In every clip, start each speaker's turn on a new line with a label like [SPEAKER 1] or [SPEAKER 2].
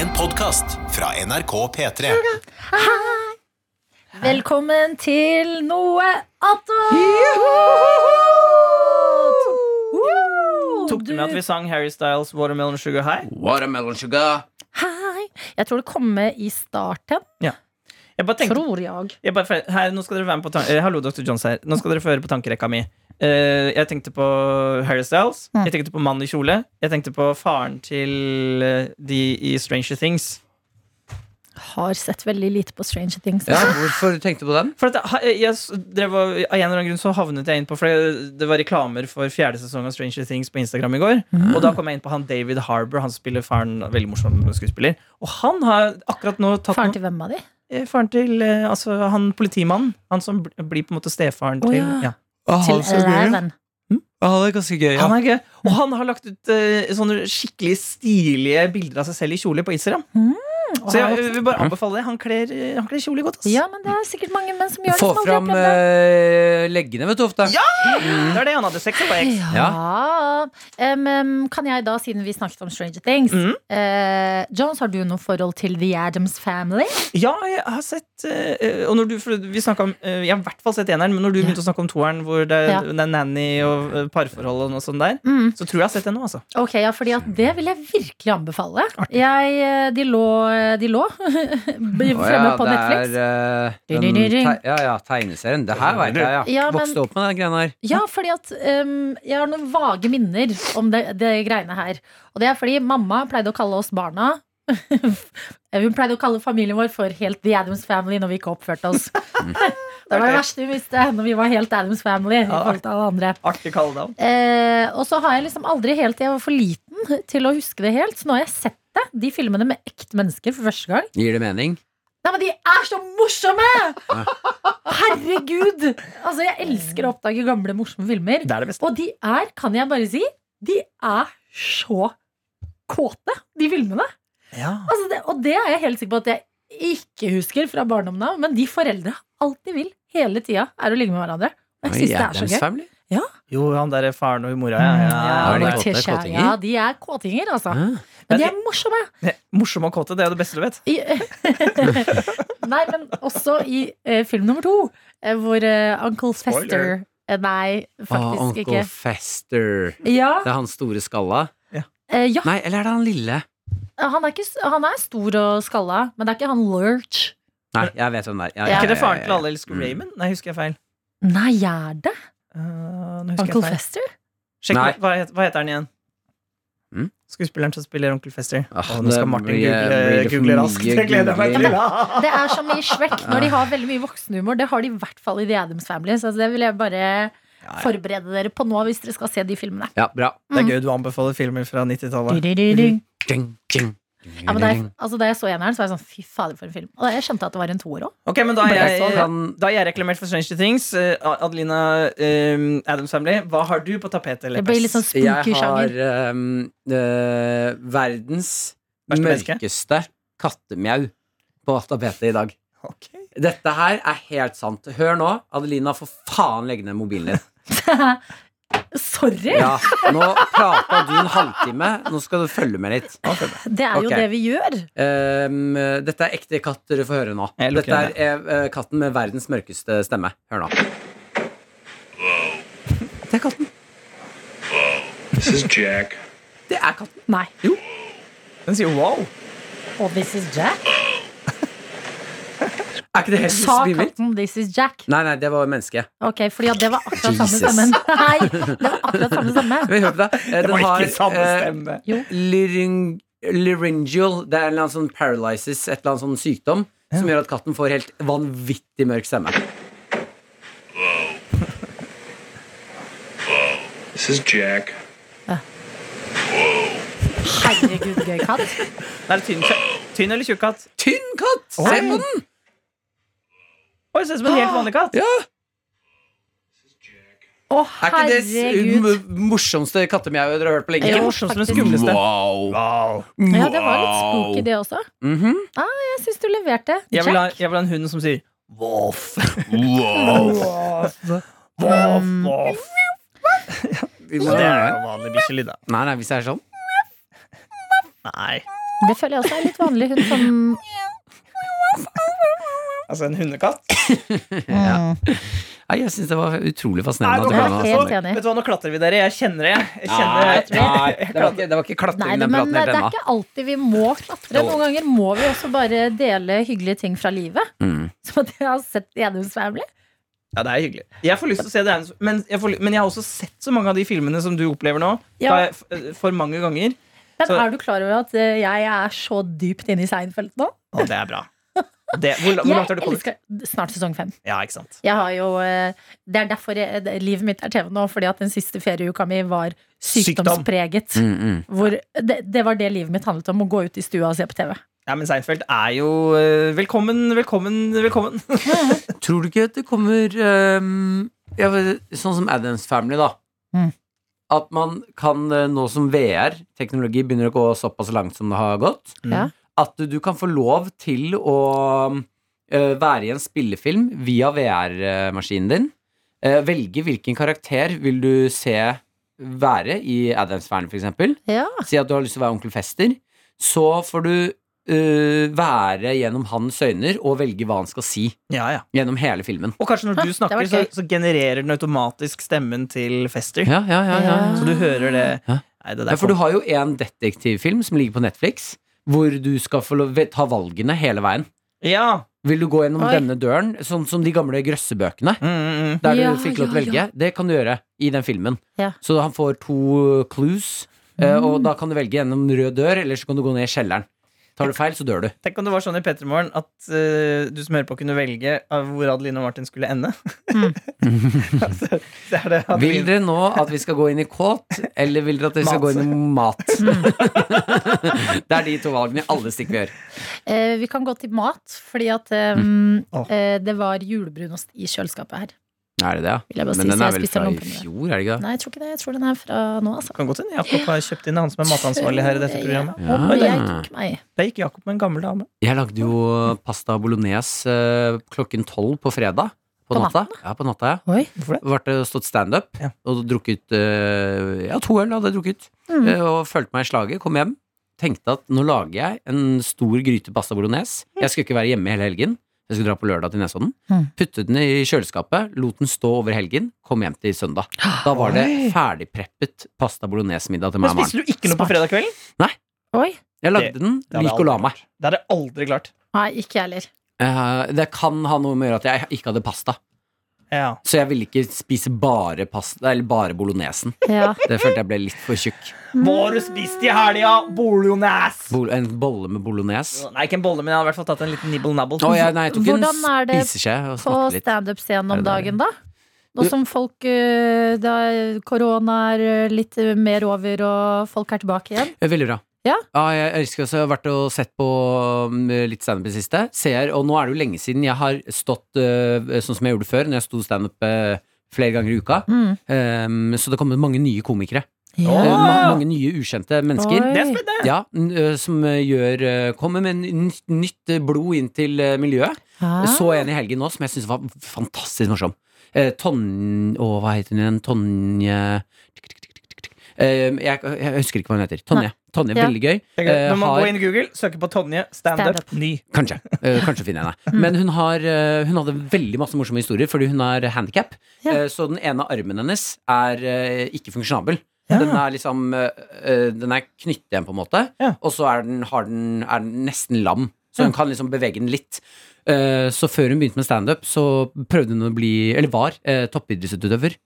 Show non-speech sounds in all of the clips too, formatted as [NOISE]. [SPEAKER 1] En podkast fra NRK P3.
[SPEAKER 2] Velkommen til noe attåt!
[SPEAKER 3] Tok du med at vi sang Harry Styles' Watermelon Sugar High?
[SPEAKER 4] Watermelon sugar.
[SPEAKER 2] Hei. Jeg tror det kom med i starten,
[SPEAKER 3] Jeg bare tenkte,
[SPEAKER 2] tror jeg.
[SPEAKER 3] jeg bare, her, nå skal dere være med på tan- eh, Hallo, Dr. Jones her. Nå skal dere få høre på tankerekka mi. Eh, jeg tenkte på Harry Styles.
[SPEAKER 2] Mm.
[SPEAKER 3] Jeg tenkte på mannen i kjole. Jeg tenkte på faren til eh, de i Stranger Things.
[SPEAKER 2] Har sett veldig lite på Stranger Things.
[SPEAKER 4] Ja, hvorfor tenkte du på den?
[SPEAKER 3] For at eh, jeg, jeg s- drev, og- av en eller annen grunn så havnet jeg inn på For det- det var reklamer for fjerde sesong av Stranger Things på Instagram i går.
[SPEAKER 2] Mm.
[SPEAKER 3] Og da kom jeg inn på han David Harbour. Han spiller faren, veldig morsom skuespiller. Og han har akkurat nå tatt
[SPEAKER 2] Faren
[SPEAKER 3] noe-
[SPEAKER 2] til hvem av de?
[SPEAKER 3] eh, faren til eh, altså, han politimannen. Han som bl- blir på en måte stefaren til
[SPEAKER 4] ja.
[SPEAKER 3] ja.
[SPEAKER 2] Til Raven.
[SPEAKER 4] Han er ganske gøy.
[SPEAKER 3] Han er gøy. Og han har lagt ut eh, sånne skikkelig stilige bilder av seg selv i kjole på Instagram. Så jeg eh, vil bare anbefale det. Han kler, eh, han kler kjole godt. ass.
[SPEAKER 2] Ja, men det er sikkert mange menn som gjør det.
[SPEAKER 4] Få
[SPEAKER 2] som aldri har
[SPEAKER 4] fram
[SPEAKER 2] opplevd det.
[SPEAKER 4] eh, leggene, vet du, ofte.
[SPEAKER 3] Ja! Det er det han hadde sex og var eks.
[SPEAKER 2] Ja. Em, em, kan jeg da, siden vi snakket om Stranger Things
[SPEAKER 3] Mhm.
[SPEAKER 2] eh, Jones, har du noe forhold til The Adams Family?
[SPEAKER 3] Ja, jeg har sett eh, Og når du, for vi snakket om eh, Jeg har i hvert fall sett eneren, men når du
[SPEAKER 2] Ja.
[SPEAKER 3] begynte å snakke om toeren, hvor det,
[SPEAKER 2] Ja.
[SPEAKER 3] det er nanny og eh, parforhold og noe sånt der,
[SPEAKER 2] Mm.
[SPEAKER 3] så tror jeg jeg har sett det nå, altså.
[SPEAKER 2] Ok, ja, fordi at Det vil jeg virkelig anbefale. Jeg, eh, de lå, de lå [LAUGHS] fremme
[SPEAKER 4] Å ja,
[SPEAKER 2] på
[SPEAKER 4] det
[SPEAKER 2] Netflix.
[SPEAKER 4] er, eh,
[SPEAKER 2] Ding, ding,
[SPEAKER 4] den
[SPEAKER 2] ding.
[SPEAKER 4] te- ja, ja, tegneserien. Det her veit jeg, ja.
[SPEAKER 2] Ja, men-
[SPEAKER 4] Vokste opp med den greia her.
[SPEAKER 2] Ja, fordi at em, Jeg har noen vage minner om det, det greiene her. Og det er fordi mamma pleide å kalle oss barna [LAUGHS] Hun pleide å kalle familien vår for helt The Adams Family når vi ikke oppførte oss.
[SPEAKER 4] [LAUGHS]
[SPEAKER 2] [LAUGHS] det var det verste vi visste når vi var helt Adams Family. i
[SPEAKER 3] Ja.
[SPEAKER 2] forhold til alle andre
[SPEAKER 3] Artig kallenavn.
[SPEAKER 2] Eh, og så har jeg liksom aldri helt Jeg var for liten til å huske det helt, så nå har jeg sett det. De filmene med ekte mennesker for første gang.
[SPEAKER 4] Gir det mening?
[SPEAKER 2] Nei, men de er så morsomme! Herregud! Altså, jeg elsker å oppdage gamle, morsomme filmer.
[SPEAKER 3] Det er det beste.
[SPEAKER 2] Og de er, kan jeg bare si, de er så kåte, de filmene.
[SPEAKER 3] Ja.
[SPEAKER 2] Altså det, og det er jeg helt sikker på at jeg ikke husker fra barndommen av, men de foreldre alt de vil hele tida, er å ligge med hverandre. Og Jeg syns det er så gøy. Mm,
[SPEAKER 4] Family.
[SPEAKER 3] Jo, han derre faren og mora, Mm, ja. ja,
[SPEAKER 4] er
[SPEAKER 3] ja,
[SPEAKER 4] det
[SPEAKER 3] ja.
[SPEAKER 4] kåte?
[SPEAKER 2] Morticia.
[SPEAKER 4] Kåtinger?
[SPEAKER 2] Ja, de er kåtinger, altså. Men de er morsomme.
[SPEAKER 3] Ne, Morsom og kåte, det er det beste du vet.
[SPEAKER 2] I, [LAUGHS] nei, men også i eh, film nummer to, eh, hvor eh, Uncle Fester
[SPEAKER 3] Spoiler.
[SPEAKER 2] eh, Nei,
[SPEAKER 4] Å,
[SPEAKER 2] faktisk
[SPEAKER 4] Ah, Uncle
[SPEAKER 2] ikke.
[SPEAKER 4] Fester.
[SPEAKER 2] Ja,
[SPEAKER 4] Det er han store skalla?
[SPEAKER 2] eh, ja,
[SPEAKER 4] Nei, eller er det han lille?
[SPEAKER 2] han er, ikke, s- han er stor og skalla, men det er ikke han Lurch.
[SPEAKER 4] Nei, jeg vet hvem det er. Ja,
[SPEAKER 2] Ja.
[SPEAKER 3] Er ikke det faren til
[SPEAKER 4] ja, ja.
[SPEAKER 3] alle elsker
[SPEAKER 4] Mm.
[SPEAKER 3] Raymond? Nei, husker jeg feil.
[SPEAKER 2] Nei, er det
[SPEAKER 3] Uh, nå
[SPEAKER 2] Uncle
[SPEAKER 3] husker jeg feil.
[SPEAKER 2] Fester?
[SPEAKER 3] Sjekk,
[SPEAKER 4] Nei.
[SPEAKER 3] hva, het, hva heter han igjen?
[SPEAKER 4] Mm?
[SPEAKER 3] Skuespilleren som spiller onkel Fester.
[SPEAKER 4] Ah,
[SPEAKER 3] Å, nå
[SPEAKER 4] det
[SPEAKER 3] skal Martin
[SPEAKER 4] blir- blir
[SPEAKER 3] google, eh,
[SPEAKER 4] det for
[SPEAKER 3] google raskt.
[SPEAKER 4] mye
[SPEAKER 3] Det gleder jeg meg
[SPEAKER 4] googling.
[SPEAKER 3] til.
[SPEAKER 4] [LAUGHS]
[SPEAKER 2] Det er som i Shrek, når de har veldig mye voksenhumor. Det har de i hvert fall i The Addams Family, så det vil jeg bare forberede dere på nå hvis dere skal se de filmene.
[SPEAKER 4] Ja, bra.
[SPEAKER 3] Det er gøy du anbefaler filmer fra 90-tallet.
[SPEAKER 2] Ja,
[SPEAKER 4] Ding, ding.
[SPEAKER 2] men da, jeg, altså, da jeg så eneren, så var jeg sånn fy fader, for en film. Og jeg skjønte at det var en toer òg.
[SPEAKER 3] Ok, men da er
[SPEAKER 4] Jeg
[SPEAKER 3] jeg,
[SPEAKER 2] sånn.
[SPEAKER 4] så den-
[SPEAKER 3] da er jeg reklamert for Stranger Things. Eh, Adelina um, Adams Family, hva har du på tapetet?
[SPEAKER 2] Det blir litt sånn spooky
[SPEAKER 4] Jeg har
[SPEAKER 2] sjanger.
[SPEAKER 4] ehm, eh, verdens
[SPEAKER 3] Verste menneske?
[SPEAKER 4] mørkeste kattemjau på tapetet i dag.
[SPEAKER 3] Ok.
[SPEAKER 4] Dette her er helt sant. Hør nå. Adelina, for faen legg ned
[SPEAKER 2] [LAUGHS]
[SPEAKER 4] mobilen din.
[SPEAKER 2] Sorry!
[SPEAKER 4] Ja, nå prata du en halvtime. Nå skal du følge med litt.
[SPEAKER 2] Det er jo
[SPEAKER 4] Ok.
[SPEAKER 2] det vi gjør.
[SPEAKER 4] Ehm, dette er ekte katt dere får høre nå.
[SPEAKER 3] Jeg lukker
[SPEAKER 4] Dette er eh, katten med verdens mørkeste stemme. Hør nå. Det er katten.
[SPEAKER 5] This is Jack.
[SPEAKER 4] Det er katten.
[SPEAKER 2] Nei.
[SPEAKER 3] Den sier wow.
[SPEAKER 2] Og This Is Jack?
[SPEAKER 4] Er ikke det helt
[SPEAKER 2] Sa
[SPEAKER 4] spimmelt?
[SPEAKER 2] katten This Is Jack?
[SPEAKER 4] Nei, nei, det var mennesket.
[SPEAKER 2] Ok, fordi at det var akkurat samme
[SPEAKER 4] Jesus.
[SPEAKER 2] stemmen. Nei, det var akkurat samme stemme.
[SPEAKER 4] Vi hører
[SPEAKER 3] [LAUGHS]
[SPEAKER 4] på det. Eh,
[SPEAKER 3] Det var
[SPEAKER 4] har,
[SPEAKER 3] ikke samme
[SPEAKER 4] eh,
[SPEAKER 3] stemme.
[SPEAKER 2] Jo.
[SPEAKER 4] lyring, Laryngeal Det er en eller annen sånn paralysis Et eller annet sånn sykdom Som gjør at katten får helt vanvittig mørk stemme
[SPEAKER 5] This is Jack.
[SPEAKER 2] Herregud, gøy katt.
[SPEAKER 3] Det er tynn, tynn eller tjukk katt?
[SPEAKER 4] Tynn katt, se på den
[SPEAKER 3] Oi, ser ut som en
[SPEAKER 2] Ah.
[SPEAKER 3] helt vanlig katt.
[SPEAKER 4] ja.
[SPEAKER 2] Å,
[SPEAKER 4] Er ikke det s-
[SPEAKER 2] herregud.
[SPEAKER 4] m- morsomste kattemjau dere har hørt på lenge?
[SPEAKER 3] Ikke
[SPEAKER 2] Jo,
[SPEAKER 3] morsomt som den
[SPEAKER 2] faktisk.
[SPEAKER 3] skumleste.
[SPEAKER 2] Ja, det var litt spooky, det også. Ah,
[SPEAKER 4] Mhm.
[SPEAKER 2] Jeg syns du leverte.
[SPEAKER 3] Jeg vil, ha,
[SPEAKER 2] Jack.
[SPEAKER 3] jeg vil ha en hund som sier voff. Voff, [LAUGHS] voff.
[SPEAKER 4] Vi må-
[SPEAKER 3] Det er jo vanlig bikkjelyd, da.
[SPEAKER 4] Nei, nei, hvis det er sånn
[SPEAKER 3] Nei.
[SPEAKER 2] Det føler jeg også er litt vanlig. Hun som
[SPEAKER 3] Altså en hundekatt?
[SPEAKER 4] Nei, jeg syns det var utrolig
[SPEAKER 3] Nei, nå
[SPEAKER 4] fascinerende. at det
[SPEAKER 2] jeg
[SPEAKER 4] går an å
[SPEAKER 2] er
[SPEAKER 3] klatrer-
[SPEAKER 4] ha
[SPEAKER 2] helt
[SPEAKER 4] sånn.
[SPEAKER 2] enig.
[SPEAKER 3] Vet du hva, nå klatrer vi dere. Jeg kjenner det. Jeg kjenner
[SPEAKER 4] Nei,
[SPEAKER 3] det.
[SPEAKER 4] nei, det var ikke, det var ikke
[SPEAKER 2] Nei,
[SPEAKER 4] klatring i
[SPEAKER 2] det,
[SPEAKER 4] den
[SPEAKER 2] men
[SPEAKER 4] praten
[SPEAKER 2] det,
[SPEAKER 4] helt
[SPEAKER 2] det er
[SPEAKER 4] ennå.
[SPEAKER 2] ikke alltid vi må klatre. Noen ganger må vi også bare dele hyggelige ting fra livet.
[SPEAKER 4] Mm.
[SPEAKER 2] Som at jeg har sett Enums Family.
[SPEAKER 3] Ja, det er hyggelig. Jeg får lyst til å se det, her, men jeg, får, men jeg har også sett så mange av de filmene som du opplever nå.
[SPEAKER 2] Ja.
[SPEAKER 3] da jeg- f- eh, For mange ganger.
[SPEAKER 2] Men
[SPEAKER 3] Så-
[SPEAKER 2] er du klar over at eh, jeg er så dypt inne i Seinfeld nå?
[SPEAKER 3] Og det er bra. Det, hvor, hvor langt
[SPEAKER 2] Jeg
[SPEAKER 3] har du kommet?
[SPEAKER 2] elsker Snart sesong fem.
[SPEAKER 3] Ja, ikke sant?
[SPEAKER 2] Jeg har jo, eh, det er derfor jeg, det- livet mitt er TV nå, fordi at den siste ferieuka mi var
[SPEAKER 3] Sykdom.
[SPEAKER 2] sykdomspreget.
[SPEAKER 4] Mm, mm.
[SPEAKER 2] Hvor det, det var det livet mitt handlet om, å gå ut i stua og se på TV.
[SPEAKER 3] Ja, men Seinfeld er jo eh, Velkommen, velkommen, velkommen.
[SPEAKER 4] Tror du ikke at det kommer ehm, ja, vel, Sånn som Adams Family, da.
[SPEAKER 2] Mm.
[SPEAKER 4] At man kan, eh, nå som VR-teknologi begynner å gå såpass langt som det har gått,
[SPEAKER 2] Mm. Ja.
[SPEAKER 4] at du kan få lov til å eh, være i en spillefilm via VR-maskinen din. Eh, velge hvilken karakter vil du se være i Adams Family, for eksempel.
[SPEAKER 2] Ja.
[SPEAKER 4] Si at du har lyst til å være onkel Fester. Så får du eh, være gjennom hans øyne og velge hva han skal si
[SPEAKER 3] Ja, ja.
[SPEAKER 4] gjennom hele filmen.
[SPEAKER 3] Og kanskje når du
[SPEAKER 2] det
[SPEAKER 3] snakker,
[SPEAKER 2] var
[SPEAKER 3] så,
[SPEAKER 2] gøy.
[SPEAKER 3] så genererer den automatisk stemmen til Fester.
[SPEAKER 4] Ja, ja, ja, ja.
[SPEAKER 2] Ja.
[SPEAKER 3] Så du hører det.
[SPEAKER 4] Ja.
[SPEAKER 3] Nei, det
[SPEAKER 4] Ja,
[SPEAKER 3] der
[SPEAKER 4] for du
[SPEAKER 3] kom.
[SPEAKER 4] har jo en detektivfilm som ligger på Netflix, hvor du skal få lov, ta valgene hele veien.
[SPEAKER 3] Ja.
[SPEAKER 4] Vil du gå gjennom
[SPEAKER 2] Oi.
[SPEAKER 4] denne døren, sånn som de gamle grøssebøkene?
[SPEAKER 3] Mm, mm, mm.
[SPEAKER 4] Der du
[SPEAKER 2] Ja,
[SPEAKER 4] fikk lov til å
[SPEAKER 2] ja,
[SPEAKER 4] velge.
[SPEAKER 2] ja.
[SPEAKER 4] Det kan du gjøre i den filmen.
[SPEAKER 2] Ja. Mm.
[SPEAKER 4] Så han får to clues, eh, og da kan du velge gjennom rød dør, eller så kan du gå ned i kjelleren. Tar du feil, så dør du.
[SPEAKER 3] Tenk om det var sånn i Pettermorgen at eh, du som hører på, kunne velge av hvor Adeline og Martin skulle ende.
[SPEAKER 2] Mm.
[SPEAKER 3] [LAUGHS] altså, det er det
[SPEAKER 4] Vil
[SPEAKER 3] Adeline.
[SPEAKER 4] dere nå at vi skal gå inn i kåt, eller vil dere at vi
[SPEAKER 3] Mat.
[SPEAKER 4] skal gå inn i
[SPEAKER 2] [LAUGHS]
[SPEAKER 4] mat?
[SPEAKER 2] Mm.
[SPEAKER 4] det er de to valgene i alle stikk vi gjør.
[SPEAKER 2] Eh, vi kan gå til mat, fordi at eh,
[SPEAKER 4] Mm.
[SPEAKER 3] Åh.
[SPEAKER 2] eh, det var julebrunost i kjøleskapet her.
[SPEAKER 4] Er det det, ja?
[SPEAKER 2] Vil jeg bare si,
[SPEAKER 4] Men den
[SPEAKER 2] så
[SPEAKER 4] er
[SPEAKER 2] jeg
[SPEAKER 4] vel
[SPEAKER 2] spiste
[SPEAKER 4] fra
[SPEAKER 2] den
[SPEAKER 4] i
[SPEAKER 2] opp under.
[SPEAKER 4] fjor, er det ikke det?
[SPEAKER 2] Nei, jeg tror ikke det. Jeg tror den er fra nå, altså.
[SPEAKER 3] Kan godt hende Jakob har kjøpt inn han som er matansvarlig her i dette programmet.
[SPEAKER 2] Ja, og
[SPEAKER 3] Ja.
[SPEAKER 2] jeg tok meg.
[SPEAKER 3] Der gikk Jakob med en gammel dame.
[SPEAKER 4] Jeg lagde jo pasta bolognese eh, klokken tolv på fredag. På,
[SPEAKER 2] På
[SPEAKER 4] natta. Ja, på natta, ja.
[SPEAKER 2] Oi.
[SPEAKER 3] Hvorfor det?
[SPEAKER 4] Ble stått standup
[SPEAKER 3] Ja.
[SPEAKER 4] og drukket eh, Ja, to øl hadde jeg drukket.
[SPEAKER 2] Mm.
[SPEAKER 4] Eh, og følte meg i slaget. Kom hjem. Tenkte at nå lager jeg en stor gryte pasta bolognese.
[SPEAKER 3] Mm.
[SPEAKER 4] Jeg skulle ikke være hjemme hele helgen. Jeg skulle dra på lørdag til Nesodden.
[SPEAKER 2] Mm.
[SPEAKER 4] Puttet den i kjøleskapet, lot den stå over helgen, kom hjem til søndag. Da var det
[SPEAKER 3] Oi.
[SPEAKER 4] ferdigpreppet pasta bolognese-middag til
[SPEAKER 3] Men
[SPEAKER 4] meg og Maren.
[SPEAKER 3] spiste du ikke noe på fredag kvelden?
[SPEAKER 2] Oi.
[SPEAKER 4] Jeg lagde den,
[SPEAKER 3] det hadde jeg
[SPEAKER 4] lik og la
[SPEAKER 3] aldri
[SPEAKER 4] meg.
[SPEAKER 3] Det hadde jeg aldri klart.
[SPEAKER 2] Nei, ikke jeg heller.
[SPEAKER 4] Eh, det kan ha noe med å gjøre at jeg ikke hadde pasta.
[SPEAKER 3] Ja.
[SPEAKER 4] Så jeg ville ikke spise bare pasta, eller bare bolognesen.
[SPEAKER 2] Ja.
[SPEAKER 4] Det følte jeg ble litt for tjukk.
[SPEAKER 2] Mm.
[SPEAKER 3] Hva har du spist i helga? Bolognese!
[SPEAKER 4] Bol en bolle med bolognese.
[SPEAKER 3] Nei, ikke en bolle, men jeg har i hvert fall tatt en liten nibble-nabble.
[SPEAKER 4] Å, jeg, nei, jeg tok en
[SPEAKER 2] Hvordan er det
[SPEAKER 4] spiseskje og
[SPEAKER 2] På
[SPEAKER 4] snakket litt.
[SPEAKER 2] standup-scenen
[SPEAKER 4] Er
[SPEAKER 2] om
[SPEAKER 4] det der?
[SPEAKER 2] dagen, da? Nå som folk eh, da korona er eh, litt mer over og folk er tilbake igjen.
[SPEAKER 4] Eh, Veldig bra.
[SPEAKER 2] Ja.
[SPEAKER 4] jeg elsker også, jeg har vært og sett på mm, litt standup i det siste. Ser, og nå er det jo lenge siden jeg har stått eh, sånn som jeg gjorde før, når jeg sto standup eh, flere ganger i uka.
[SPEAKER 2] Mm.
[SPEAKER 4] Eh, så det kommer mange nye komikere.
[SPEAKER 3] Åh.
[SPEAKER 4] Eh, ma mange nye ukjente mennesker.
[SPEAKER 2] Oi.
[SPEAKER 3] Det er spennende!
[SPEAKER 4] Ja, n- ø, som ø, gjør ø, Kommer med n- nytt- nytt ø, blod inn til ø, miljøet.
[SPEAKER 2] Ja.
[SPEAKER 4] Så en i helgen nå som jeg syns var fantastisk morsom. Eh, Ton... Å, hva heter hun igjen? Tonje Eh, jeg, jeg husker ikke hva hun heter. Tonje. Tonje,
[SPEAKER 2] Ja.
[SPEAKER 4] Veldig gøy.
[SPEAKER 3] Det er gøy.
[SPEAKER 4] Eh,
[SPEAKER 3] Når man
[SPEAKER 4] har-
[SPEAKER 3] går inn i Google, søker på Tonje, standup,
[SPEAKER 2] Stand-up.
[SPEAKER 3] ny.
[SPEAKER 4] Kanskje. Eh, kanskje finner jeg henne. Men hun, har, eh, hun hadde veldig masse morsomme historier, fordi hun har handikap.
[SPEAKER 2] Ja.
[SPEAKER 4] så den ene armen hennes er eh, ikke funksjonabel.
[SPEAKER 3] Ja.
[SPEAKER 4] Den er liksom eh, eh, Den er knyttet igjen, på en måte.
[SPEAKER 3] Ja.
[SPEAKER 4] Og så er den, har den, er den nesten lam. Så hun kan liksom bevege den litt. Eh, så før hun begynte med standup, så prøvde hun å bli, eller var, eh, toppidrettsutøver.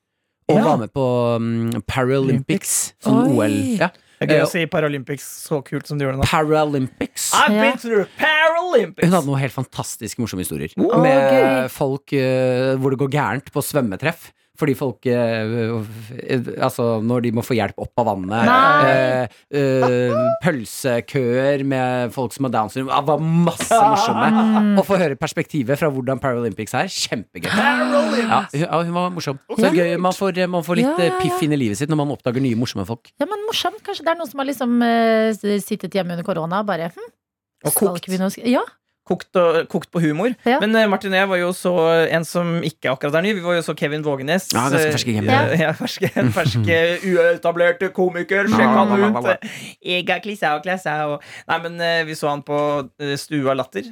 [SPEAKER 4] Og
[SPEAKER 3] Ja.
[SPEAKER 4] var med på mm, Paralympics.
[SPEAKER 2] Oi.
[SPEAKER 4] Sånn OL. Ja.
[SPEAKER 3] Det er gøy
[SPEAKER 4] Eh,
[SPEAKER 3] å si Paralympics så kult som du gjorde nå.
[SPEAKER 4] Paralympics.
[SPEAKER 3] I've
[SPEAKER 2] Ja.
[SPEAKER 3] been through Paralympics!
[SPEAKER 4] Hun hadde noen helt fantastisk morsomme historier.
[SPEAKER 2] Å,
[SPEAKER 4] med
[SPEAKER 2] gøy.
[SPEAKER 4] folk eh, hvor det går gærent på svømmetreff. Fordi folk eh, eh, Altså, når de må få hjelp opp av vannet.
[SPEAKER 2] Nei.
[SPEAKER 4] eh, eh, pølsekøer med folk som har Downs syndrome. Det var masse
[SPEAKER 2] Mm.
[SPEAKER 4] morsomme. Å få høre perspektivet fra hvordan Paralympics er, kjempegøy. Ja, hun, ja, hun var morsom. Så gøy. Man får, man får litt
[SPEAKER 2] Ja, ja,
[SPEAKER 4] eh, piff inn i livet sitt når man oppdager nye, morsomme folk.
[SPEAKER 2] Ja, men morsomt. Kanskje det er noen som har liksom eh, sittet hjemme under korona og bare hm,
[SPEAKER 3] Og
[SPEAKER 2] skal
[SPEAKER 3] kokt.
[SPEAKER 2] ikke begynne å sk- Ja,
[SPEAKER 3] kokt, og, kokt på humor.
[SPEAKER 2] Ja.
[SPEAKER 3] Men eh, Martin og jeg var jo så en som ikke akkurat er ny. Vi var jo så Kevin Vågenes.
[SPEAKER 4] Ja, ganske ferske
[SPEAKER 3] eh,
[SPEAKER 4] gamer.
[SPEAKER 3] ja. ferske, ferske uetablerte komiker. Sjekk han ut! Jeg er klissa og klassa og Nei, men eh, vi så han på eh, Stua Latter.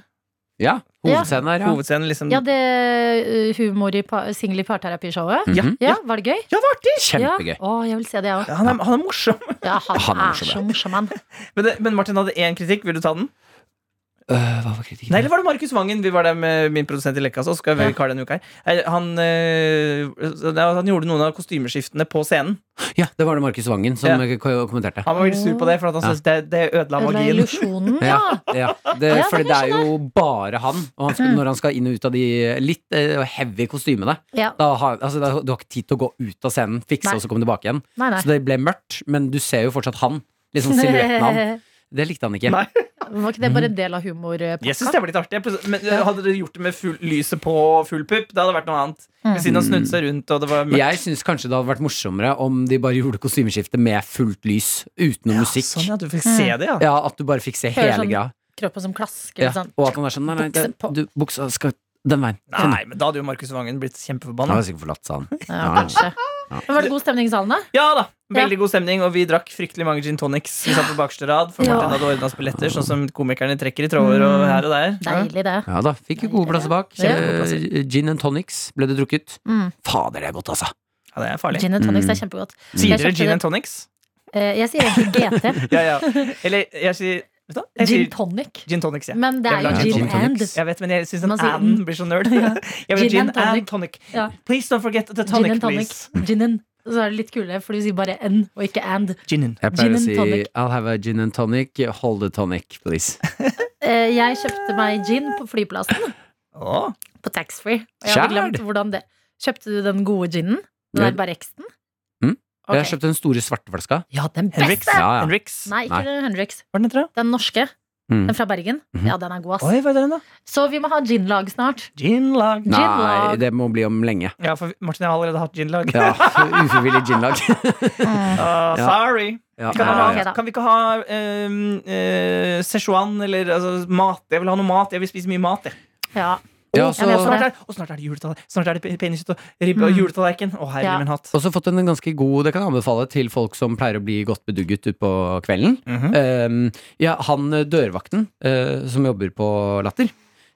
[SPEAKER 4] Ja, hovedscenen her, ja.
[SPEAKER 3] Hovedscenen, liksom.
[SPEAKER 4] Mm.
[SPEAKER 2] Ja, det uh, humor i pa singel i parterapi-showet.
[SPEAKER 3] Ja.
[SPEAKER 4] Mhm.
[SPEAKER 2] Ja, var det gøy?
[SPEAKER 3] Ja, det var artig!
[SPEAKER 2] Ja.
[SPEAKER 4] Kjempegøy.
[SPEAKER 2] Å, jeg vil se det, jeg òg.
[SPEAKER 3] Han er, han er morsom. [LAUGHS]
[SPEAKER 2] Ja, han,
[SPEAKER 4] Han er
[SPEAKER 2] er,
[SPEAKER 4] morsom, ja.
[SPEAKER 2] så morsom, han.
[SPEAKER 3] Men, det, men Martin hadde én kritikk. Vil du ta den?
[SPEAKER 4] Øh, hva var kritikken?
[SPEAKER 3] Nei, eller var det Markus Vangen? Vi var der med min produsent i Lekkas. Oskar
[SPEAKER 2] Ja.
[SPEAKER 3] Wekar denne uka her. Eh, Han, eh, han gjorde noen av kostymeskiftene på scenen.
[SPEAKER 4] Ja, det var det Markus Vangen som eh,
[SPEAKER 3] Ja.
[SPEAKER 4] ko- kommenterte.
[SPEAKER 3] Han var veldig sur på det, for at han syntes det, det ødela
[SPEAKER 2] Eller
[SPEAKER 3] magien.
[SPEAKER 2] illusjonen, ja.
[SPEAKER 4] ja det,
[SPEAKER 2] Ja, det
[SPEAKER 4] Fordi
[SPEAKER 2] kan Mm.
[SPEAKER 4] det er jo bare han, og han skal, når han skal inn og ut av de litt eh, heavy kostymene
[SPEAKER 2] ja.
[SPEAKER 4] da har, altså, da, Du har ikke tid til å gå ut av scenen, fikse
[SPEAKER 2] Nei.
[SPEAKER 4] og så komme tilbake igjen.
[SPEAKER 2] Nei, nei.
[SPEAKER 4] Så det ble mørkt, men du ser jo fortsatt han. Liksom silhuetten
[SPEAKER 2] [LAUGHS]
[SPEAKER 4] av han. Mhm. Det likte han ikke.
[SPEAKER 3] [LAUGHS] Nei.
[SPEAKER 2] Var ikke det bare en del av eh, humorpakka?
[SPEAKER 3] Jeg synes det var litt artig. Jeg- Men eh, Hadde dere gjort det med full, lyset på og full pupp, det hadde vært noe annet. Men siden han snudde seg rundt, og det var mørkt.
[SPEAKER 4] Jeg syns kanskje det hadde vært morsommere om de bare gjorde kostymeskiftet med fullt lys, utenom musikk.
[SPEAKER 3] Sånn, ja, du fikk se det, ja.
[SPEAKER 4] Ja, At du bare fikk se
[SPEAKER 2] Hører
[SPEAKER 4] hele
[SPEAKER 2] sånn-
[SPEAKER 4] greia.
[SPEAKER 2] Kroppen som klasker.
[SPEAKER 4] Ja.
[SPEAKER 2] litt Sånn.
[SPEAKER 4] Og at han er sånn Nei, nei, det,
[SPEAKER 2] Bukse på.
[SPEAKER 4] du, buksa skal den veien.
[SPEAKER 3] Nei, men da hadde jo Markus Vangen blitt
[SPEAKER 4] Han
[SPEAKER 3] kjempeforbanna.
[SPEAKER 4] har sikkert forlatt salen.
[SPEAKER 2] Ja,
[SPEAKER 4] Ja.
[SPEAKER 2] kanskje.
[SPEAKER 3] [LAUGHS]
[SPEAKER 2] Men var det god stemning i salen, da?
[SPEAKER 3] Ja da, Veldig god stemning, og vi drakk fryktelig mange gin tonics. Vi satt på bakerste rad, for
[SPEAKER 2] Ja.
[SPEAKER 3] Martin hadde ordna oss billetter, sånn som komikerne trekker i tråder og her og der.
[SPEAKER 2] Deilig, det.
[SPEAKER 4] Ja da, fikk jo gode plasser bak.
[SPEAKER 2] Ja.
[SPEAKER 4] Eh, Gin and tonics ble det drukket.
[SPEAKER 2] Mm.
[SPEAKER 4] Fader, det er godt, altså.
[SPEAKER 3] Ja, det er farlig.
[SPEAKER 2] Gin and tonics
[SPEAKER 4] Mm.
[SPEAKER 2] er kjempegodt.
[SPEAKER 3] Sier
[SPEAKER 2] Jeg
[SPEAKER 3] dere
[SPEAKER 2] kjøpte
[SPEAKER 3] gin
[SPEAKER 2] det-
[SPEAKER 3] and tonics?
[SPEAKER 2] Eh, Jeg sier
[SPEAKER 3] [LAUGHS]
[SPEAKER 2] egentlig GT.
[SPEAKER 3] Ja, ja. Eller jeg sier Vet du hva? Jeg
[SPEAKER 2] Gin
[SPEAKER 3] sier
[SPEAKER 2] tonic.
[SPEAKER 3] gin tonics, ja.
[SPEAKER 2] Men det
[SPEAKER 3] Jeg
[SPEAKER 2] er
[SPEAKER 3] vil
[SPEAKER 2] jo
[SPEAKER 3] ha
[SPEAKER 2] gin
[SPEAKER 4] gin
[SPEAKER 2] and.
[SPEAKER 4] tonics.
[SPEAKER 3] Jeg vet, men jeg syns den
[SPEAKER 2] Man sier-
[SPEAKER 3] and blir så nerd.
[SPEAKER 2] [LAUGHS]
[SPEAKER 3] Jeg vil
[SPEAKER 2] Gin
[SPEAKER 3] gin
[SPEAKER 2] and tonic.
[SPEAKER 3] and tonic.
[SPEAKER 2] Ja.
[SPEAKER 3] Please don't forget the
[SPEAKER 2] Gin
[SPEAKER 3] tonic,
[SPEAKER 2] and
[SPEAKER 3] please. Mm.
[SPEAKER 2] tonic. Gin and. Så er det litt kulere, for du sier bare n og ikke and.
[SPEAKER 3] Ginen.
[SPEAKER 4] Jeg
[SPEAKER 2] Gin
[SPEAKER 4] pleier å
[SPEAKER 2] and
[SPEAKER 4] si
[SPEAKER 2] tonic.
[SPEAKER 4] I'll have a gin and tonic, hold a tonic, please.
[SPEAKER 2] Eh, Jeg kjøpte meg gin på flyplassen,
[SPEAKER 3] Åh.
[SPEAKER 2] på taxfree. Og jeg hadde
[SPEAKER 4] Skjær.
[SPEAKER 2] glemt hvordan det Kjøpte du den gode ginen? Den
[SPEAKER 4] Ja.
[SPEAKER 2] der bare eksten?
[SPEAKER 4] Mm.
[SPEAKER 2] Ok.
[SPEAKER 4] Jeg kjøpte den store svarte flaska.
[SPEAKER 2] Ja, den
[SPEAKER 3] Henriks.
[SPEAKER 2] beste!
[SPEAKER 4] Ja, ja.
[SPEAKER 3] Henriks.
[SPEAKER 2] Nei, ikke
[SPEAKER 4] Nei.
[SPEAKER 2] den Henriks.
[SPEAKER 3] Hva er den heter, da?
[SPEAKER 2] Den norske.
[SPEAKER 4] Mm.
[SPEAKER 2] Den fra Bergen.
[SPEAKER 4] Mhm.
[SPEAKER 2] Ja, den er god, ass.
[SPEAKER 3] Oi, hva er den, da?
[SPEAKER 2] Så vi må ha ginlag snart.
[SPEAKER 4] [LAUGHS]
[SPEAKER 3] Ginlag.
[SPEAKER 4] Nei,
[SPEAKER 2] Gin-lag.
[SPEAKER 4] det må bli om lenge.
[SPEAKER 3] Ja, for Martin jeg har allerede hatt ginlag.
[SPEAKER 4] Ja, [LAUGHS] Ufrivillig
[SPEAKER 2] [LAUGHS]
[SPEAKER 4] ginlag.
[SPEAKER 2] Mm.
[SPEAKER 3] Ah,
[SPEAKER 4] Ja.
[SPEAKER 3] sorry.
[SPEAKER 4] Ja,
[SPEAKER 3] Kan,
[SPEAKER 2] Ja,
[SPEAKER 3] vi ha,
[SPEAKER 2] ok, da.
[SPEAKER 3] kan vi ikke ha um, eh, Szechuan eller altså, mat? Jeg vil ha noe mat. Jeg vil spise mye mat. Jeg.
[SPEAKER 2] Ja.
[SPEAKER 4] Ja,
[SPEAKER 2] Og
[SPEAKER 4] så-
[SPEAKER 2] jeg
[SPEAKER 3] Og
[SPEAKER 2] vet
[SPEAKER 3] snart
[SPEAKER 2] det. Mm.
[SPEAKER 3] er, og snart er det juletallerken. Snart er det peanøttkjøtt og ribbe og juletallerken. Å, herre
[SPEAKER 2] Ja.
[SPEAKER 3] min hatt.
[SPEAKER 4] Også fått en ganske god, det kan jeg anbefale til folk som pleier å bli godt bedugget utpå kvelden.
[SPEAKER 3] Mhm.
[SPEAKER 4] Eh, ja, han eh, dørvakten eh, som jobber på Latter.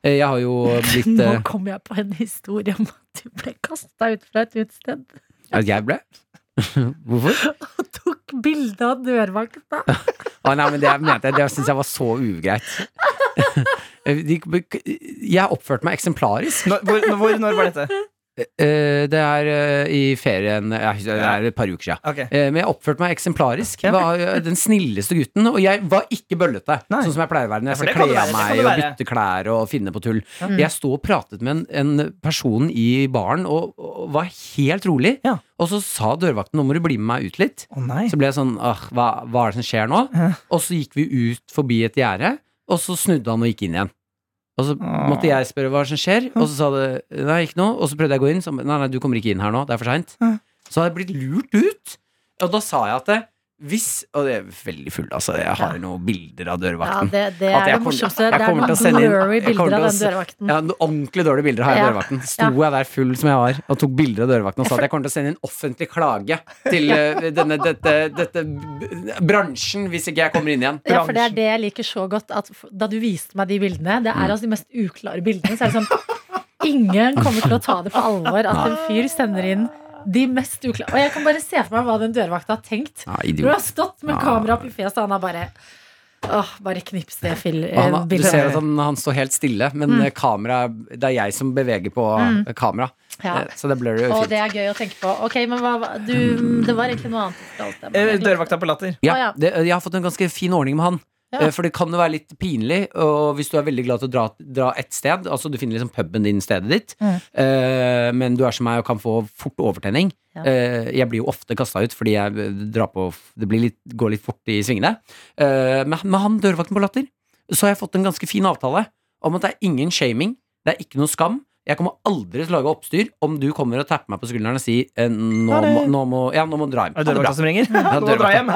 [SPEAKER 4] Eh, jeg
[SPEAKER 2] [LAUGHS]
[SPEAKER 4] har jo blitt
[SPEAKER 2] Nå
[SPEAKER 4] eh,
[SPEAKER 2] kom jeg på en historie om at du ble kasta ut fra et utested
[SPEAKER 4] at eh, Jeg ble? [LAUGHS] Hvorfor?
[SPEAKER 2] og tok bilde av dørvakta.
[SPEAKER 4] Å, nei, men det mente jeg, det syns jeg var så ugreit. [LAUGHS] Eh, de- jeg oppførte meg eksemplarisk.
[SPEAKER 3] Når, hvor, når- hvor, når var dette?
[SPEAKER 4] Eh, det er eh, i ferien ja, Det er et par uker siden.
[SPEAKER 3] Ok.
[SPEAKER 4] Eh, men jeg oppførte meg eksemplarisk.
[SPEAKER 3] Ja,
[SPEAKER 4] Var eh, den snilleste gutten. Og jeg var ikke bøllete,
[SPEAKER 3] Nei.
[SPEAKER 4] sånn som jeg pleier å være når jeg
[SPEAKER 3] Ja, for det
[SPEAKER 4] skal
[SPEAKER 3] kan du
[SPEAKER 4] kle
[SPEAKER 3] være, det
[SPEAKER 4] av
[SPEAKER 3] kan
[SPEAKER 4] meg
[SPEAKER 3] du
[SPEAKER 4] og
[SPEAKER 3] være.
[SPEAKER 4] bytte klær og finne på tull. Jeg sto og pratet med en, en person i baren og, og var helt rolig.
[SPEAKER 3] Ja.
[SPEAKER 4] Og så sa dørvakten nå må du bli med meg ut litt.
[SPEAKER 3] Å nei. Eh,
[SPEAKER 4] Så ble jeg sånn «Åh, hva, hva er det som skjer nå?
[SPEAKER 3] Ja.
[SPEAKER 4] Og så gikk vi ut forbi et gjerde, og så snudde han og gikk inn igjen. Og så
[SPEAKER 3] Åh.
[SPEAKER 4] måtte jeg spørre hva som skjer, og så sa det nei, ikke noe. Og så prøvde jeg å gå inn, så han, nei, nei, du kommer ikke inn her nå, det er for seint.
[SPEAKER 3] Ja.
[SPEAKER 4] Så hadde jeg blitt lurt ut. Og da sa jeg at det, hvis Og jeg er veldig full, altså. Jeg har noen bilder
[SPEAKER 2] Ja,
[SPEAKER 4] av dørvakten.
[SPEAKER 2] det, det er
[SPEAKER 4] At jeg
[SPEAKER 2] det
[SPEAKER 4] kommer-
[SPEAKER 2] morsomste.
[SPEAKER 4] jeg
[SPEAKER 2] Det er
[SPEAKER 4] kommer til å
[SPEAKER 2] noen
[SPEAKER 4] sende inn-
[SPEAKER 2] blurry
[SPEAKER 4] jeg kommer
[SPEAKER 2] bilder av den
[SPEAKER 4] til
[SPEAKER 2] dørvakten.
[SPEAKER 4] Ja, noen ordentlig dårlige bilder har jeg av
[SPEAKER 2] Ja.
[SPEAKER 4] dørvakten. Sto jeg der full som jeg var, og tok bilder av dørvakten og sa at jeg kommer til å sende en offentlig klage til eh, denne, dette, dette b- bransjen hvis ikke jeg kommer inn igjen.
[SPEAKER 2] Ja, for det er det jeg liker så godt. At f- da du viste meg de bildene, det er altså de mest uklare bildene, så er det sånn Ingen kommer til å ta det på alvor at en fyr sender inn de mest uklare Og jeg kan bare se for meg hva den dørvakta har tenkt.
[SPEAKER 4] Ja,
[SPEAKER 2] Når du har
[SPEAKER 4] idiot.
[SPEAKER 2] stått med
[SPEAKER 4] Ja.
[SPEAKER 2] kamera opp i fjeset, og han har bare Åh, bare knips det fil-
[SPEAKER 4] Og Han, du
[SPEAKER 2] bildet.
[SPEAKER 4] ser at han, han står helt stille, men
[SPEAKER 2] Mm.
[SPEAKER 4] eh, kamera, det er jeg som beveger på eh, kamera.
[SPEAKER 2] Ja.
[SPEAKER 4] Eh, Så det blør jo
[SPEAKER 2] Og
[SPEAKER 4] fint.
[SPEAKER 2] det er gøy å tenke på. Ok, men hva, hva- du, Det var egentlig noe annet. du fortalte, men
[SPEAKER 3] Eh,
[SPEAKER 2] jeg glemte.
[SPEAKER 3] Dørvakta på Latter.
[SPEAKER 4] Ja,
[SPEAKER 2] Å, ja.
[SPEAKER 4] det, jeg har fått en ganske fin ordning med han.
[SPEAKER 2] Ja.
[SPEAKER 4] Eh, For det kan jo være litt pinlig og hvis du er veldig glad til å dra, dra et sted. Altså Du finner liksom puben din, stedet ditt,
[SPEAKER 2] Mm.
[SPEAKER 4] eh, men du er som meg og kan få fort overtenning.
[SPEAKER 2] Ja.
[SPEAKER 4] Eh, jeg blir jo ofte kasta ut fordi jeg eh, drar på Det blir litt, går litt fort i svingene. Eh, men med han dørvakten på Latter så har jeg fått en ganske fin avtale om at det er ingen shaming, det er ikke noe skam. Jeg kommer aldri til å lage oppstyr om du kommer og tapper meg på skulderen og sier eh, nå,
[SPEAKER 3] Ha det.
[SPEAKER 4] må, nå, må, ja, nå må du dra hjem.
[SPEAKER 3] Er det
[SPEAKER 4] Ha det bra.
[SPEAKER 3] dørvakta som ringer?
[SPEAKER 4] Ja,
[SPEAKER 3] Nå må jeg dra
[SPEAKER 4] dørvakta.
[SPEAKER 3] hjem.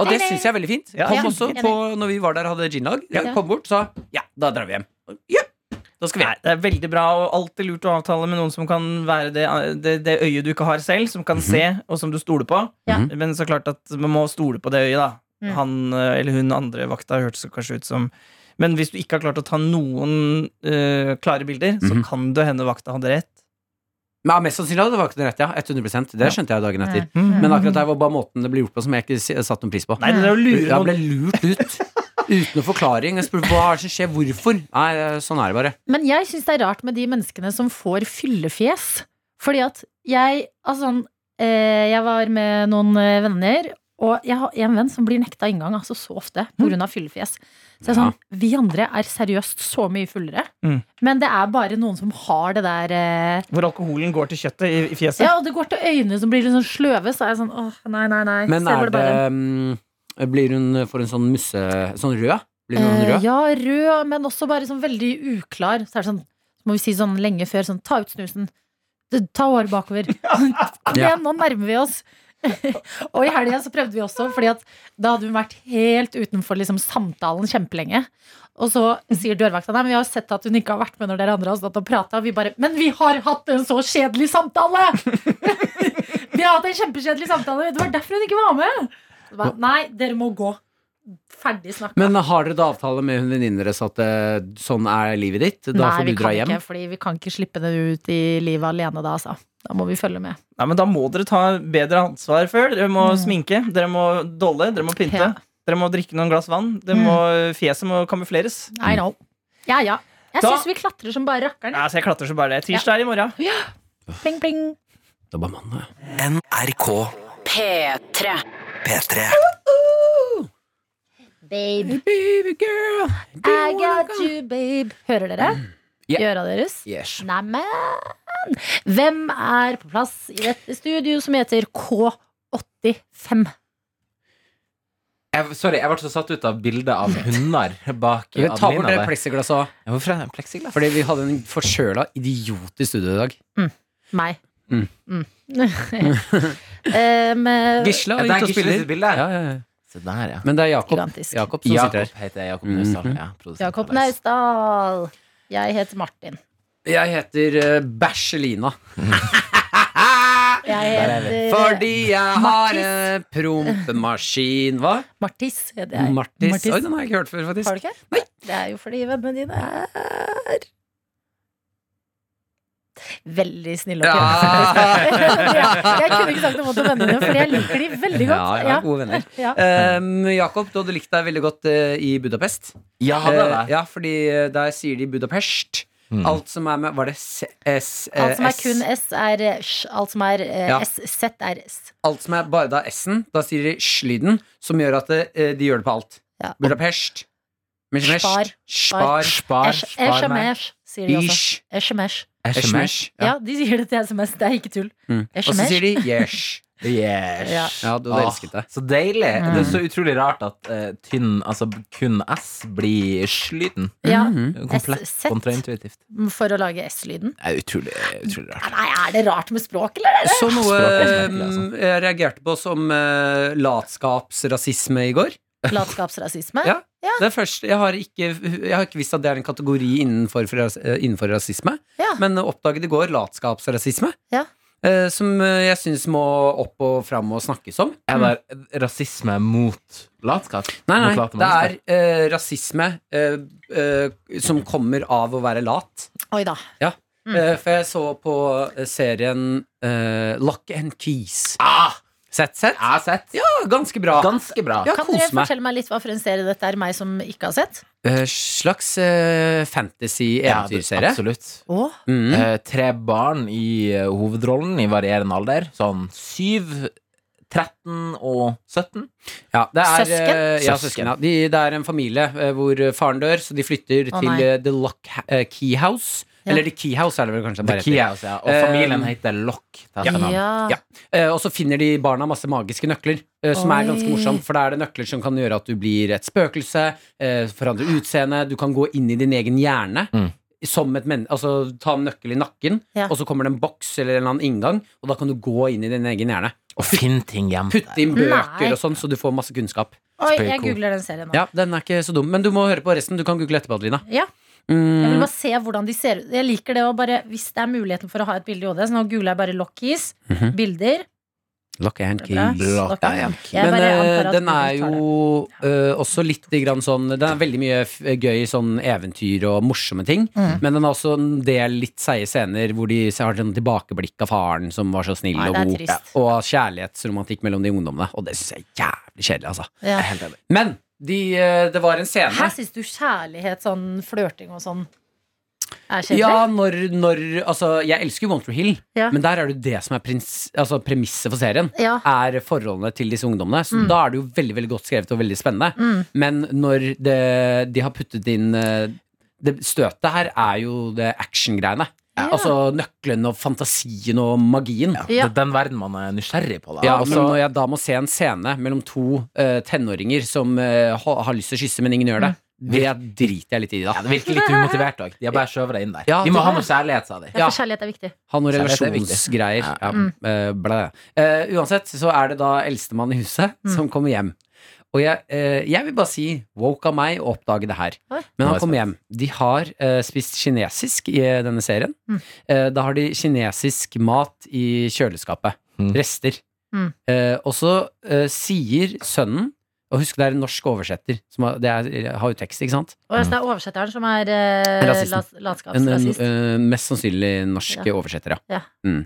[SPEAKER 4] Og det syns jeg er veldig fint.
[SPEAKER 3] Ja.
[SPEAKER 4] Kom
[SPEAKER 2] Ja,
[SPEAKER 4] også
[SPEAKER 2] enig.
[SPEAKER 4] på, når vi var der og hadde ginlag,
[SPEAKER 2] Ja.
[SPEAKER 4] kom bort, sa ja, da drar vi hjem. Ja, da skal
[SPEAKER 3] [LAUGHS]
[SPEAKER 4] vi
[SPEAKER 3] Nei,
[SPEAKER 4] hjem.
[SPEAKER 3] det er veldig bra og alltid lurt å avtale med noen som kan være det, det, det øyet du ikke har selv, som
[SPEAKER 4] Mhm.
[SPEAKER 3] kan se, og som du stoler på.
[SPEAKER 2] Ja.
[SPEAKER 3] Men så klart at man må stole på det øyet, da.
[SPEAKER 2] Mm.
[SPEAKER 3] Han eh, eller hun andre vakta hørtes kanskje ut som Men hvis du ikke har klart å ta noen eh, klare bilder, så
[SPEAKER 4] Mhm.
[SPEAKER 3] kan det hende vakta hadde rett.
[SPEAKER 4] Men ja, mest sannsynlig hadde vakten rett, ja. 100 Det skjønte jeg dagen etter.
[SPEAKER 2] Eh,
[SPEAKER 3] Mm.
[SPEAKER 4] Men akkurat der var bare måten det ble gjort på som jeg ikke s- satte noen pris på.
[SPEAKER 3] Nei, det er å lure
[SPEAKER 4] Jeg ble
[SPEAKER 3] noen.
[SPEAKER 4] lurt ut uten noen forklaring. Jeg spurte hva er det som skjer, hvorfor? Nei, sånn er det bare.
[SPEAKER 2] Men jeg syns det er rart med de menneskene som får fyllefjes. Fordi at jeg Altså sånn eh, Jeg var med noen eh, venner, og jeg har en venn som blir nekta inngang altså så ofte pga. fyllefjes. Så jeg er sånn Vi andre er seriøst så mye fullere,
[SPEAKER 3] Mm.
[SPEAKER 2] men det er bare noen som har det der eh,
[SPEAKER 3] Hvor alkoholen går til kjøttet i, i fjeset.
[SPEAKER 2] Ja, og det går til øynene som blir litt sånn sløve, så er jeg sånn åh, nei, nei, nei.
[SPEAKER 4] Men
[SPEAKER 2] Se hvor
[SPEAKER 4] er Sånn det
[SPEAKER 2] bare-
[SPEAKER 4] mm, Blir hun for en sånn musse Sånn rød? Blir hun
[SPEAKER 2] Eh,
[SPEAKER 4] rød?
[SPEAKER 2] Ja, rød, men også bare sånn veldig uklar. Så er det sånn, så må vi si sånn lenge før, sånn ta ut snusen. Du, Ta håret
[SPEAKER 4] [LAUGHS]
[SPEAKER 2] bakover. Kom
[SPEAKER 4] Ja.
[SPEAKER 2] igjen, nå nærmer vi oss. [LAUGHS] og i helga så prøvde vi også, Fordi at da hadde hun vært helt utenfor liksom, samtalen kjempelenge. Og så sier dørvakta Nei, men vi har sett at hun ikke har vært med når dere andre har stått og prata. Og vi bare Men vi har hatt en så kjedelig samtale! [LAUGHS] vi har hatt en kjempekjedelig samtale. Det var derfor hun ikke var med. Så Ba, Nei, dere må gå. Ferdig snakka.
[SPEAKER 4] Men har dere da avtale med hun venninnen deres at eh, sånn er livet ditt? Da får
[SPEAKER 2] vi
[SPEAKER 4] du dra
[SPEAKER 2] kan
[SPEAKER 4] hjem?
[SPEAKER 2] Ikke, fordi vi kan ikke slippe det ut i livet alene da, altså. Da må vi følge med.
[SPEAKER 3] Nei, men Da må dere ta bedre ansvar før. Dere må sminke, dere må dolle, dere må pynte.
[SPEAKER 2] Ja.
[SPEAKER 3] Dere må drikke noen glass vann. Dere må, fjeset må kamufleres.
[SPEAKER 2] I
[SPEAKER 4] Mm.
[SPEAKER 2] know. Ja, ja. Jeg
[SPEAKER 3] Da-
[SPEAKER 2] syns vi klatrer som bare rakkeren.
[SPEAKER 3] Nei, altså, jeg klatrer så bare det. Tirsdag er i morgen.
[SPEAKER 2] Pling, pling.
[SPEAKER 4] Det var mandag.
[SPEAKER 6] NRK
[SPEAKER 7] P3.
[SPEAKER 6] P3.
[SPEAKER 2] Babe.
[SPEAKER 4] Baby girl.
[SPEAKER 2] I got you, babe. Hører dere?
[SPEAKER 4] Mm. Ja.
[SPEAKER 2] I øra deres?
[SPEAKER 4] Yes.
[SPEAKER 2] Neimen Hvem er på plass i dette studio som heter K85?
[SPEAKER 8] Jeg, sorry, jeg ble så satt ut av bildet
[SPEAKER 4] [LAUGHS]
[SPEAKER 8] av hunder bak
[SPEAKER 4] Vi tar bort
[SPEAKER 8] admina
[SPEAKER 4] det
[SPEAKER 8] der.
[SPEAKER 4] plexiglasset òg.
[SPEAKER 8] Ja, Hvorfor er det en plexiglass?
[SPEAKER 4] Fordi vi hadde en forkjøla idiot i studio i dag.
[SPEAKER 2] Meg.
[SPEAKER 4] Mm.
[SPEAKER 2] [LAUGHS] um,
[SPEAKER 4] Gisle
[SPEAKER 8] Ja,
[SPEAKER 4] er
[SPEAKER 8] det er
[SPEAKER 4] ute og
[SPEAKER 8] Gisle
[SPEAKER 4] spiller.
[SPEAKER 8] sitt bilde.
[SPEAKER 4] Ja, ja, ja.
[SPEAKER 8] Se der, ja.
[SPEAKER 4] Men det er Jakob,
[SPEAKER 2] Gigantisk.
[SPEAKER 4] Jakob som sitter her. Mhm.
[SPEAKER 8] Jakob heter jeg. Jakob Naustdal. ja, produsent
[SPEAKER 2] Jakob
[SPEAKER 8] Alex.
[SPEAKER 2] Naustdal. Jeg heter Martin.
[SPEAKER 4] Jeg heter eh, Bæsjelina.
[SPEAKER 2] Jeg heter
[SPEAKER 4] Fordi jeg har en prompemaskin. Hva?
[SPEAKER 2] Martis. heter jeg.
[SPEAKER 4] Martis.
[SPEAKER 2] Martis.
[SPEAKER 4] Oi, den har jeg ikke hørt før, faktisk.
[SPEAKER 2] Har du ikke?
[SPEAKER 4] Nei.
[SPEAKER 2] Det er jo fordi vennene dine er Veldig snille og [LAUGHS] kødete. jeg kunne ikke sagt noe vondt om vennene dine, for jeg liker de veldig godt.
[SPEAKER 4] Ja, jeg har gode venner.
[SPEAKER 2] Ja.
[SPEAKER 4] Um, Jakob, du hadde likt deg veldig godt eh, i Budapest.
[SPEAKER 8] Ja, han er
[SPEAKER 4] Eh,
[SPEAKER 8] der.
[SPEAKER 4] ja, fordi eh, der sier de Budapest. Alt som er med Var det S... S eh,
[SPEAKER 2] Alt som er
[SPEAKER 4] S?
[SPEAKER 2] kun S, er eh, sj. Alt som er eh,
[SPEAKER 4] Ja.
[SPEAKER 2] S, Z, er S.
[SPEAKER 4] Alt som er bare da S-en. Da sier de Sj-lyden, som gjør at eh, de gjør det på alt.
[SPEAKER 2] Ja.
[SPEAKER 4] Budapest. Budapest.
[SPEAKER 2] Spar. Spar.
[SPEAKER 4] Spar.
[SPEAKER 8] Spar,
[SPEAKER 2] Æsj-
[SPEAKER 8] spar meg.
[SPEAKER 2] SMS, sier de også.
[SPEAKER 4] Ish.
[SPEAKER 2] SMS.
[SPEAKER 8] Æsjemesh.
[SPEAKER 4] Esh-mesh.
[SPEAKER 2] altså. Ja, de sier det til SMS. Det er ikke tull.
[SPEAKER 4] Mm. Og så
[SPEAKER 2] SMS.
[SPEAKER 4] sier de yes.
[SPEAKER 8] Yes.
[SPEAKER 2] Ja.
[SPEAKER 4] Ja, du hadde
[SPEAKER 8] Åh,
[SPEAKER 4] elsket det. Mm.
[SPEAKER 8] Så deilig. Det er så utrolig rart at eh, tynn, altså kun S, blir slyden.
[SPEAKER 2] Ja,
[SPEAKER 4] Mm, Mhm.
[SPEAKER 8] Komplett
[SPEAKER 2] SZ.
[SPEAKER 8] kontraintuitivt.
[SPEAKER 2] For å lage S-lyden.
[SPEAKER 8] Det er utrolig, utrolig rart.
[SPEAKER 2] Nei, er det rart med språk,
[SPEAKER 4] [LAUGHS]
[SPEAKER 2] eller?
[SPEAKER 4] Så noe
[SPEAKER 8] Språket er merkelig, altså.
[SPEAKER 4] mm, jeg reagerte på som eh, latskapsrasisme i går.
[SPEAKER 2] Latskapsrasisme.
[SPEAKER 4] Ja. Det er først, jeg, har ikke, jeg har ikke visst at det er en kategori innenfor, for ras- eh, innenfor rasisme,
[SPEAKER 2] Ja.
[SPEAKER 4] men oppdaget i går latskapsrasisme.
[SPEAKER 2] Ja.
[SPEAKER 4] eh, Som eh, jeg syns må opp og fram og snakkes om.
[SPEAKER 8] Er det rasisme mot latskap?
[SPEAKER 4] Mm. Nei,
[SPEAKER 8] Mot
[SPEAKER 4] nei,
[SPEAKER 8] late
[SPEAKER 4] det er
[SPEAKER 8] mennesker?
[SPEAKER 4] eh, rasisme eh, eh, som kommer av å være lat.
[SPEAKER 2] Oi da. Mm.
[SPEAKER 4] Eh, for jeg så på eh, serien eh, Lock and Keys.
[SPEAKER 8] ah,
[SPEAKER 4] Sett, sett?
[SPEAKER 8] Jeg har sett.
[SPEAKER 4] Ja, ganske bra.
[SPEAKER 8] Ganske bra.
[SPEAKER 4] Ja,
[SPEAKER 2] Kan dere
[SPEAKER 4] kos meg.
[SPEAKER 2] fortelle meg litt hva for en serie dette er, meg som ikke har sett?
[SPEAKER 4] Eh, slags eh,
[SPEAKER 8] Ja, det-
[SPEAKER 4] fantasy-eventyrserie.
[SPEAKER 8] absolutt.
[SPEAKER 2] Å,
[SPEAKER 4] mm.
[SPEAKER 8] Eh, tre barn i eh, hovedrollen i varierende alder. Sånn 7, 13 og 17.
[SPEAKER 4] ja, det er,
[SPEAKER 2] Søsken?
[SPEAKER 4] eh, ja,
[SPEAKER 8] Søsken.
[SPEAKER 4] søsken ja. de, det er en familie eh, hvor faren dør, så de flytter
[SPEAKER 2] Å,
[SPEAKER 4] til
[SPEAKER 2] nei.
[SPEAKER 4] eh, The Lock ha eh, Key House.
[SPEAKER 2] Ja.
[SPEAKER 4] Eller The Key House, er det vel kanskje. det
[SPEAKER 8] The
[SPEAKER 4] bare heter.
[SPEAKER 8] Kias, altså, ja. Og familien heter Lock. til etternavn.
[SPEAKER 2] ja.
[SPEAKER 4] Ja. Eh, og så finner de barna masse magiske nøkler, eh, som
[SPEAKER 2] Oi.
[SPEAKER 4] er ganske morsomt. For da er det nøkler som kan gjøre at du blir et spøkelse, eh, forandre utseende, du kan gå inn i din egen hjerne.
[SPEAKER 8] Mm.
[SPEAKER 4] Som et men altså Ta en nøkkel i nakken,
[SPEAKER 2] Ja.
[SPEAKER 4] og så kommer det en boks eller en eller annen inngang, og da kan du gå inn i din egen hjerne.
[SPEAKER 8] Og finn ting hjem.
[SPEAKER 4] Putte inn
[SPEAKER 2] Nei.
[SPEAKER 4] bøker og sånn, så du får masse kunnskap.
[SPEAKER 2] Oi,
[SPEAKER 4] Spøy
[SPEAKER 2] jeg
[SPEAKER 4] cool.
[SPEAKER 2] googler den serien nå.
[SPEAKER 4] Ja, den er ikke så dum, men du må høre på resten. Du kan google etterpå, Adelina.
[SPEAKER 2] Ja. Jeg vil
[SPEAKER 4] Mm.
[SPEAKER 2] bare se hvordan de ser ut. Jeg liker det å bare, hvis det er muligheten for å ha et bilde i hodet. Så nå googler jeg bare Lockies.
[SPEAKER 4] Mhm.
[SPEAKER 2] Bilder.
[SPEAKER 4] Lock and key.
[SPEAKER 2] Bra. Lock
[SPEAKER 4] Ja, ja.
[SPEAKER 2] and key. Jeg
[SPEAKER 4] Men
[SPEAKER 2] bare
[SPEAKER 4] eh,
[SPEAKER 2] antar at
[SPEAKER 4] den er
[SPEAKER 2] Google tar
[SPEAKER 4] jo
[SPEAKER 2] det.
[SPEAKER 4] eh, også litt grann sånn Den er veldig mye f gøy sånn eventyr og morsomme ting.
[SPEAKER 2] Mm.
[SPEAKER 4] Men den har også en del litt seige scener hvor de har sånn tilbakeblikk av faren som var så snill
[SPEAKER 2] Nei,
[SPEAKER 4] og
[SPEAKER 2] det er
[SPEAKER 4] god.
[SPEAKER 2] trist.
[SPEAKER 4] Og kjærlighetsromantikk mellom de ungdommene. Og det syns jeg er jævlig kjedelig, altså.
[SPEAKER 2] Ja.
[SPEAKER 4] Men de, eh, det var en scene
[SPEAKER 2] Her syns du kjærlighet, sånn flørting og sånn, er kjedelig?
[SPEAKER 4] Ja, når, når Altså, jeg elsker One Tree Hill,
[SPEAKER 2] Ja.
[SPEAKER 4] men der er det jo det som er prins, altså, premisset for serien.
[SPEAKER 2] Ja.
[SPEAKER 4] Er forholdene til disse ungdommene. Så da er det jo veldig veldig godt skrevet og veldig spennende. Men når det, de har puttet inn eh, det Støtet her er jo det actiongreiene.
[SPEAKER 2] Ja.
[SPEAKER 4] Altså nøkkelen og fantasien og magien. Ja.
[SPEAKER 8] Det
[SPEAKER 2] Ja.
[SPEAKER 8] er den verden man er nysgjerrig på. Da.
[SPEAKER 4] og så Når jeg da må se en scene mellom to eh, tenåringer som eh, ha, har lyst til å kysse, men ingen gjør det, det driter jeg litt i da.
[SPEAKER 8] Ja, det virker litt umotivert òg. De har bare skjøvet deg inn der.
[SPEAKER 4] Ja,
[SPEAKER 8] Vi må
[SPEAKER 4] det-
[SPEAKER 8] ha noe kjærlighet, sa de.
[SPEAKER 2] Ja, for kjærlighet er viktig.
[SPEAKER 4] Ha noen
[SPEAKER 8] Kjærlighet er
[SPEAKER 4] relasjonsgreier. Ja. eh, blæ. Eh, uansett så er det da eldstemann i huset som kommer hjem. Og jeg, eh, jeg vil bare si woke av meg å oppdage det her.
[SPEAKER 2] Oi.
[SPEAKER 4] Men
[SPEAKER 8] Nå er
[SPEAKER 4] han
[SPEAKER 8] jeg
[SPEAKER 4] kommer hjem. De har eh, spist kinesisk i eh, denne serien. Eh, da har de kinesisk mat i kjøleskapet.
[SPEAKER 8] Mm.
[SPEAKER 4] Rester.
[SPEAKER 2] Mm.
[SPEAKER 4] Eh, og så eh, sier sønnen og husk, det er en norsk oversetter. Som har, det er, har jo tekst, ikke sant?
[SPEAKER 2] Og altså, det er oversetteren som er eh,
[SPEAKER 4] Rasisten.
[SPEAKER 2] las-
[SPEAKER 4] En, en,
[SPEAKER 2] landskapsrasist.
[SPEAKER 4] eh, mest sannsynlig norsk
[SPEAKER 2] Ja.
[SPEAKER 4] oversetter, ja.
[SPEAKER 2] Ja.
[SPEAKER 4] Mm.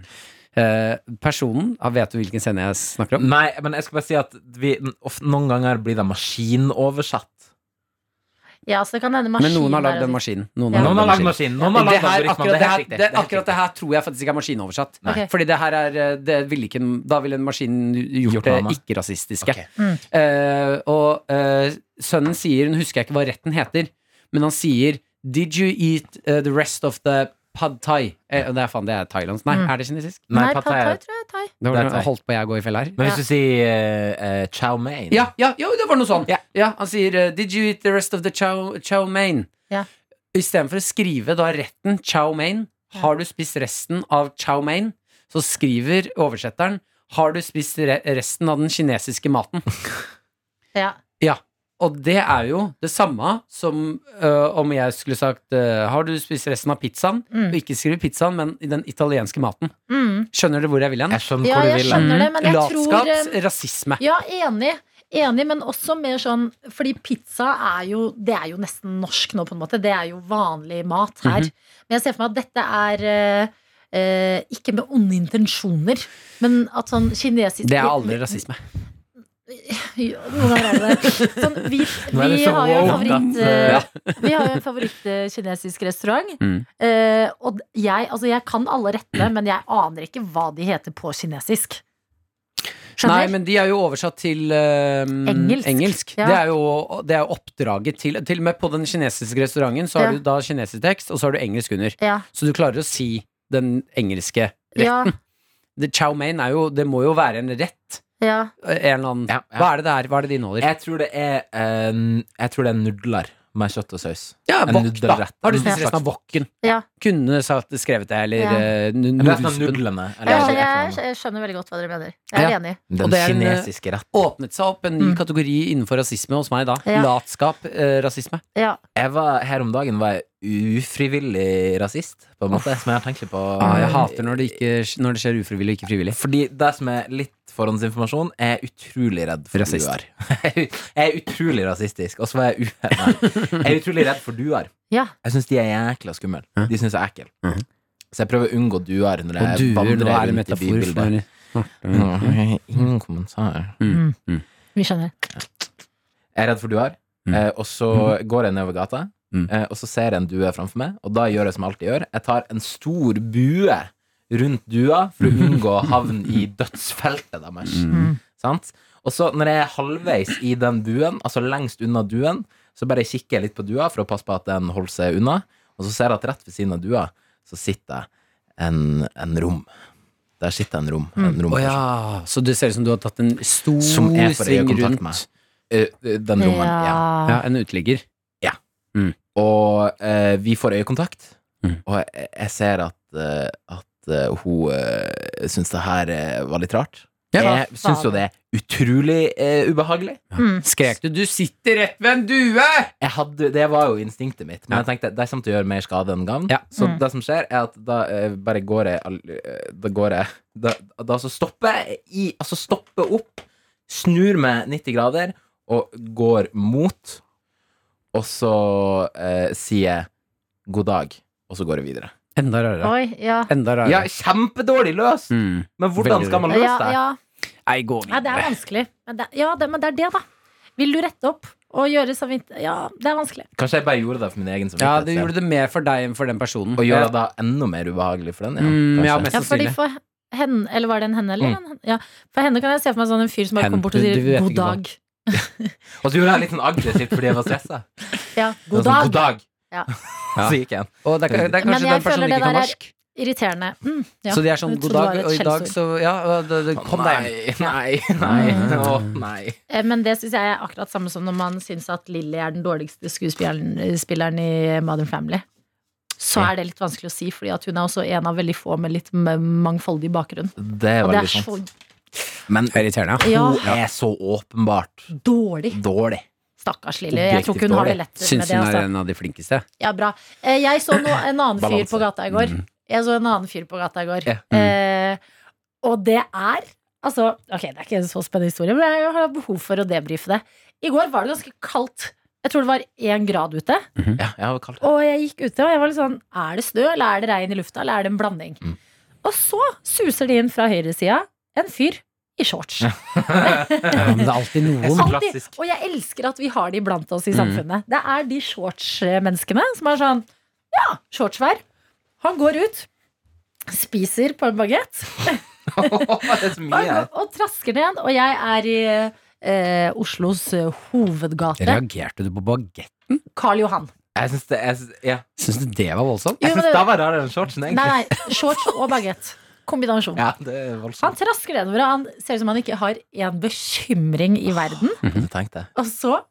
[SPEAKER 4] Eh, personen ah, Vet du hvilken scene jeg snakker om?
[SPEAKER 8] Nei, men jeg skal bare si at vi, of, noen ganger blir det maskinoversatt.
[SPEAKER 2] Ja, så det kan hende
[SPEAKER 4] Men noen
[SPEAKER 2] maskinen
[SPEAKER 4] har lagd
[SPEAKER 2] er
[SPEAKER 4] den
[SPEAKER 2] rasist.
[SPEAKER 4] maskinen. Noen
[SPEAKER 2] Ja.
[SPEAKER 8] Noen har lagd
[SPEAKER 4] den
[SPEAKER 8] maskin. Noen har
[SPEAKER 4] Det
[SPEAKER 8] lagd
[SPEAKER 4] her,
[SPEAKER 8] algoritmen.
[SPEAKER 4] akkurat
[SPEAKER 8] Det
[SPEAKER 4] det,
[SPEAKER 8] er
[SPEAKER 4] her,
[SPEAKER 8] helt riktig.
[SPEAKER 4] det,
[SPEAKER 8] er helt
[SPEAKER 4] akkurat det her tror jeg faktisk ikke er maskinoversatt.
[SPEAKER 2] Ok.
[SPEAKER 4] Fordi det her er eh, det ville ikke, den- Da ville en maskin gjort
[SPEAKER 8] Gjort
[SPEAKER 4] det
[SPEAKER 8] noe annet.
[SPEAKER 4] ikke-rasistiske.
[SPEAKER 8] Ok.
[SPEAKER 2] Mm.
[SPEAKER 4] Eh, og eh, sønnen sier Nå husker jeg ikke hva retten heter, men han sier Did you eat eh, the rest of the pad thai? Eh, og det er faen, det er thailandsk. Nei, er det kinesisk?
[SPEAKER 8] Nei,
[SPEAKER 2] Nei,
[SPEAKER 8] Pad
[SPEAKER 2] thai,
[SPEAKER 8] Thai
[SPEAKER 2] thai, tror
[SPEAKER 8] er-
[SPEAKER 2] jeg. Mm. Thai.
[SPEAKER 4] Det
[SPEAKER 8] Det er
[SPEAKER 4] var,
[SPEAKER 8] thai.
[SPEAKER 4] holdt på jeg å gå i felle her.
[SPEAKER 8] Men hvis du sier eh, eh, chow mein
[SPEAKER 4] Ja, ja, jo, det var noe sånn.
[SPEAKER 8] Ja.
[SPEAKER 4] Ja, han sier eh, 'Did you eat the rest of the chow, chow mein?'
[SPEAKER 2] Ja.
[SPEAKER 4] Istedenfor å skrive da retten chow mein, har du spist resten av chow mein, så skriver oversetteren har du spist re resten av den kinesiske
[SPEAKER 2] [LAUGHS]
[SPEAKER 4] maten?
[SPEAKER 2] Ja.
[SPEAKER 4] Ja. Og det er jo det samme som øh, om jeg skulle sagt øh, Har du spist resten av pizzaen?
[SPEAKER 2] Mm.
[SPEAKER 4] Og ikke skrive pizzaen, men i den italienske maten.
[SPEAKER 2] Mm.
[SPEAKER 4] Skjønner du hvor jeg vil hen? Mm.
[SPEAKER 8] Jeg skjønner
[SPEAKER 2] ja,
[SPEAKER 8] hvor du
[SPEAKER 2] jeg
[SPEAKER 8] vil. hen.
[SPEAKER 2] skjønner det, men jeg tror
[SPEAKER 4] Latskap,
[SPEAKER 2] eh,
[SPEAKER 4] rasisme.
[SPEAKER 2] Ja, enig. Enig, men også mer sånn Fordi pizza er jo Det er jo nesten norsk nå, på en måte. Det er jo vanlig mat her. Men jeg ser for meg at dette er eh, eh, ikke med onde intensjoner, men at sånn kinesisk
[SPEAKER 4] Det
[SPEAKER 2] [LAUGHS]
[SPEAKER 4] er aldri rasisme.
[SPEAKER 2] Ja, Noen ganger er det det. Sånn, vi,
[SPEAKER 8] Nå er det
[SPEAKER 2] vi,
[SPEAKER 8] så
[SPEAKER 2] har jo en
[SPEAKER 8] woke
[SPEAKER 2] favoritt,
[SPEAKER 8] at,
[SPEAKER 2] eh, [LAUGHS] vi har jo en favoritt-kinesisk restaurant.
[SPEAKER 4] Mm.
[SPEAKER 2] Eh, og d- jeg, altså, jeg kan alle rettene, men jeg aner ikke hva de heter på kinesisk.
[SPEAKER 4] Nei,
[SPEAKER 2] Skjønner?
[SPEAKER 4] men de er jo oversatt til ehm,
[SPEAKER 2] Engelsk. Ja.
[SPEAKER 4] Det, er jo, det er jo oppdraget til Til og med på den kinesiske restauranten så har
[SPEAKER 2] Ja.
[SPEAKER 4] du da kinesisk tekst, og så har du engelsk under.
[SPEAKER 2] ja.
[SPEAKER 4] Så du klarer å si den engelske
[SPEAKER 2] Ja,
[SPEAKER 4] The chow mein er jo Det må jo være en rett. eh,
[SPEAKER 2] ja.
[SPEAKER 4] En eller annen
[SPEAKER 8] Ja, ja.
[SPEAKER 4] Hva er det det er? Hva er det de inneholder?
[SPEAKER 8] Jeg tror det er eh, Jeg tror det er nudler med kjøtt og saus.
[SPEAKER 4] ja, wok,
[SPEAKER 8] en
[SPEAKER 4] da.
[SPEAKER 8] nudelrett.
[SPEAKER 4] Har du spist
[SPEAKER 8] Ja.
[SPEAKER 4] resten av woken?
[SPEAKER 2] Ja.
[SPEAKER 4] Kunne sagt, skrevet det, eller
[SPEAKER 2] Ja.
[SPEAKER 4] eh, nu-
[SPEAKER 8] Resten
[SPEAKER 4] nudelspen.
[SPEAKER 8] av sånn nudlene. eller
[SPEAKER 2] Jeg,
[SPEAKER 8] et eller
[SPEAKER 2] jeg,
[SPEAKER 8] annet.
[SPEAKER 2] jeg skjønner veldig godt hva dere mener. Jeg er
[SPEAKER 4] Ja.
[SPEAKER 2] enig.
[SPEAKER 4] Og
[SPEAKER 8] Den
[SPEAKER 4] det er en, eh,
[SPEAKER 8] kinesiske rett.
[SPEAKER 4] Åpnet seg opp en ny
[SPEAKER 2] Mm.
[SPEAKER 4] kategori innenfor rasisme hos meg da.
[SPEAKER 2] Ja.
[SPEAKER 4] Latskap, eh, rasisme.
[SPEAKER 2] Ja.
[SPEAKER 8] Jeg var, her om dagen var jeg ufrivillig rasist, på en måte. Som jeg har tenkt litt på.
[SPEAKER 4] Ah, jeg hater når det, ikke, når det skjer ufrivillig og ikke frivillig.
[SPEAKER 8] Fordi det som er litt forhåndsinformasjon, er jeg utrolig redd for
[SPEAKER 4] Rasist.
[SPEAKER 8] duer. [LAUGHS] jeg er utrolig rasistisk, og så var jeg, u Nei. jeg er utrolig redd for duer.
[SPEAKER 2] Ja.
[SPEAKER 8] Jeg syns de er jækla skumle.
[SPEAKER 4] Hæ?
[SPEAKER 8] De syns jeg er ekkel.
[SPEAKER 4] Mhm.
[SPEAKER 8] Så jeg prøver å unngå duer når
[SPEAKER 4] Og duer,
[SPEAKER 8] jeg vandrer
[SPEAKER 4] nå er det
[SPEAKER 8] rundt i
[SPEAKER 4] metafor
[SPEAKER 8] bybildet.
[SPEAKER 4] for
[SPEAKER 8] Mm, Ingen kommentar.
[SPEAKER 2] Vi skjønner.
[SPEAKER 8] Jeg er redd for duer,
[SPEAKER 4] Mm.
[SPEAKER 8] eh, og så går jeg nedover gata,
[SPEAKER 4] Mm.
[SPEAKER 8] eh, og så ser jeg en due framfor meg, og da gjør jeg som jeg alltid gjør. Jeg tar en stor bue rundt dua for å unngå å havne i dødsfeltet deres.
[SPEAKER 4] Mm.
[SPEAKER 8] Sant? Og så når jeg er halvveis i den buen, altså lengst unna duen, så bare kikker jeg litt på dua for å passe på at den holder seg unna, og så ser jeg at rett ved siden av dua så sitter en, en rom. Der sitter en rom. En rom
[SPEAKER 4] Mm. Å ja, så det ser ut som du har tatt en stor
[SPEAKER 8] Som er for
[SPEAKER 4] sving
[SPEAKER 8] øyekontakt
[SPEAKER 4] rundt
[SPEAKER 8] med. Eh, Den rommen. ja.
[SPEAKER 4] Ja,
[SPEAKER 2] Ja.
[SPEAKER 4] en uteligger.
[SPEAKER 8] Og eh, vi får øyekontakt,
[SPEAKER 4] Mm.
[SPEAKER 8] og jeg, jeg ser at, eh, at eh, hun eh, syns det her eh, var litt rart.
[SPEAKER 4] Ja.
[SPEAKER 8] Jeg syns jo det er utrolig eh, ubehagelig.
[SPEAKER 2] Mm.
[SPEAKER 4] Skrek du 'du sitter rett ved en due'?
[SPEAKER 8] Jeg hadde, det var jo instinktet mitt, men
[SPEAKER 4] Ja.
[SPEAKER 8] jeg tenkte det kommer til å gjøre mer skade enn gagn.
[SPEAKER 4] Ja.
[SPEAKER 8] Så
[SPEAKER 2] Mm.
[SPEAKER 8] det som skjer, er at da eh, bare går jeg all- eh, Da går jeg Da, da så stopper jeg i Altså stopper opp, snur meg 90 grader og går mot, og så eh, sier jeg 'god dag', og så går jeg videre.
[SPEAKER 4] Enda rarere.
[SPEAKER 2] Oi, ja.
[SPEAKER 4] Enda rarere.
[SPEAKER 8] Ja, kjempedårlig løst!
[SPEAKER 4] Mm.
[SPEAKER 8] Men hvordan
[SPEAKER 4] Veldig
[SPEAKER 8] skal man løse
[SPEAKER 2] Ja,
[SPEAKER 8] det?
[SPEAKER 2] ja.
[SPEAKER 4] Nei, gå
[SPEAKER 2] ja, det er
[SPEAKER 4] videre.
[SPEAKER 2] vanskelig. Men det, ja, det, men det er det, da. Vil du rette opp og gjøre samvittighet Ja, det er vanskelig.
[SPEAKER 8] Kanskje jeg bare gjorde det for min egen
[SPEAKER 4] Ja,
[SPEAKER 8] samvittighet.
[SPEAKER 4] det gjorde det mer for deg enn for den personen.
[SPEAKER 8] Og gjør det da enda mer ubehagelig for den? Ja,
[SPEAKER 4] Mm, ja,
[SPEAKER 8] kanskje.
[SPEAKER 4] mest
[SPEAKER 2] Ja, fordi
[SPEAKER 4] sannsynlig.
[SPEAKER 2] for henne, eller var det en henne, eller? en- Ja, for henne kan jeg se for meg sånn en fyr som bare
[SPEAKER 4] Mm. Hen.
[SPEAKER 2] kommer bort og
[SPEAKER 4] Du- du
[SPEAKER 2] sier
[SPEAKER 4] vet
[SPEAKER 2] 'god
[SPEAKER 4] ikke hva.
[SPEAKER 2] dag'.
[SPEAKER 8] Og så gjorde jeg litt sånn aggressivt fordi jeg var stressa.
[SPEAKER 2] Ja, god
[SPEAKER 8] Sånn,
[SPEAKER 2] dag.
[SPEAKER 8] God dag. [LAUGHS]
[SPEAKER 2] Ja.
[SPEAKER 8] Så gikk jeg.
[SPEAKER 4] Og det er, ka- det Altså, er
[SPEAKER 2] Men
[SPEAKER 4] kanskje
[SPEAKER 2] jeg
[SPEAKER 4] den personen
[SPEAKER 2] føler det
[SPEAKER 4] ikke kan
[SPEAKER 2] der er-
[SPEAKER 4] norsk.
[SPEAKER 2] Irriterende. Mm, ja.
[SPEAKER 4] Så de er sånn
[SPEAKER 2] Jeg
[SPEAKER 4] 'god
[SPEAKER 2] trodde det
[SPEAKER 4] dag',
[SPEAKER 2] var
[SPEAKER 4] og i
[SPEAKER 2] et
[SPEAKER 4] dag
[SPEAKER 2] skjellsord.
[SPEAKER 4] så Ja, og det, det, kom deg
[SPEAKER 8] Nei, nei, nei. Å, nei.
[SPEAKER 2] Eh, Men det syns jeg er akkurat samme som når man syns at Lilly er den dårligste skuespilleren eh, spilleren i Modern Family. Så er det litt vanskelig å si, fordi at hun er også en av veldig få med litt m- mangfoldig bakgrunn.
[SPEAKER 8] Det sånn er
[SPEAKER 2] Og det er
[SPEAKER 8] veldig
[SPEAKER 2] så
[SPEAKER 8] sant. Men hun
[SPEAKER 4] Irriterende.
[SPEAKER 2] ja,
[SPEAKER 8] er så åpenbart
[SPEAKER 2] dårlig.
[SPEAKER 8] dårlig.
[SPEAKER 2] Stakkars Lilly. Jeg tror ikke
[SPEAKER 8] Objektivt
[SPEAKER 2] hun har
[SPEAKER 8] dårlig.
[SPEAKER 2] det lett med
[SPEAKER 4] Syns
[SPEAKER 2] det.
[SPEAKER 4] hun
[SPEAKER 2] Altså.
[SPEAKER 4] er en av de flinkeste.
[SPEAKER 2] Ja, bra. Eh, Jeg så no en annen fyr
[SPEAKER 8] Balanse. Mm.
[SPEAKER 2] på gata i går. Jeg så en annen fyr på gata i går.
[SPEAKER 8] Ja. mm.
[SPEAKER 2] Eh, og det er Altså, ok, det er ikke en så spennende historie, men jeg har behov for å debrife det. I går var det ganske kaldt. Jeg tror det var én grad ute.
[SPEAKER 8] Ja, jeg har jo kalt det
[SPEAKER 2] Og jeg gikk ute, og jeg var litt sånn Er det snø, eller er det regn i lufta, eller er det en blanding?
[SPEAKER 8] Mm.
[SPEAKER 2] Og så suser det inn fra høyresida en fyr i shorts.
[SPEAKER 4] Ja, [LAUGHS] men det er alltid noen.
[SPEAKER 2] [LAUGHS] Alltid.
[SPEAKER 8] klassisk.
[SPEAKER 2] Og jeg elsker at vi har de blant oss i
[SPEAKER 4] Mm.
[SPEAKER 2] samfunnet. Det er de shortsmenneskene som er sånn Ja, shortsvær. Han går ut, spiser på en bagett
[SPEAKER 8] [LAUGHS] Det er så mye
[SPEAKER 2] og,
[SPEAKER 8] her.
[SPEAKER 2] og trasker ned. Og jeg er i eh, Oslos eh, hovedgate.
[SPEAKER 4] Reagerte du på bagett?
[SPEAKER 2] Karl Johan.
[SPEAKER 8] Jeg syns det jeg syns, ja.
[SPEAKER 4] Syns du det var voldsomt?
[SPEAKER 8] jeg
[SPEAKER 2] Jo, men
[SPEAKER 8] syns
[SPEAKER 2] det-
[SPEAKER 8] det var rarere enn shortsen,
[SPEAKER 2] Nei,
[SPEAKER 8] egentlig.
[SPEAKER 2] nei. Shorts og bagett. Kombinasjon.
[SPEAKER 8] Ja, det er
[SPEAKER 2] Han
[SPEAKER 8] voldsomt.
[SPEAKER 2] trasker nedover, og han ser ut som han ikke har én bekymring i verden.
[SPEAKER 8] Mm, Det tenkte jeg.
[SPEAKER 2] Og så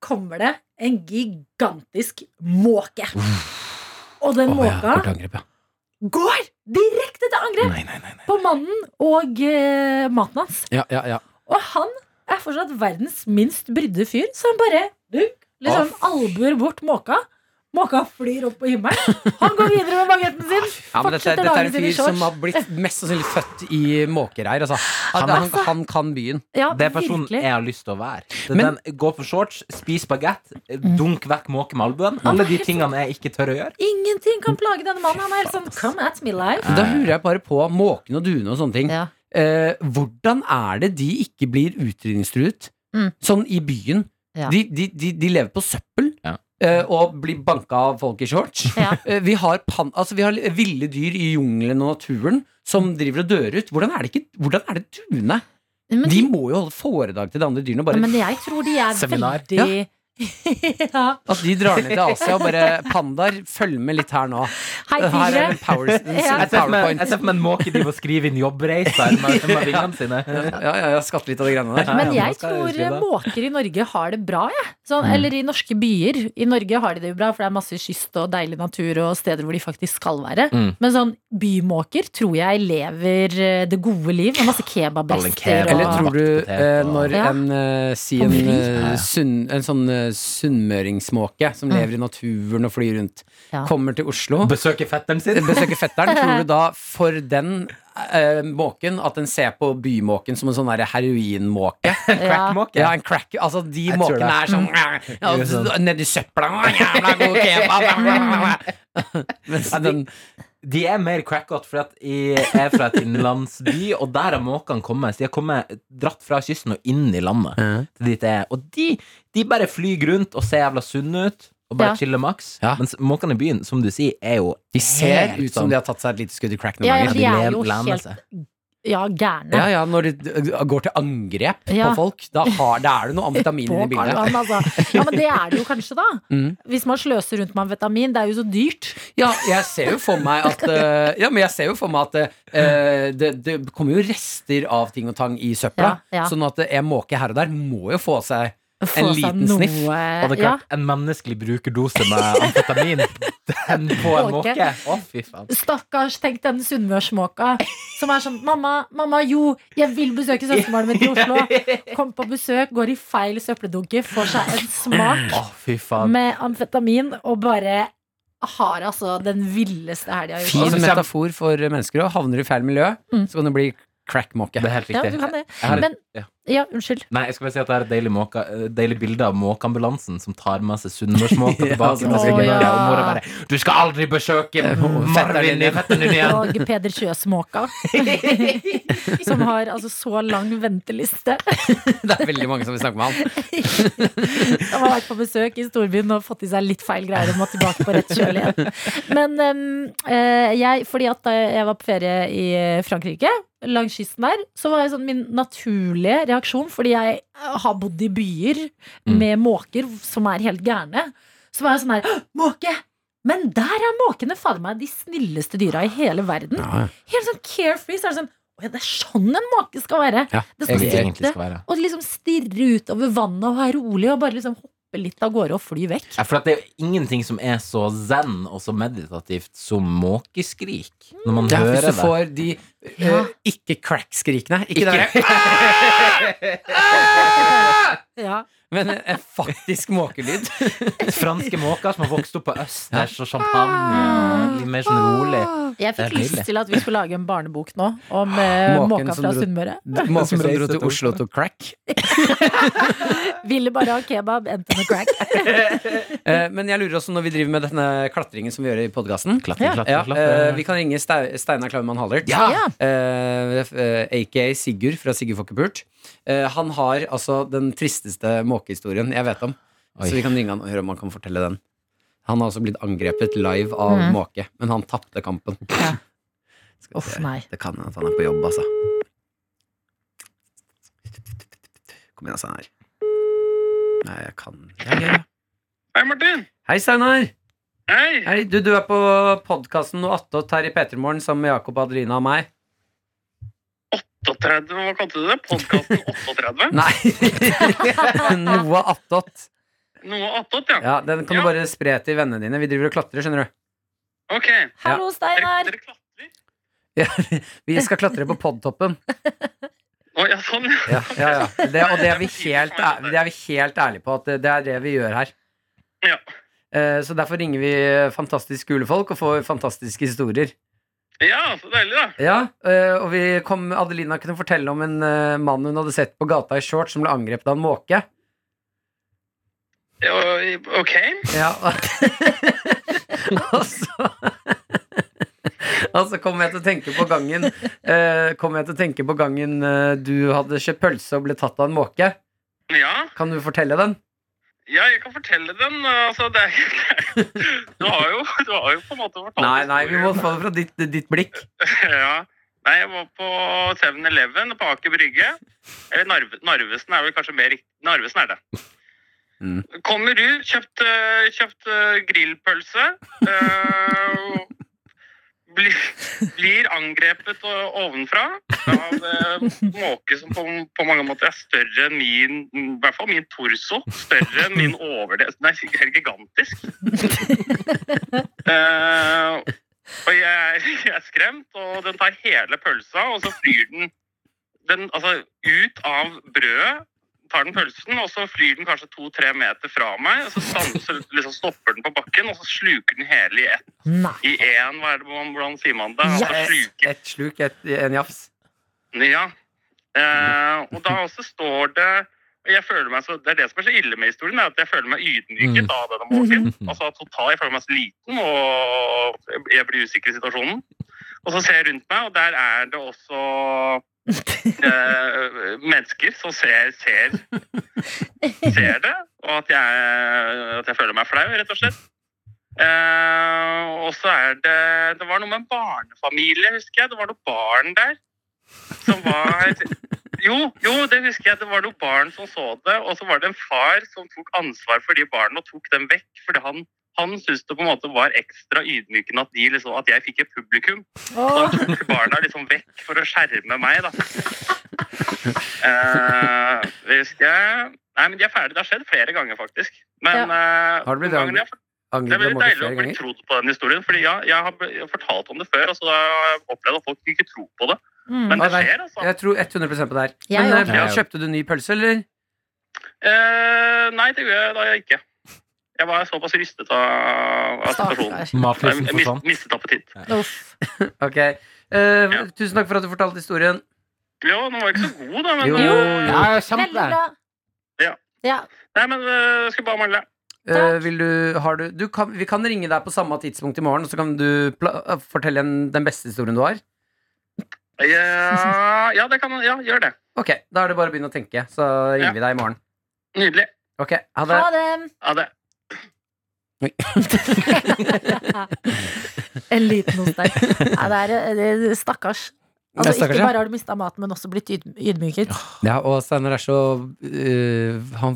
[SPEAKER 2] kommer det en gigantisk måke. Og den
[SPEAKER 4] Å, ja,
[SPEAKER 2] måka
[SPEAKER 4] kort angrep, ja.
[SPEAKER 2] går direkte til angrep
[SPEAKER 8] Nei, nei, nei. nei.
[SPEAKER 2] på mannen og eh, maten hans.
[SPEAKER 4] Ja, ja, ja.
[SPEAKER 2] Og han er fortsatt verdens minst brydde fyr, så han bare dunk, liksom albuer bort måka. Måka flyr opp på himmelen. Han går videre med bagetten sin.
[SPEAKER 4] Ja, men dette,
[SPEAKER 2] fortsetter
[SPEAKER 4] dette er
[SPEAKER 2] dagen
[SPEAKER 4] en
[SPEAKER 2] sin i
[SPEAKER 4] fyr som
[SPEAKER 2] shorts.
[SPEAKER 4] har blitt mest sannsynlig født i måkereir. Altså. Han,
[SPEAKER 8] Han er-
[SPEAKER 4] han, han kan byen.
[SPEAKER 2] Ja,
[SPEAKER 8] Det er personen
[SPEAKER 2] virkelig.
[SPEAKER 8] jeg har lyst til å være. Det er
[SPEAKER 4] Men-
[SPEAKER 8] den, gå på shorts, spis bagett,
[SPEAKER 2] Mm.
[SPEAKER 8] dunk vekk måke med albuen. Alle de tingene jeg ikke tør å gjøre.
[SPEAKER 2] Ingenting
[SPEAKER 4] Mm.
[SPEAKER 2] kan plage denne mannen. Han er helt sånn come at me life.
[SPEAKER 4] Da lurer jeg bare på måkene og duene og sånne ting.
[SPEAKER 2] Ja.
[SPEAKER 4] Eh, hvordan er det de ikke blir utrydningstruet?
[SPEAKER 2] Mm.
[SPEAKER 4] Sånn i byen.
[SPEAKER 2] Ja.
[SPEAKER 4] De, de, de, de lever på søppel.
[SPEAKER 8] Ja.
[SPEAKER 4] eh, Og blir banka av folk i shorts.
[SPEAKER 2] Ja.
[SPEAKER 4] Eh, Vi har, pan, altså vi har ville dyr i jungelen og naturen som driver og dør ut. Hvordan er det, ikke, hvordan er det duene?
[SPEAKER 2] Men
[SPEAKER 4] De må jo holde foredrag til de andre dyrene. og
[SPEAKER 2] Ja,
[SPEAKER 4] Bare
[SPEAKER 2] men jeg tror de er
[SPEAKER 8] Seminar.
[SPEAKER 2] veldig [LAUGHS] ja.
[SPEAKER 4] At de drar ned til Asia og bare Pandaer, følg med litt her nå.
[SPEAKER 2] Hei,
[SPEAKER 4] Her er
[SPEAKER 2] tigre.
[SPEAKER 4] en
[SPEAKER 2] [LAUGHS]
[SPEAKER 4] power, en
[SPEAKER 2] Ja.
[SPEAKER 8] Jeg ser for meg- jeg
[SPEAKER 4] powerpoint.
[SPEAKER 8] ser for meg en måke de må skrive inn jobbreiser med, med vingene sine.
[SPEAKER 4] Ja, ja, ja, skatt litt av de greiene der.
[SPEAKER 2] Men
[SPEAKER 8] Ja, ja, men
[SPEAKER 2] jeg
[SPEAKER 8] da skal jeg
[SPEAKER 2] tror
[SPEAKER 8] skrive det.
[SPEAKER 2] måker i Norge har det bra, jeg. Sånn,
[SPEAKER 4] Mm.
[SPEAKER 2] Eller i norske byer. I Norge har de det jo bra, for det er masse kyst og deilig natur og steder hvor de faktisk skal være.
[SPEAKER 8] Mm.
[SPEAKER 2] Men sånn bymåker tror jeg lever eh, det gode liv. Med masse
[SPEAKER 8] Alle
[SPEAKER 2] kebabrester
[SPEAKER 8] kebab.
[SPEAKER 4] Eller
[SPEAKER 2] og
[SPEAKER 4] tror du eh, når
[SPEAKER 2] Ja.
[SPEAKER 4] en, eh, si
[SPEAKER 2] Og
[SPEAKER 4] en,
[SPEAKER 2] vri.
[SPEAKER 4] eh, sunn, en sånn eh, sunnmøringsmåke som lever i naturen og flyr rundt,
[SPEAKER 2] Mm. Ja.
[SPEAKER 4] kommer til Oslo,
[SPEAKER 8] Besøke fetteren sin.
[SPEAKER 4] besøker
[SPEAKER 2] [LAUGHS]
[SPEAKER 4] fetteren, tror du da for den eh, måken at den ser på bymåken som en sånn derre heroinmåke?
[SPEAKER 2] ja.
[SPEAKER 8] Crackmåke.
[SPEAKER 4] Ja, en crack Altså, de
[SPEAKER 8] Jeg tror
[SPEAKER 4] måkene
[SPEAKER 8] det.
[SPEAKER 4] er [LAUGHS] sånn ja,
[SPEAKER 8] Gjør sånn.
[SPEAKER 4] d- Nedi søpla å, Jævla [LAUGHS] god kebab Mens
[SPEAKER 8] Ja, de-
[SPEAKER 4] den
[SPEAKER 8] De er mer crackot, for at jeg er fra et innlandsby, og der har måkene kommet. Så de har kommet dratt fra kysten og inn i landet. Til dit jeg er. Og de, de bare flyr rundt og ser jævla sunne ut, og bare
[SPEAKER 2] Ja.
[SPEAKER 8] chiller maks.
[SPEAKER 4] Ja.
[SPEAKER 8] Mens måkene i byen, som du sier, er jo
[SPEAKER 4] De ser
[SPEAKER 8] helt sånn
[SPEAKER 4] ut som de har tatt seg et lite skudd i crack noen
[SPEAKER 2] Ja, ja,
[SPEAKER 4] ganger
[SPEAKER 2] de er
[SPEAKER 8] lev-
[SPEAKER 2] jo
[SPEAKER 8] lener
[SPEAKER 2] helt
[SPEAKER 8] seg.
[SPEAKER 2] ja,
[SPEAKER 4] ja,
[SPEAKER 2] gærne.
[SPEAKER 4] altså. ja, når de d- går til angrep
[SPEAKER 2] Ja.
[SPEAKER 4] på folk Da, har, da er det noe amfetamin i
[SPEAKER 2] På Karl
[SPEAKER 4] bildet
[SPEAKER 2] Johan, altså. Ja, men det er det jo kanskje, da.
[SPEAKER 4] Mm.
[SPEAKER 2] Hvis man sløser rundt med amfetamin. Det er jo så dyrt.
[SPEAKER 4] Ja, jeg ser jo for meg at eh, Ja, men jeg ser jo for meg at eh, det, det kommer jo rester av ting og tang i søpla
[SPEAKER 2] Ja, ja.
[SPEAKER 4] Sånn at en måke her og der må jo få seg
[SPEAKER 2] Få seg
[SPEAKER 4] liten sniff.
[SPEAKER 2] noe-
[SPEAKER 8] Og det
[SPEAKER 2] Eh,
[SPEAKER 8] er
[SPEAKER 2] Ja.
[SPEAKER 8] klart, en menneskelig brukerdose med amfetamin [LAUGHS] den på en
[SPEAKER 2] Måke.
[SPEAKER 8] måke. Å, fy faen.
[SPEAKER 2] Stakkars, tenk den sunnmørsmåka som er sånn Mamma, mamma, jo, jeg vil besøke søskenbarnet mitt i Oslo. Kom på besøk, går i feil søppeldunke, får seg en smak
[SPEAKER 8] Å, fy faen.
[SPEAKER 2] med amfetamin og bare har altså den villeste helga. i
[SPEAKER 4] Fin
[SPEAKER 2] livet.
[SPEAKER 8] Altså, kjem-
[SPEAKER 4] metafor for mennesker òg. Havner du i feil miljø,
[SPEAKER 2] Mm.
[SPEAKER 4] så kan du bli crack-måke.
[SPEAKER 8] Det er helt
[SPEAKER 2] Ja,
[SPEAKER 8] riktig.
[SPEAKER 2] du kan det.
[SPEAKER 8] Jeg har et-
[SPEAKER 2] Men
[SPEAKER 8] ja.
[SPEAKER 2] Ja, unnskyld.
[SPEAKER 8] Nei, jeg skal bare si at det er et deilig, måke, eh, deilig bilde av måkeambulansen som tar med seg [LAUGHS] sunnmørsmåka
[SPEAKER 4] Ja,
[SPEAKER 8] tilbake.
[SPEAKER 4] som
[SPEAKER 8] til
[SPEAKER 2] er så
[SPEAKER 8] Norge,
[SPEAKER 2] gøy.
[SPEAKER 8] og mora bare 'Du skal aldri besøke
[SPEAKER 4] fetteren
[SPEAKER 8] Marvin
[SPEAKER 4] din.
[SPEAKER 8] i Eh, fetteren din [LAUGHS]
[SPEAKER 2] [LAUGHS]
[SPEAKER 8] igjen!'
[SPEAKER 2] Og Peder Kjøs-måka. [LAUGHS] som har altså så lang venteliste.
[SPEAKER 4] Det er veldig mange som vil snakke med han.
[SPEAKER 2] Han har vært på besøk i storbyen og fått i seg litt feil greier og må tilbake på rett kjøl igjen. Men em, eh, jeg, fordi at da jeg var på ferie i eh, Frankrike, langs kysten der, så var jeg sånn min naturlige reaksjon, fordi jeg eh, har bodd i byer med måker som er helt gærne, så var jeg sånn her «Hå, Måke! Men der er måkene fader meg de snilleste dyra i hele verden.
[SPEAKER 4] Ja, ja.
[SPEAKER 2] Helt sånn carefree. Så er det sånn Å ja, det er sånn en måke skal være.
[SPEAKER 4] Ja,
[SPEAKER 2] det skal
[SPEAKER 8] Jeg egentlig
[SPEAKER 2] sitte
[SPEAKER 8] skal være
[SPEAKER 2] og liksom stirre utover vannet og være rolig og bare liksom hoppe litt av gårde og fly vekk.
[SPEAKER 8] Ja, for at det er jo ingenting som er så zen og så meditativt som måkeskrik. Når man
[SPEAKER 4] Ja,
[SPEAKER 8] hører
[SPEAKER 4] hvis
[SPEAKER 8] det.
[SPEAKER 4] du får de
[SPEAKER 2] Ja.
[SPEAKER 4] eh, ikke crack-skrikene. Ikke, det der,
[SPEAKER 2] Ja.
[SPEAKER 4] men en faktisk [LAUGHS] måkelyd.
[SPEAKER 8] Franske måker som har vokst opp på østers og champagne. Litt mer sånn rolig.
[SPEAKER 2] Jeg fikk
[SPEAKER 8] Det er
[SPEAKER 2] lyst
[SPEAKER 8] nydelig.
[SPEAKER 2] til at vi skulle lage en barnebok nå om eh,
[SPEAKER 4] Måken
[SPEAKER 2] måka
[SPEAKER 4] som
[SPEAKER 2] fra
[SPEAKER 4] dro-
[SPEAKER 2] Sunnmøre.
[SPEAKER 4] Måken som dro til Oslo og tok crack.
[SPEAKER 2] Ville bare ha kebab, endte med crack.
[SPEAKER 4] Eh, Men jeg lurer også når vi driver med denne klatringen som vi gjør i podkasten.
[SPEAKER 8] Klatre, klatre,
[SPEAKER 4] Ja, eh, vi
[SPEAKER 8] klatre.
[SPEAKER 4] kan ringe Stei- Steinar Klaumann Hallert.
[SPEAKER 2] Ja.
[SPEAKER 4] Eh, eh, AKA Sigurd fra Sigurd Fokkepult. Eh, han har altså den tristeste måkehistorien jeg vet om.
[SPEAKER 8] Oi.
[SPEAKER 4] Så vi kan ringe han og høre om han kan fortelle den. Han har altså blitt angrepet live av
[SPEAKER 2] Mhm.
[SPEAKER 4] måke, men han tapte kampen.
[SPEAKER 2] Ja.
[SPEAKER 4] Skal vi
[SPEAKER 2] Uff,
[SPEAKER 4] se.
[SPEAKER 2] nei.
[SPEAKER 4] Det kan hende at han er på jobb, altså. Kom igjen, Steinar. Nei, jeg kan ja, ja, ja.
[SPEAKER 9] Hei, Martin.
[SPEAKER 4] Hei, Steinar!
[SPEAKER 9] Hei.
[SPEAKER 4] Hei, du, du er på podkasten Noe attåt her i Petermorgen sammen med Jakob, Adelina og meg.
[SPEAKER 9] 38, hva kalte du det? Podkasten 38?
[SPEAKER 4] Nei! [LAUGHS] Noe attåt.
[SPEAKER 9] Noe attåt, ja.
[SPEAKER 4] Ja, den kan du
[SPEAKER 9] Ja.
[SPEAKER 4] bare spre til vennene dine. Vi driver og klatrer, skjønner du. [LAUGHS]
[SPEAKER 9] Ok.
[SPEAKER 2] Hallo,
[SPEAKER 9] Dere,
[SPEAKER 2] Steinar!
[SPEAKER 9] dere klatrer?
[SPEAKER 4] Vi skal klatre på podtoppen.
[SPEAKER 9] Å, ja, sånn, ja.
[SPEAKER 4] Ja, ja, ja. Det, og det er, vi helt, æ- det er vi helt ærlige på, at det- det er det vi gjør her.
[SPEAKER 9] Ja.
[SPEAKER 4] Eh, Så derfor ringer vi fantastisk kule folk og får fantastiske historier.
[SPEAKER 9] Ja, så deilig, da.
[SPEAKER 4] Ja, eh, og vi kom, Adelina kunne fortelle om en eh, mann hun hadde sett på gata i shorts som ble angrepet av en måke.
[SPEAKER 9] Ja, ok.
[SPEAKER 4] Ja. [LAUGHS] og så Og så kom jeg til å tenke på gangen eh, Kom jeg til å tenke på gangen eh, du hadde kjøpt pølse og ble tatt av en måke.
[SPEAKER 9] Ja.
[SPEAKER 4] Kan du fortelle den?
[SPEAKER 9] ja, jeg kan fortelle den. Altså, det er [LAUGHS] Du har jo, du har jo på en måte fortalt
[SPEAKER 4] Nei, nei, vi må
[SPEAKER 9] historien.
[SPEAKER 4] få det fra ditt, ditt blikk.
[SPEAKER 9] [LAUGHS] ja. Nei, jeg var på 7-Eleven på Aker Brygge. Eller Narve, Narvesen er vel kanskje mer riktig. Narvesen er det.
[SPEAKER 4] Mm.
[SPEAKER 9] Kommer ut, kjøpt, eh, kjøpt eh, grillpølse. eh, og blir, blir angrepet eh, ovenfra av eh, måke som på, på mange måter er større enn min I hvert fall min torso. Større enn min overdel. Den er helt gigantisk. Eh, og jeg, er- jeg er skremt, og den tar hele pølsa, og så flyr den, den altså, ut av brødet. Tar den pølsen, og så flyr den kanskje to-tre meter fra meg. Og så stanser, liksom stopper den på bakken, og så sluker den hele i ett.
[SPEAKER 2] Nei.
[SPEAKER 9] I én, hva er det man, hvordan sier man det? Altså,
[SPEAKER 4] Et,
[SPEAKER 9] sluker
[SPEAKER 4] et sluk, et, en jafs.
[SPEAKER 9] ja. Eh, og da også står det og jeg føler meg så, Det er det som er så ille med historien, er at jeg føler meg ydmyket av denne måken. Altså total, Jeg føler meg så liten, og jeg blir usikker i situasjonen. Og så ser jeg rundt meg, og der er det også eh, mennesker som ser, ser, ser det. Og at jeg, at jeg føler meg flau, rett og slett. Eh, og så er det Det var noe med en barnefamilie, husker jeg. Det var noe barn der som var jo, jo, det husker jeg. Det var noen barn som så det, og så var det en far som tok ansvar for de barna og tok dem vekk. fordi han, han syntes det på en måte var ekstra ydmykende at, de liksom, at jeg fikk et publikum. Så
[SPEAKER 2] Åh,
[SPEAKER 9] han tok barna liksom vekk for å skjerme meg, da. Eh, det husker jeg. Nei, men de er ferdige. Det har skjedd flere ganger, faktisk. Men eh,
[SPEAKER 4] Har det blitt
[SPEAKER 9] noen ganger
[SPEAKER 4] angrepet?
[SPEAKER 9] jeg-
[SPEAKER 5] Det er
[SPEAKER 4] Angrer på
[SPEAKER 5] veldig
[SPEAKER 4] måte
[SPEAKER 5] deilig å
[SPEAKER 4] flere
[SPEAKER 5] bli
[SPEAKER 4] ganger.
[SPEAKER 5] trodd på den historien. fordi ja, jeg har jeg har fortalt om det før, og så har jeg opplevd at folk ikke tror på det. Men
[SPEAKER 2] Mm.
[SPEAKER 4] Nei,
[SPEAKER 5] det
[SPEAKER 4] nei.
[SPEAKER 5] skjer, altså.
[SPEAKER 4] Jeg tror 100 på det her.
[SPEAKER 2] Jeg
[SPEAKER 4] Men
[SPEAKER 2] også.
[SPEAKER 4] eh, kjøpte du ny pølse, eller?
[SPEAKER 5] Eh, nei, det gjør jeg da jeg ikke. Jeg var såpass rystet av, av situasjonen.
[SPEAKER 2] Stakkar.
[SPEAKER 8] Matlysten sånn.
[SPEAKER 5] Jeg mis-
[SPEAKER 8] forsvant.
[SPEAKER 5] mistet appetitt.
[SPEAKER 2] eh, Uff.
[SPEAKER 4] Ok. Eh, Tusen takk for at du fortalte historien.
[SPEAKER 5] Jo, den var ikke så god, da, men
[SPEAKER 4] Jo,
[SPEAKER 5] eh,
[SPEAKER 8] Ja,
[SPEAKER 2] Veldig
[SPEAKER 8] kjempe.
[SPEAKER 2] bra.
[SPEAKER 5] Ja.
[SPEAKER 2] Ja.
[SPEAKER 5] Nei, men eh, det skulle bare mangle.
[SPEAKER 4] Eh, vil du, har du, du kan, vi kan ringe deg på samme tidspunkt i morgen, og så kan du pla eh, fortelle en, den beste historien du har.
[SPEAKER 5] Ja, ja, det kan Ja, gjør det.
[SPEAKER 4] Ok, Da er det bare å begynne å tenke, så ringer
[SPEAKER 5] Ja.
[SPEAKER 4] vi deg i morgen.
[SPEAKER 5] Nydelig.
[SPEAKER 4] Ok, ha det.
[SPEAKER 2] Ha det.
[SPEAKER 5] Ha det.
[SPEAKER 2] [LAUGHS] En liten hos deg. Ja, det er, eh, det er stakkars. Altså,
[SPEAKER 4] Ja, stakkars,
[SPEAKER 2] ikke
[SPEAKER 4] ja.
[SPEAKER 2] bare har du mista maten, men også blitt yd- ydmyket.
[SPEAKER 4] Ja, og Steinar er så øh, han,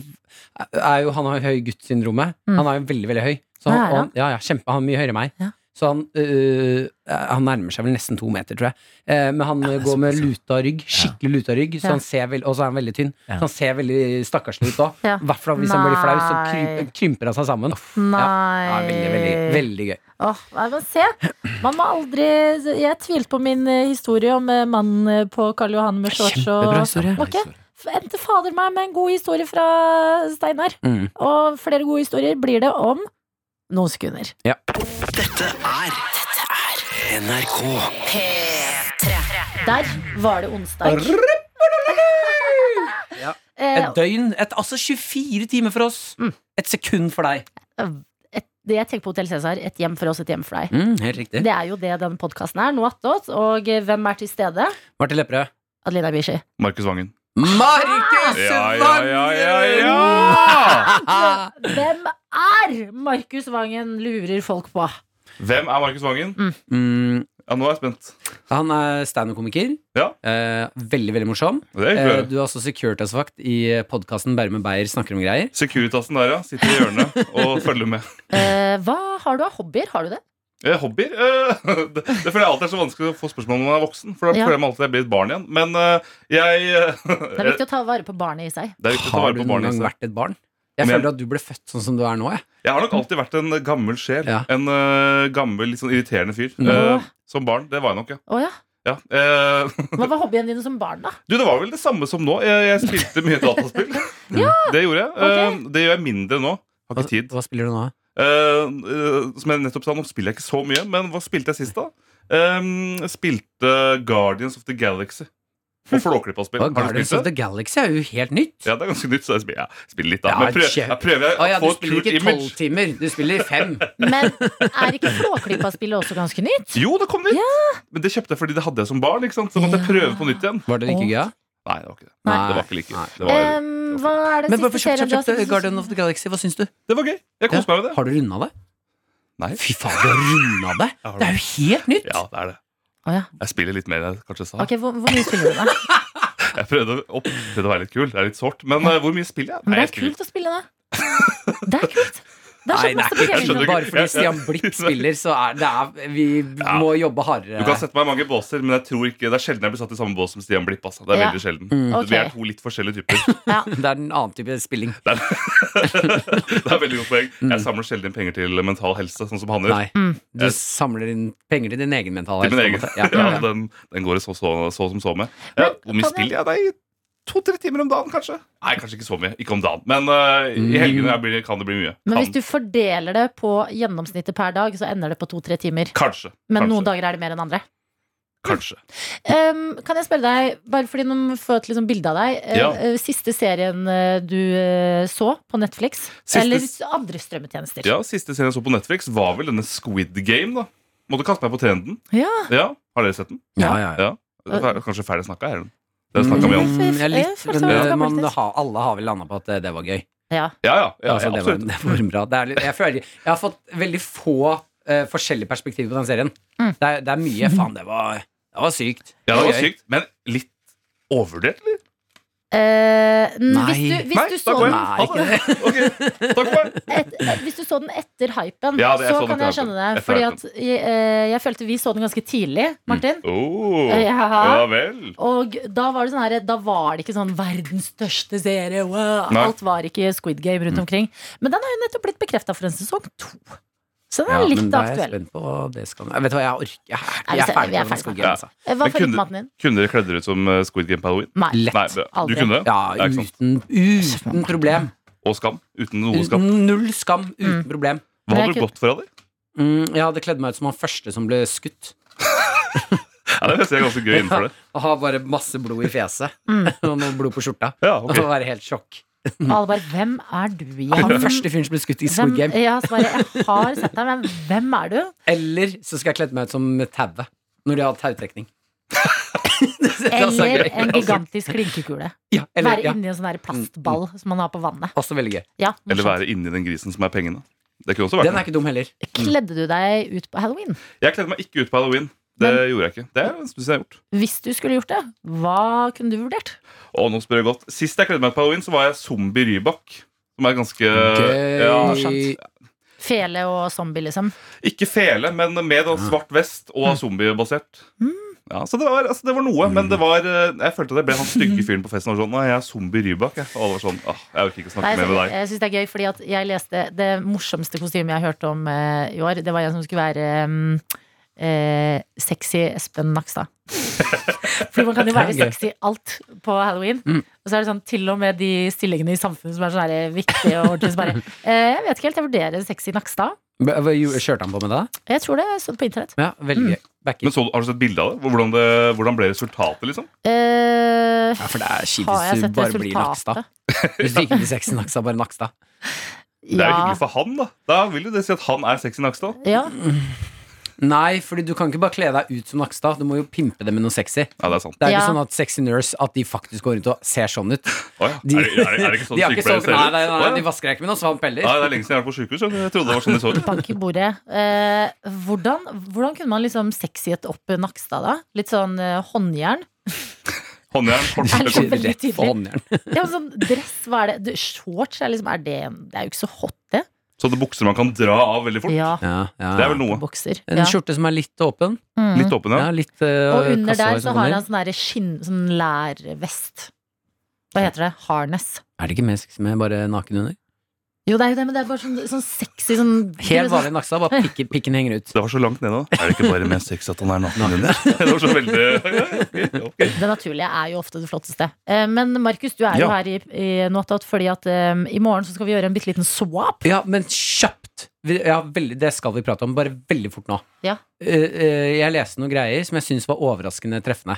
[SPEAKER 4] er jo, han har høy guttsyndromet.
[SPEAKER 2] Mm.
[SPEAKER 4] Han er jo veldig, veldig høy. Så
[SPEAKER 2] Ja,
[SPEAKER 4] han,
[SPEAKER 2] ja.
[SPEAKER 4] han, ja, ja, kjempe, han er mye høyere enn meg.
[SPEAKER 2] Ja.
[SPEAKER 4] Så han, øh, han nærmer seg vel nesten to meter, tror jeg. Eh, men han øh, går med luta rygg, skikkelig luta rygg,
[SPEAKER 2] Ja.
[SPEAKER 4] så han ser vel, og så er han veldig tynn.
[SPEAKER 8] Ja.
[SPEAKER 4] Så han ser veldig stakkarslig ut òg.
[SPEAKER 2] Ja.
[SPEAKER 4] I hvert fall hvis han blir flau, så
[SPEAKER 2] Nei.
[SPEAKER 4] kryp, krymper han seg sammen.
[SPEAKER 2] Nei.
[SPEAKER 4] Ja, veldig, veldig, veldig gøy.
[SPEAKER 2] Åh, nei, men se, man må aldri Jeg tvilte på min eh, historie om eh, mannen eh, på Karl Johan med shorts og Må ikke? F- Endte fader meg med en god historie fra Steinar.
[SPEAKER 4] Mm.
[SPEAKER 2] Og flere gode historier blir det om noen sekunder.
[SPEAKER 6] NRK.
[SPEAKER 2] Der var det onsdag.
[SPEAKER 4] Ja.
[SPEAKER 2] Eh,
[SPEAKER 4] [LAUGHS] Et døgn, et, altså 24 timer for oss.
[SPEAKER 2] Mm.
[SPEAKER 4] Et sekund for deg.
[SPEAKER 2] Eh, et, det jeg tenker på Hotell Cæsar, et hjem for oss, et hjem for deg.
[SPEAKER 4] helt riktig.
[SPEAKER 2] Mm. Det er jo det den podkasten er. Noe attåt. Og eh, hvem er til stede?
[SPEAKER 4] Martin Lepperød.
[SPEAKER 2] Adelina Ibishi.
[SPEAKER 7] Markus Vangen.
[SPEAKER 4] Markus
[SPEAKER 7] Ja, ja,
[SPEAKER 4] Vangen!
[SPEAKER 7] ja, ja, ja!
[SPEAKER 4] Ah!
[SPEAKER 2] Hvem er Markus Vangen, lurer folk på?
[SPEAKER 7] Hvem er Markus Vangen?
[SPEAKER 4] Mm,
[SPEAKER 7] Ja, nå er jeg spent.
[SPEAKER 4] han er standup-komiker.
[SPEAKER 7] Ja.
[SPEAKER 4] Eh, veldig, veldig morsom.
[SPEAKER 7] Det er
[SPEAKER 4] Eh,
[SPEAKER 7] hyggelig.
[SPEAKER 4] du er også Securitas-vakt i podkasten Bærum og Beyer snakker om greier.
[SPEAKER 7] Securitasen der, ja. Sitter i hjørnet og følger med.
[SPEAKER 2] Eh, hva har du av hobbyer? Har du det?
[SPEAKER 7] Eh, hobbyer? Eh, [LAUGHS] det, det føler jeg alltid er så vanskelig å få spørsmål om man er voksen. For da
[SPEAKER 2] Ja.
[SPEAKER 7] føler jeg meg alltid jeg blir et barn igjen. Men eh, jeg [LAUGHS]
[SPEAKER 2] Det er viktig å ta vare på barnet i seg.
[SPEAKER 7] Det er viktig å ta
[SPEAKER 4] Har
[SPEAKER 7] vare
[SPEAKER 4] du
[SPEAKER 7] på
[SPEAKER 4] noen
[SPEAKER 7] barnet altså.
[SPEAKER 4] gang
[SPEAKER 7] sitt.
[SPEAKER 4] vært et barn? Jeg
[SPEAKER 7] Men-
[SPEAKER 4] føler at du ble født sånn som du er nå. Jeg.
[SPEAKER 7] Jeg har nok alltid vært en gammel sjel.
[SPEAKER 4] Ja.
[SPEAKER 7] En eh, gammel, litt sånn irriterende fyr.
[SPEAKER 2] Ja.
[SPEAKER 7] Eh, som barn. Det var jeg nok, ja.
[SPEAKER 2] Å ja.
[SPEAKER 7] ja. eh, [LAUGHS]
[SPEAKER 2] Hva var hobbyen din som barn, da?
[SPEAKER 7] Du, Det var vel det samme som nå. Jeg, jeg spilte mye [LAUGHS] dataspill. Det gjorde jeg. Eh, Det gjør jeg mindre nå. Har
[SPEAKER 4] Hva,
[SPEAKER 7] ikke tid.
[SPEAKER 4] hva spiller du nå?
[SPEAKER 7] Eh, eh, som jeg nettopp sa, nå spiller jeg ikke så mye, men hva spilte jeg sist, da? Ehm, jeg spilte Guardians of the Galaxy. Og Flåklypa-spill.
[SPEAKER 4] Hva,
[SPEAKER 7] Har du
[SPEAKER 4] Guardians of
[SPEAKER 7] spilt
[SPEAKER 4] the
[SPEAKER 7] det?
[SPEAKER 4] Galaxy er jo helt nytt.
[SPEAKER 7] Ja, det er ganske nytt, så jeg spiller, ja, spiller litt, da.
[SPEAKER 4] Ja,
[SPEAKER 7] men prøv,
[SPEAKER 4] kjempe-
[SPEAKER 7] jeg prøver jeg
[SPEAKER 4] Å ja, du
[SPEAKER 7] å få et
[SPEAKER 4] spiller
[SPEAKER 7] kult
[SPEAKER 4] ikke tolv
[SPEAKER 7] image.
[SPEAKER 4] timer, du spiller fem.
[SPEAKER 2] Men er ikke Flåklypa-spillet også ganske nytt?
[SPEAKER 7] Jo, det kom nytt! Men det kjøpte jeg fordi det hadde jeg som barn. ikke sant? Så måtte jeg
[SPEAKER 2] Ja.
[SPEAKER 7] prøve på nytt igjen.
[SPEAKER 4] Var det like gøy? da?
[SPEAKER 7] Nei, det var ikke det.
[SPEAKER 4] Nei.
[SPEAKER 7] Det var ikke like gøy. Det var,
[SPEAKER 2] Em, hva er det
[SPEAKER 4] Men bare
[SPEAKER 2] siste
[SPEAKER 4] kjøpt,
[SPEAKER 2] serien du har
[SPEAKER 4] kjøpt,
[SPEAKER 2] sett?
[SPEAKER 4] kjøpt Guardian of the Galaxy, hva syns du?
[SPEAKER 7] det var gøy. Jeg koste meg med det.
[SPEAKER 4] Har du runda det?
[SPEAKER 7] Nei.
[SPEAKER 4] Fy faen, du har runda det!
[SPEAKER 7] Jeg har
[SPEAKER 4] Det er
[SPEAKER 7] det.
[SPEAKER 4] jo helt nytt!
[SPEAKER 7] Ja, det er det.
[SPEAKER 2] Å ja.
[SPEAKER 7] Jeg spiller litt mer enn jeg kanskje sa.
[SPEAKER 2] Ok, hvor, hvor mye spiller du, da?
[SPEAKER 7] Jeg prøvde å, opp, prøvde å være litt kul. Det er litt sårt. Men eh, hvor mye spiller jeg?
[SPEAKER 2] Men det
[SPEAKER 7] jeg
[SPEAKER 2] er
[SPEAKER 7] spiller-
[SPEAKER 2] kult å spille det. Det er kult. Det er sånn
[SPEAKER 4] Nei, det
[SPEAKER 2] masse
[SPEAKER 4] er ikke kult.
[SPEAKER 7] Jeg skjønner ikke.
[SPEAKER 2] fortellinger.
[SPEAKER 4] Bare fordi
[SPEAKER 7] Jeg- jeg-
[SPEAKER 4] Stian Blipp
[SPEAKER 7] [LAUGHS]
[SPEAKER 4] spiller, så er det er, Vi
[SPEAKER 7] Ja.
[SPEAKER 4] må jobbe
[SPEAKER 7] Du kan
[SPEAKER 4] hardere.
[SPEAKER 7] sette meg i mange båser, men jeg tror ikke, det er sjelden jeg blir satt i samme bås som Stian Blipp. Altså. Det er
[SPEAKER 2] Ja.
[SPEAKER 7] veldig sjelden
[SPEAKER 4] Mm.
[SPEAKER 2] Ok.
[SPEAKER 7] Vi er to litt forskjellige typer. [LAUGHS]
[SPEAKER 4] Det er en annen type spilling.
[SPEAKER 7] det er veldig godt poeng
[SPEAKER 4] Mm.
[SPEAKER 7] Jeg samler sjelden inn penger til mental helse, sånn som han gjør.
[SPEAKER 4] Nei.
[SPEAKER 2] Mm.
[SPEAKER 4] Du samler inn penger til din egen mentale
[SPEAKER 7] Til min egen.
[SPEAKER 4] helse, på en
[SPEAKER 7] Ja,
[SPEAKER 4] måte. Ja, ja, ja.
[SPEAKER 7] den, den går det så, så, så som så med.
[SPEAKER 2] Men,
[SPEAKER 7] Ja, hvor
[SPEAKER 2] kan
[SPEAKER 7] mye
[SPEAKER 2] jeg-
[SPEAKER 7] spiller jeg? Nei, to-tre timer om dagen, kanskje. Nei, kanskje ikke så mye. Ikke om dagen. Men eh, i
[SPEAKER 4] Mm.
[SPEAKER 7] helgene jeg blir, kan det bli mye.
[SPEAKER 2] Men
[SPEAKER 7] Kan.
[SPEAKER 2] hvis du fordeler det på gjennomsnittet per dag, så ender det på to-tre timer.
[SPEAKER 7] Kanskje.
[SPEAKER 2] Men
[SPEAKER 7] kanskje,
[SPEAKER 2] noen dager er det mer enn andre.
[SPEAKER 7] Kanskje.
[SPEAKER 2] Em, Ehm, kan jeg spørre deg, bare fordi nå må vi få et liksom bilde av deg eh,
[SPEAKER 7] Ja.
[SPEAKER 2] eh, Siste serien eh, du eh, så på Netflix?
[SPEAKER 7] Siste-
[SPEAKER 2] Eller andre strømmetjenester?
[SPEAKER 7] Ja, Siste serien jeg så på Netflix, var vel denne Squid Game. da Måtte kaste meg på trenden.
[SPEAKER 2] Ja.
[SPEAKER 7] Ja, Har dere sett den?
[SPEAKER 4] Ja, ja, ja.
[SPEAKER 7] Det er Kanskje ferdig snakka, Erlend? Det snakka vi om.
[SPEAKER 4] Mm, jeg er litt,
[SPEAKER 2] Eh, for så
[SPEAKER 4] men
[SPEAKER 2] vidt
[SPEAKER 4] eh, man,
[SPEAKER 2] gammelt.
[SPEAKER 4] har, alle har vel landa på at eh, det var gøy.
[SPEAKER 2] Ja.
[SPEAKER 7] Ja, ja, ja,
[SPEAKER 4] altså, det,
[SPEAKER 7] ja
[SPEAKER 4] var,
[SPEAKER 7] absolutt.
[SPEAKER 4] det var bra. Det er, litt- jeg, føler, jeg har fått veldig få eh, forskjellige perspektiver på den serien.
[SPEAKER 2] Mm.
[SPEAKER 4] Det, er, det er mye Faen, det var, det var sykt.
[SPEAKER 7] Ja, det var
[SPEAKER 4] gøy.
[SPEAKER 7] sykt, men litt overvurdert, eller?
[SPEAKER 2] Eh, n-
[SPEAKER 4] Nei.
[SPEAKER 2] hvis, du, hvis,
[SPEAKER 7] Nei,
[SPEAKER 2] du
[SPEAKER 7] da
[SPEAKER 2] så
[SPEAKER 7] går
[SPEAKER 2] den
[SPEAKER 7] jeg. Ha det. [LAUGHS] Ok, Takk
[SPEAKER 2] [LAUGHS]
[SPEAKER 7] for meg.
[SPEAKER 2] et, eh, hvis du så den etter hypen,
[SPEAKER 7] Ja, det- jeg
[SPEAKER 2] så kan
[SPEAKER 7] så den
[SPEAKER 2] jeg
[SPEAKER 7] etter hypen.
[SPEAKER 2] skjønne det.
[SPEAKER 7] Etter
[SPEAKER 2] Fordi
[SPEAKER 7] hypen. Mm.
[SPEAKER 2] at jeg, eh, jeg følte vi så den ganske tidlig, Martin.
[SPEAKER 7] Oh,
[SPEAKER 2] Eh, ja.
[SPEAKER 7] ja vel.
[SPEAKER 2] Og da var det sånn her, da var det ikke sånn verdens største serie. Wow.
[SPEAKER 7] Nei. Mm.
[SPEAKER 2] Alt var ikke Squid Game rundt omkring. Men den har jo nettopp blitt bekrefta for en sesong to. Så den er
[SPEAKER 4] Ja, men
[SPEAKER 2] litt
[SPEAKER 4] da er jeg
[SPEAKER 2] aktuell.
[SPEAKER 4] spent på hva det skal Vet du hva, jeg orker Jeg, er-
[SPEAKER 2] Nei, vi ser-
[SPEAKER 4] jeg er
[SPEAKER 2] vi er
[SPEAKER 4] ferdig med den
[SPEAKER 2] ferdig med
[SPEAKER 4] skogen,
[SPEAKER 7] den.
[SPEAKER 4] altså.
[SPEAKER 2] Eh, Hva
[SPEAKER 7] Men
[SPEAKER 2] følte
[SPEAKER 7] kunne-
[SPEAKER 2] maten din?
[SPEAKER 7] Kunne dere kledd dere ut som eh, Squid Game på halloween?
[SPEAKER 2] Nei.
[SPEAKER 4] Lett.
[SPEAKER 7] Nei, bra. du
[SPEAKER 2] Aldri. [LAUGHS]
[SPEAKER 7] kunne det?
[SPEAKER 4] Ja,
[SPEAKER 7] Ja, ikke sant.
[SPEAKER 4] uten, uten problem.
[SPEAKER 7] Og skam? Uten noe skam?
[SPEAKER 4] Uten, null skam, uten
[SPEAKER 2] Mm.
[SPEAKER 4] problem.
[SPEAKER 7] Hva
[SPEAKER 2] Men jeg
[SPEAKER 7] hadde du gått for av det?
[SPEAKER 4] Mm, jeg hadde kledd meg ut som han første som ble skutt.
[SPEAKER 7] Ja, det ser jeg ganske
[SPEAKER 2] [LAUGHS]
[SPEAKER 7] gøy innenfor det.
[SPEAKER 4] [LAUGHS] Og ha bare masse blod i fjeset.
[SPEAKER 2] Mm.
[SPEAKER 4] [LAUGHS] og noe blod på skjorta.
[SPEAKER 7] Ja,
[SPEAKER 2] Altså,
[SPEAKER 4] Og
[SPEAKER 7] ok.
[SPEAKER 4] være helt sjokk.
[SPEAKER 2] Alle bare Hvem er du igjen?
[SPEAKER 4] Han første fyren som ble skutt i Squid
[SPEAKER 2] Hvem,
[SPEAKER 4] Game.
[SPEAKER 2] ja, svaret, jeg har sett deg, men hvem er du?
[SPEAKER 4] Eller så skal jeg kledd meg ut som tauet. Når de
[SPEAKER 2] [LAUGHS]
[SPEAKER 4] har tautrekning.
[SPEAKER 2] Eller en gigantisk klinkekule.
[SPEAKER 4] Ja, eller,
[SPEAKER 2] Være
[SPEAKER 4] ja.
[SPEAKER 2] inni en sånn der plastball som man har på vannet.
[SPEAKER 4] Også veldig gøy.
[SPEAKER 2] Ja,
[SPEAKER 7] Eller
[SPEAKER 2] morsomt.
[SPEAKER 7] være inni den grisen som er pengene. Det kunne også vært
[SPEAKER 4] Den
[SPEAKER 7] noe.
[SPEAKER 4] er ikke dum heller.
[SPEAKER 2] Kledde du deg ut på halloween?
[SPEAKER 7] Jeg kledde meg ikke ut på halloween. Det
[SPEAKER 2] Men-
[SPEAKER 7] gjorde jeg ikke. Det er det eneste jeg har gjort.
[SPEAKER 2] Hvis du skulle gjort det, hva kunne du vurdert?
[SPEAKER 7] Og nå spør jeg godt. Sist jeg kledde meg ut på halloween, så var jeg zombie Rybak. Som er ganske Eh, ja,
[SPEAKER 4] Gøy.
[SPEAKER 2] Fele og zombie, liksom.
[SPEAKER 7] Ikke fele, men med da svart vest
[SPEAKER 4] Mm.
[SPEAKER 7] og zombiebasert. Ja, så det var, altså, det var noe,
[SPEAKER 4] Mm.
[SPEAKER 7] men det var, eh, jeg følte at jeg ble han stygge fyren på festen. Og var sånn, Nei, jeg er zombie Rybak. Jeg. Og alle var sånn, ah, jeg orker ikke å snakke
[SPEAKER 2] Nei, eh,
[SPEAKER 7] mer med deg.
[SPEAKER 2] jeg syns det er gøy, fordi at jeg leste det morsomste kostymet jeg hørte om eh, i år. Det var en som skulle være mm, eh, sexy Espen
[SPEAKER 4] [LAUGHS]
[SPEAKER 2] Nakstad. fordi man kan jo være
[SPEAKER 4] Det er gøy. Mm.
[SPEAKER 2] sexy i alt på halloween. Og så er det sånn til og med de stillingene i samfunnet som er sånn her viktige og ordentlige, som
[SPEAKER 4] [LAUGHS]
[SPEAKER 2] bare eh, Jeg vet ikke helt, jeg vurderer sexy Nakstad.
[SPEAKER 4] Hva- hva gjorde- Kjørte han på med det? da?
[SPEAKER 2] Jeg tror det jeg så det på internett.
[SPEAKER 4] Ja, veldig gøy. Backer.
[SPEAKER 7] Mm. Men så, Har du sett bilde av det? Hvordan, det? hvordan ble resultatet, liksom?
[SPEAKER 2] Eh,
[SPEAKER 4] Ja, for det er kjipt
[SPEAKER 2] har jeg
[SPEAKER 4] hvis du
[SPEAKER 2] sett
[SPEAKER 4] bare blir Nakstad.
[SPEAKER 2] resultatet?
[SPEAKER 4] Hvis du ikke blir sexy Nakstad, bare Nakstad.
[SPEAKER 7] Det er jo
[SPEAKER 2] Ja.
[SPEAKER 7] hyggelig for han, da. Da vil jo det si at han er sexy Nakstad.
[SPEAKER 2] ja.
[SPEAKER 4] Nei, fordi du kan ikke bare kle deg ut som Nakstad. Du må jo pimpe det med noe sexy.
[SPEAKER 7] Ja, det er sant.
[SPEAKER 4] Det er
[SPEAKER 2] Ja.
[SPEAKER 4] ikke sånn at sexy nurse At de faktisk går rundt og ser sånn ut.
[SPEAKER 7] Å ja.
[SPEAKER 4] De-
[SPEAKER 7] er, det, er, det, er det ikke sånn
[SPEAKER 4] de har ikke
[SPEAKER 7] sykepleiere
[SPEAKER 4] sånn-
[SPEAKER 7] ser ut?
[SPEAKER 4] nei, nei, nei,
[SPEAKER 7] Å ja.
[SPEAKER 4] de vasker deg ikke med noen svampeller. [LAUGHS]
[SPEAKER 7] Nei, det er lenge siden jeg har vært på sykehus. Jeg trodde det var sånn de så ut.
[SPEAKER 2] Bank i bordet. Eh, hvordan, hvordan kunne man liksom sexyet opp Nakstad, da? Litt sånn eh, håndjern?
[SPEAKER 7] Håndjern,
[SPEAKER 2] Er det så
[SPEAKER 7] håndjern,
[SPEAKER 2] veldig
[SPEAKER 4] Rett på
[SPEAKER 2] tydelig?
[SPEAKER 4] håndjern.
[SPEAKER 2] Ja, men sånn dress, hva er det? Du, shorts er liksom er det, en- det er jo ikke så hot, det.
[SPEAKER 7] Sånne bukser man kan dra av veldig fort.
[SPEAKER 2] Ja,
[SPEAKER 4] Ja, ja.
[SPEAKER 7] Det er vel noe.
[SPEAKER 2] bokser.
[SPEAKER 4] En
[SPEAKER 2] Ja.
[SPEAKER 4] skjorte som er litt åpen.
[SPEAKER 2] Mm.
[SPEAKER 7] Litt åpen, ja.
[SPEAKER 4] Ja, litt eh,
[SPEAKER 2] Og under
[SPEAKER 4] kassehår
[SPEAKER 2] der så
[SPEAKER 4] som
[SPEAKER 2] har
[SPEAKER 4] kommer.
[SPEAKER 2] han sånn derre skinn... Sånn lærvest. Hva heter det? Harness.
[SPEAKER 4] Er det ikke mer sexy med bare naken under?
[SPEAKER 2] Jo, det er jo det, men det er bare sånn, sånn sexy sånn
[SPEAKER 4] Helt vanlig Nakstad, bare pikken, pikken henger ut.
[SPEAKER 7] Det var så langt ned nå. Er det ikke bare med sex at han er naken under? [LAUGHS] Det var så veldig Ok, ok.
[SPEAKER 2] sånn, Det naturlige er jo ofte det flotteste. Eh, Men Markus, du er jo
[SPEAKER 7] Ja.
[SPEAKER 2] her i, i Notat fordi at eh, i morgen så skal vi gjøre en bitte liten swap.
[SPEAKER 4] Ja, men kjapt! Vi- Ja, veldig, det skal vi prate om, bare veldig fort nå.
[SPEAKER 2] Ja.
[SPEAKER 4] Eh, eh, jeg leste noen greier som jeg syns var overraskende treffende.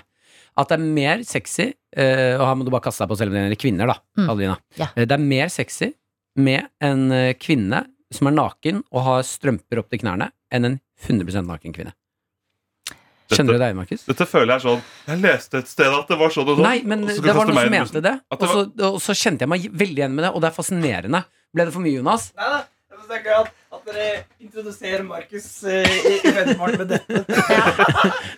[SPEAKER 4] At det er mer sexy eh, Og her må du bare kaste deg på selv om det gjelder kvinner, da,
[SPEAKER 2] Mm.
[SPEAKER 4] Adelina.
[SPEAKER 2] Ja.
[SPEAKER 4] Eh, det er mer sexy med en eh, kvinne som er naken og har strømper opp til knærne, enn en 100 naken kvinne. Kjenner du deg igjen, Markus?
[SPEAKER 7] Dette føler jeg er sånn Jeg leste et sted at det var sånn og sånn.
[SPEAKER 4] Nei, men
[SPEAKER 7] og så
[SPEAKER 4] det
[SPEAKER 7] skal du
[SPEAKER 4] var
[SPEAKER 7] kaste
[SPEAKER 4] noen
[SPEAKER 7] meg
[SPEAKER 4] som
[SPEAKER 7] under
[SPEAKER 4] mente det.
[SPEAKER 7] At
[SPEAKER 4] Og
[SPEAKER 7] det
[SPEAKER 4] så, og så kjente jeg meg veldig igjen med det, og det er fascinerende. Ble det for mye, Jonas?
[SPEAKER 3] Nei da. Jeg synes det er gøy at, at dere introduserer Markus eh, i, i Venneparen med dette. [LAUGHS]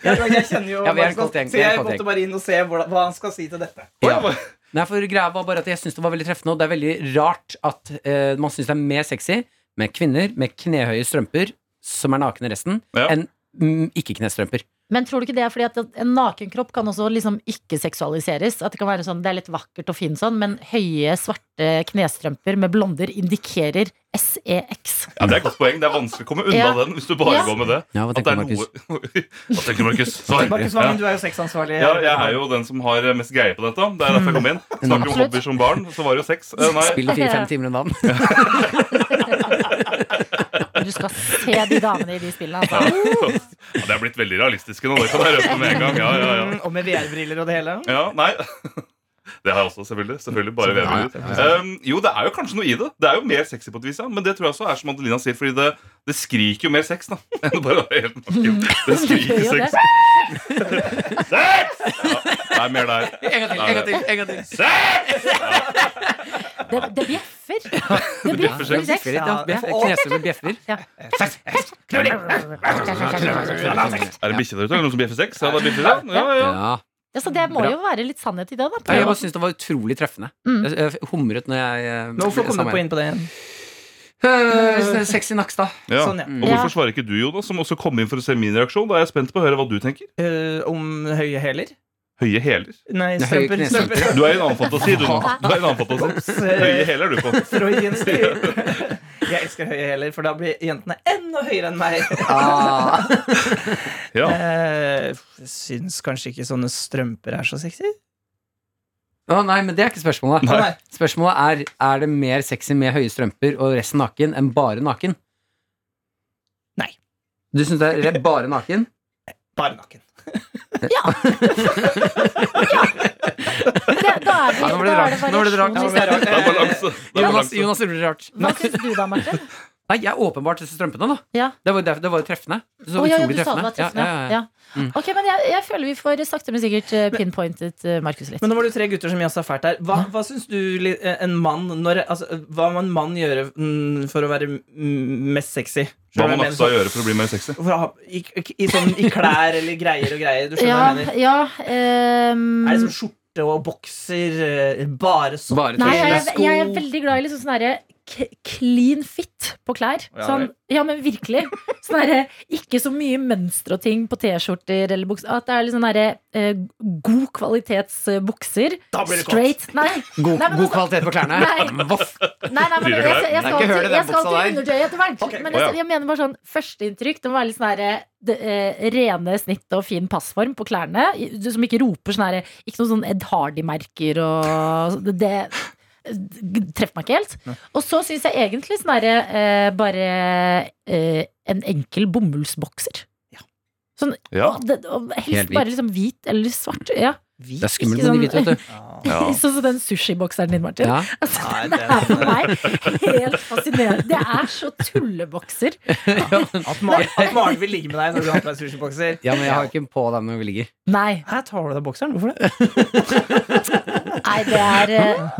[SPEAKER 3] jeg, jeg kjenner jo
[SPEAKER 4] Ja, vi er en
[SPEAKER 3] Markus
[SPEAKER 4] kort gjeng,
[SPEAKER 3] godt, så
[SPEAKER 4] vi er en
[SPEAKER 3] jeg
[SPEAKER 4] kort
[SPEAKER 3] måtte
[SPEAKER 4] gjeng.
[SPEAKER 3] bare inn og se hvordan, hva han skal si til dette.
[SPEAKER 7] bussen. Å, ja.
[SPEAKER 4] Nei, for greia var bare at jeg syns det var veldig treffende, og det er veldig rart at eh, man syns det er mer sexy med kvinner med knehøye strømper som er nakne resten,
[SPEAKER 7] Ja.
[SPEAKER 4] enn mm, ikke-knestrømper.
[SPEAKER 2] Men tror du ikke det er fordi at en nakenkropp kan også liksom ikke seksualiseres? At det kan være sånn, det er litt vakkert og fint sånn, men høye, svarte knestrømper med blonder indikerer E sex.
[SPEAKER 7] ja, Det er et godt poeng. Det er vanskelig å komme unna
[SPEAKER 2] Ja.
[SPEAKER 7] den hvis du bare
[SPEAKER 2] Ja.
[SPEAKER 7] går med det.
[SPEAKER 4] Ja, hva
[SPEAKER 7] At det
[SPEAKER 4] tenker
[SPEAKER 7] er
[SPEAKER 4] du, Markus?
[SPEAKER 7] noe Hva tenker du, Markus? Svar.
[SPEAKER 3] Markus
[SPEAKER 7] Ja.
[SPEAKER 3] Vangen, du er jo sexansvarlig.
[SPEAKER 7] Ja, jeg er jo den som har mest greie på dette. Det er derfor jeg kom inn.
[SPEAKER 4] Mm.
[SPEAKER 7] Snakker om
[SPEAKER 2] Absolutt.
[SPEAKER 7] hobbyer som barn, så var det jo sex. Eh, Nei,
[SPEAKER 4] Spiller fire-fem timer om dagen.
[SPEAKER 2] Men Du skal se de damene i de spillene.
[SPEAKER 7] Ja.
[SPEAKER 2] Altså.
[SPEAKER 7] Ja, det er blitt veldig realistiske nå. Det kan jeg røpe med en gang. Ja, ja, ja.
[SPEAKER 3] Mm, Og med VR-briller og det hele.
[SPEAKER 7] ja nei [LAUGHS] det har jeg også, selvfølgelig. selvfølgelig bare vever um, Jo, det er jo kanskje noe i det. Det er jo mer sexy på et vis, ja. Men det tror jeg også er som Adelina sier, fordi det, det skriker jo mer sex, da. [LAUGHS] Enn å bare være helt
[SPEAKER 4] Mm.
[SPEAKER 7] naken. Det skriker
[SPEAKER 2] gjør
[SPEAKER 4] [LAUGHS]
[SPEAKER 2] det.
[SPEAKER 7] sex. Sex! Ja, det er mer der.
[SPEAKER 4] [LAUGHS] En gang til, en gang til. en gang til
[SPEAKER 2] Det, det bjeffer. Det
[SPEAKER 7] bjeffer
[SPEAKER 2] bjeffer sex.
[SPEAKER 4] [LAUGHS]
[SPEAKER 7] sex.
[SPEAKER 4] Bjeffer litt, ja. Bjeffer- Knestrømper bjeffer.
[SPEAKER 7] Er det bikkje der ute? Er det noen som bjeffer sex? Ja, det er bikkje der. Ja, ja, ja.
[SPEAKER 4] Ja.
[SPEAKER 10] Ja, så det må jo være litt sannhet i det, da. på
[SPEAKER 4] Nei,
[SPEAKER 10] en
[SPEAKER 4] Jeg bare
[SPEAKER 10] måte.
[SPEAKER 4] syns det var utrolig treffende.
[SPEAKER 10] Mm.
[SPEAKER 4] Jeg, jeg humret når jeg eh,
[SPEAKER 3] Hvorfor kom
[SPEAKER 4] sa
[SPEAKER 3] du
[SPEAKER 4] meg.
[SPEAKER 3] på inn på det igjen?
[SPEAKER 4] Eh, Sexy Nakstad.
[SPEAKER 7] Ja. Mm.
[SPEAKER 3] Sånn, ja.
[SPEAKER 7] Og hvorfor svarer ikke du, Jonas, som også kom inn for å se min reaksjon? Da er jeg spent på å høre hva du tenker.
[SPEAKER 3] Eh, om høye hæler?
[SPEAKER 7] Høye hæler.
[SPEAKER 3] Nei,
[SPEAKER 4] Nei, høye
[SPEAKER 3] strømper.
[SPEAKER 4] knestrømper.
[SPEAKER 3] strømper.
[SPEAKER 7] Du er i en annen fantasi, du nå. Du er i en annen fantasi. Høye hæler er du på.
[SPEAKER 3] Freudians [LAUGHS] teori. Jeg elsker høye hæler, for da blir jentene enda høyere enn meg.
[SPEAKER 4] Ah.
[SPEAKER 7] Ja.
[SPEAKER 3] Eh, syns kanskje ikke sånne strømper er så sexy.
[SPEAKER 4] Å, nei, men det er ikke spørsmålet.
[SPEAKER 3] Nei.
[SPEAKER 4] Spørsmålet er Er det mer sexy med høye strømper og resten naken enn bare naken.
[SPEAKER 3] Nei.
[SPEAKER 4] Du syns det er bare naken?
[SPEAKER 3] Bare naken.
[SPEAKER 2] Det, da er det,
[SPEAKER 4] [LAUGHS] Ja, nå ble det
[SPEAKER 2] da
[SPEAKER 4] rart.
[SPEAKER 2] er det
[SPEAKER 4] Nå ble det rart.
[SPEAKER 2] variasjon i stedet.
[SPEAKER 4] Nå ble det rart.
[SPEAKER 7] Det er balanse. [LAUGHS] Det
[SPEAKER 4] Jonas,
[SPEAKER 7] er balanse.
[SPEAKER 4] Jonas gjorde det rart.
[SPEAKER 2] Hva syns du da, Marte?
[SPEAKER 4] Nei, jeg er åpenbart disse strømpene, da.
[SPEAKER 2] Ja.
[SPEAKER 4] Det var jo derfor- det var jo treffende. Det
[SPEAKER 2] Å,
[SPEAKER 4] var
[SPEAKER 2] ja, ja,
[SPEAKER 4] utrolig
[SPEAKER 2] du sa det var treffende.
[SPEAKER 4] Ja, ja, ja. Mm.
[SPEAKER 2] Ja. Ok, men jeg, jeg føler vi får sakte, men sikkert eh, pinpointet eh, Markus litt.
[SPEAKER 3] Men nå var det tre gutter som jazza fælt her. Hva, hva syns du li- eh, en mann når, altså, Hva må en mann gjøre mm, for å være mm, mest sexy?
[SPEAKER 7] Hva
[SPEAKER 3] Skjønner du
[SPEAKER 7] må
[SPEAKER 3] jeg
[SPEAKER 7] Nakstad
[SPEAKER 3] mener?
[SPEAKER 7] gjøre for å bli mer sexy?
[SPEAKER 3] For å ha, i, i, i, sånn, I klær eller greier og greier. Du skjønner
[SPEAKER 2] Ja,
[SPEAKER 3] hva jeg mener?
[SPEAKER 2] ja ehm,
[SPEAKER 3] Er det sånn skjorte og bokser, eh, bare sokker
[SPEAKER 4] Bare
[SPEAKER 2] Nei, jeg,
[SPEAKER 4] treffende.
[SPEAKER 2] er- jeg er veldig glad i liksom sånn herre k- clean fit på klær.
[SPEAKER 7] Ja,
[SPEAKER 2] Sånn, ja, men virkelig. Sånn herre ikke så mye mønster og ting på T-skjorter eller bukser. At det er litt sånn herre eh, god kvalitets eh, bukser.
[SPEAKER 3] Da blir det kort.
[SPEAKER 2] Straight. Nei.
[SPEAKER 4] God,
[SPEAKER 2] Nei, men
[SPEAKER 4] god
[SPEAKER 2] altså-
[SPEAKER 4] kvalitet på klærne.
[SPEAKER 2] [LAUGHS] Nei.
[SPEAKER 4] Voff.
[SPEAKER 2] Nei, nei, men
[SPEAKER 7] Blir
[SPEAKER 2] jeg, jeg, jeg
[SPEAKER 4] Det
[SPEAKER 7] det klart?
[SPEAKER 4] er ikke
[SPEAKER 2] skal
[SPEAKER 4] høl i
[SPEAKER 2] til,
[SPEAKER 4] den
[SPEAKER 2] jeg skal
[SPEAKER 4] buksa
[SPEAKER 2] til
[SPEAKER 4] der.
[SPEAKER 2] undertøyet etter hvert. Men
[SPEAKER 7] Å,
[SPEAKER 2] jeg,
[SPEAKER 7] ja.
[SPEAKER 2] jeg mener bare sånn førsteinntrykk. Det må være litt sånn herre det, eh, rene snitt og fin passform på klærne. i- du Som ikke roper sånn herre Ikke noen sånn Ed Hardy-merker og det- Det g- treffer meg ikke helt. Og så syns jeg egentlig sånn herre eh, bare eh, en enkel bomullsbokser.
[SPEAKER 7] Ja.
[SPEAKER 2] Og det, og helst
[SPEAKER 4] Helt hvit.
[SPEAKER 2] bare liksom hvit eller svart. Ja.
[SPEAKER 4] Det er skummelt
[SPEAKER 2] Ikke
[SPEAKER 4] med de
[SPEAKER 2] sånn- [LAUGHS]
[SPEAKER 4] hvite, vet du.
[SPEAKER 7] Ja.
[SPEAKER 2] Sånn som den sushibokseren din, Martin.
[SPEAKER 4] Ja.
[SPEAKER 2] Altså,
[SPEAKER 3] Nei,
[SPEAKER 2] det
[SPEAKER 3] den-
[SPEAKER 2] er for meg helt fascinerende. Det er så tullebokser.
[SPEAKER 3] At Maren, at Maren vil ligge med deg når du har på deg sushibokser.
[SPEAKER 4] ja, men jeg har ikke på dem når vi ligger.
[SPEAKER 2] Nei,
[SPEAKER 3] Her tar du av deg bokseren. Hvorfor det?
[SPEAKER 2] nei det er eh,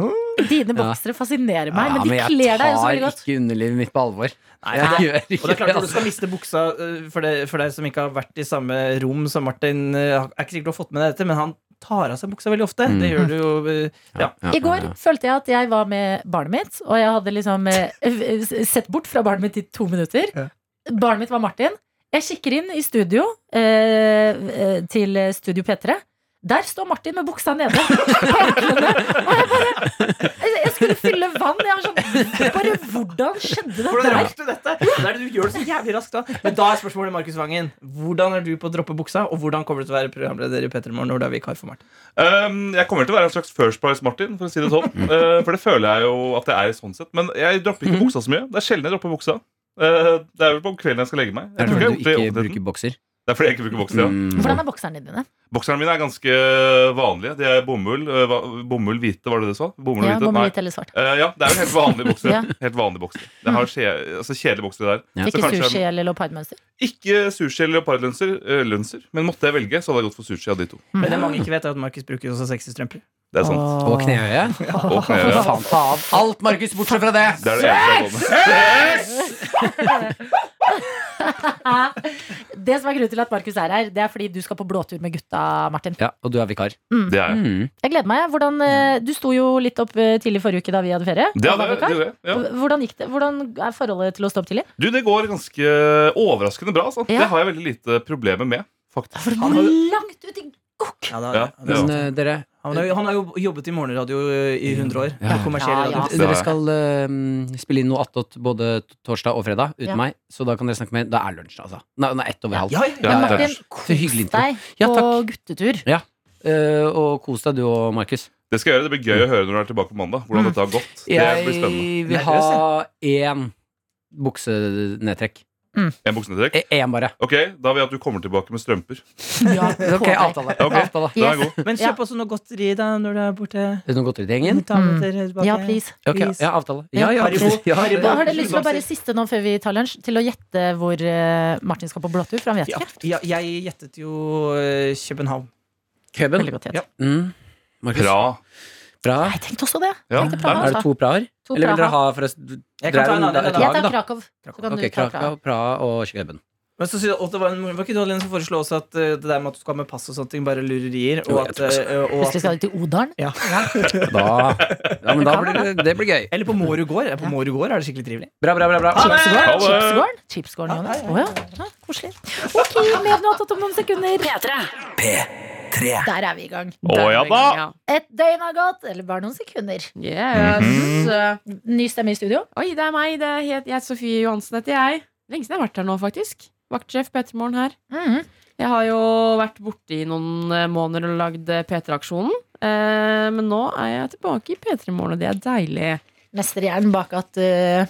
[SPEAKER 2] Dine boksere fascinerer meg, men de
[SPEAKER 4] jeg
[SPEAKER 2] kler deg jo så
[SPEAKER 4] tar
[SPEAKER 2] veldig godt.
[SPEAKER 4] ikke underlivet mitt på alvor.
[SPEAKER 3] Nei,
[SPEAKER 4] Jeg
[SPEAKER 3] det-
[SPEAKER 4] gjør
[SPEAKER 3] Og det er
[SPEAKER 4] ikke
[SPEAKER 3] klart Når du
[SPEAKER 4] det.
[SPEAKER 3] skal miste buksa eh, for deg, for deg som ikke har vært i samme rom som Martin eh, Er ikke sikkert du har fått med deg dette, men han tar av seg buksa veldig ofte. Det
[SPEAKER 2] Mm.
[SPEAKER 3] gjør du jo eh, ja.
[SPEAKER 4] altså.
[SPEAKER 2] I går følte jeg at jeg var med barnet mitt, og jeg hadde liksom eh, eh, sett bort fra barnet mitt i to minutter.
[SPEAKER 3] Ja.
[SPEAKER 2] Barnet mitt var Martin. Jeg kikker inn i studio eh, eh, til Studio P3. Der står Martin med buksa nede. på anklene, Og jeg bare jeg- Jeg skulle fylle vann. Jeg var sånn Bare hvordan skjedde det
[SPEAKER 3] Hvordan
[SPEAKER 2] der?
[SPEAKER 3] rakk du dette? Det er det du gjør det så jævlig raskt da. Men da er spørsmålet, Markus Vangen, hvordan er du på å droppe buksa, og hvordan kommer du til å være programleder i P3 Morgen når du er vikar for Martin?
[SPEAKER 7] Ehm, jeg kommer til å være en slags First Price-Martin, for å si
[SPEAKER 4] [LAUGHS]
[SPEAKER 7] det sånn. Eh, for det føler jeg jo at jeg er sånn sett. Men jeg dropper
[SPEAKER 4] Mhm.
[SPEAKER 7] ikke buksa så mye. Det er sjelden jeg dropper buksa. Eh, det er vel på kvelden jeg skal legge meg.
[SPEAKER 4] Er det
[SPEAKER 7] Jeg tror
[SPEAKER 4] fordi du
[SPEAKER 7] ikke
[SPEAKER 4] ikke
[SPEAKER 7] jeg har gjort det i offentligheten.
[SPEAKER 4] bruker bokser?
[SPEAKER 7] Det er fordi jeg ikke bruker bokser. Ja.
[SPEAKER 4] Mm.
[SPEAKER 2] Hvordan er bokserne dine?
[SPEAKER 7] Bokserne mine er ganske vanlige. De er bomull. eh, hva- bomull hvite, var det det du sa? Bomull
[SPEAKER 2] Ja,
[SPEAKER 7] og hvite?
[SPEAKER 2] Bomull
[SPEAKER 7] Nei.
[SPEAKER 2] hvit eller svart.
[SPEAKER 7] Eh, ja, det er jo helt vanlige boksere.
[SPEAKER 2] [LAUGHS] Ja.
[SPEAKER 7] Helt vanlige boksere. Jeg har skje, altså, kjedelige boksere der.
[SPEAKER 4] Ja.
[SPEAKER 7] Så
[SPEAKER 2] Ikke
[SPEAKER 7] kanskje-
[SPEAKER 2] sushi eller leopardmønster?
[SPEAKER 7] Ikke sushi eller leopardlønser, eh, lønser. men måtte jeg velge, så hadde jeg gått for sushi av de to.
[SPEAKER 2] Mm.
[SPEAKER 3] Men det mange ikke vet, er at Markus bruker jo også sexy strømper.
[SPEAKER 7] Det er sant.
[SPEAKER 4] Og knehøye?
[SPEAKER 7] Og knærne.
[SPEAKER 4] Faen, ta av alt, Markus, bortsett fra det!
[SPEAKER 7] Det er det eneste jeg går med.
[SPEAKER 2] Eh, Det som er grunnen til at Markus er her, det er fordi du skal på blåtur med gutta, Martin.
[SPEAKER 4] Ja, og du er vikar.
[SPEAKER 7] Det er jeg.
[SPEAKER 4] Mm.
[SPEAKER 2] Jeg gleder meg. Hvordan, eh, du sto jo litt opp eh, tidlig forrige uke da vi hadde ferie.
[SPEAKER 7] Det,
[SPEAKER 2] Og da
[SPEAKER 7] er det,
[SPEAKER 2] vi
[SPEAKER 7] det,
[SPEAKER 2] var.
[SPEAKER 7] er det, ja.
[SPEAKER 2] H- Hvordan gikk det? Hvordan er forholdet til å stå opp tidlig?
[SPEAKER 7] Du, det går ganske overraskende bra. sant?
[SPEAKER 2] Ja.
[SPEAKER 7] Det har jeg veldig lite problemer med. faktisk.
[SPEAKER 2] For
[SPEAKER 3] Han
[SPEAKER 2] det
[SPEAKER 3] har-
[SPEAKER 2] er langt ut i gokk!
[SPEAKER 3] Ja, da, da-
[SPEAKER 7] Ja, det er
[SPEAKER 4] Men
[SPEAKER 7] sant.
[SPEAKER 4] eh, dere,
[SPEAKER 3] Han, har, jo- han har jo jobbet i morgenradio øh, i 100 år.
[SPEAKER 4] Ja.
[SPEAKER 3] på kommersiell
[SPEAKER 2] Ja,
[SPEAKER 3] radio.
[SPEAKER 2] ja.
[SPEAKER 7] Det har
[SPEAKER 4] dere
[SPEAKER 7] jeg.
[SPEAKER 4] skal eh, spille inn noe attåt både t- torsdag og fredag uten
[SPEAKER 2] Ja.
[SPEAKER 4] meg, så da kan dere snakke med Da er lunsj, altså. Nei, nei ett over halv.
[SPEAKER 3] Ja, ja, ja.
[SPEAKER 7] Ja,
[SPEAKER 2] Men
[SPEAKER 7] det er
[SPEAKER 2] Martin,
[SPEAKER 7] det.
[SPEAKER 4] Så hyggelig
[SPEAKER 2] kos
[SPEAKER 4] intro.
[SPEAKER 2] deg
[SPEAKER 4] Ja,
[SPEAKER 2] på
[SPEAKER 4] takk.
[SPEAKER 2] guttetur.
[SPEAKER 4] Eh, og kos deg, du og Markus.
[SPEAKER 7] Det skal jeg gjøre, det blir gøy å høre når du er tilbake på mandag. hvordan dette har gått. Det blir
[SPEAKER 4] Jeg
[SPEAKER 7] spennende.
[SPEAKER 4] vil
[SPEAKER 3] Nervøs,
[SPEAKER 4] ha én buksenedtrekk.
[SPEAKER 7] En buksenedtrekk?
[SPEAKER 4] Eh, Én bare.
[SPEAKER 7] Ok, Da vil jeg at du kommer tilbake med strømper.
[SPEAKER 2] [LAUGHS] Ja, på
[SPEAKER 4] [LAUGHS] Ok,
[SPEAKER 2] deg.
[SPEAKER 4] avtale.
[SPEAKER 7] Ok.
[SPEAKER 4] avtale.
[SPEAKER 7] Den er god.
[SPEAKER 3] Men
[SPEAKER 2] Ja.
[SPEAKER 3] kjøp også noe godteri da når du er borte.
[SPEAKER 4] Er det noen godteri til gjengen?
[SPEAKER 3] Ta med dere tilbake.
[SPEAKER 2] Mm. Ja, please.
[SPEAKER 4] Ok,
[SPEAKER 3] Please.
[SPEAKER 4] ja, avtale.
[SPEAKER 2] Ja,
[SPEAKER 4] Ja, ja,
[SPEAKER 3] Haribo.
[SPEAKER 4] ja,
[SPEAKER 3] Haribo.
[SPEAKER 2] Da har dere lyst til å bare siste nå før vi tar lunsj, til å gjette hvor eh, Martin skal på blåtur? For han vet
[SPEAKER 3] Ja,
[SPEAKER 2] ikke.
[SPEAKER 3] ja, jeg gjettet jo eh, København.
[SPEAKER 4] Køben.
[SPEAKER 2] Veldig godt gjett.
[SPEAKER 3] Ja.
[SPEAKER 4] Mm. Markus.
[SPEAKER 7] Bra.
[SPEAKER 4] Bra.
[SPEAKER 2] Jeg tenkte også det.
[SPEAKER 7] Ja,
[SPEAKER 2] Tenkte Praha,
[SPEAKER 4] Er det
[SPEAKER 2] altså.
[SPEAKER 4] to praer?
[SPEAKER 2] To
[SPEAKER 4] Eller vil dere
[SPEAKER 2] Praha.
[SPEAKER 4] ha for oss
[SPEAKER 3] Jeg kan ta en annen. en
[SPEAKER 4] Det er jo
[SPEAKER 3] annen.
[SPEAKER 2] Jeg
[SPEAKER 4] lag,
[SPEAKER 2] tar
[SPEAKER 4] da?
[SPEAKER 2] Krakow. Så kan
[SPEAKER 4] Ok,
[SPEAKER 2] du ta Praha.
[SPEAKER 4] Krakow, Praha og Køben.
[SPEAKER 3] Men så sier- og det var, en, var ikke du alene som foreslo også at eh, det der med at du skal ha med pass og sånne ting, bare lurerier? Og at, eh, og
[SPEAKER 10] Plutselig
[SPEAKER 3] at
[SPEAKER 10] skal de til Odalen.
[SPEAKER 3] ja.
[SPEAKER 4] Da, ja, men da blir det, det blir gøy.
[SPEAKER 3] Eller på Mårud gård. På Mårud gård er det skikkelig trivelig.
[SPEAKER 4] Bra, bra, bra. bra.
[SPEAKER 7] Ha
[SPEAKER 10] Chipsgården?
[SPEAKER 7] det!
[SPEAKER 10] Chipsgården, Chipsgården Jonas. Å ja. ja.
[SPEAKER 2] Ah,
[SPEAKER 10] Koselig. Ok, mer notat om noen sekunder.
[SPEAKER 6] P3
[SPEAKER 2] Der er vi i gang.
[SPEAKER 7] Å ja da!
[SPEAKER 2] Et døgn har gått, eller bare noen sekunder.
[SPEAKER 9] Yes.
[SPEAKER 7] Mhm. Mm.
[SPEAKER 2] Ny stemme i studio.
[SPEAKER 9] Oi, det er meg. Det er het, jeg heter Sofie Johansen, heter jeg. Lenge siden jeg har vært her nå, faktisk. Vaktsjef Petermorgen her.
[SPEAKER 2] Mm.
[SPEAKER 9] Jeg har jo vært borte i noen eh, måneder og lagd eh, P3-aksjonen. Eh, men nå er jeg tilbake i P3-morgen, og det er deilig.
[SPEAKER 2] Mesterhjernen bak at eh,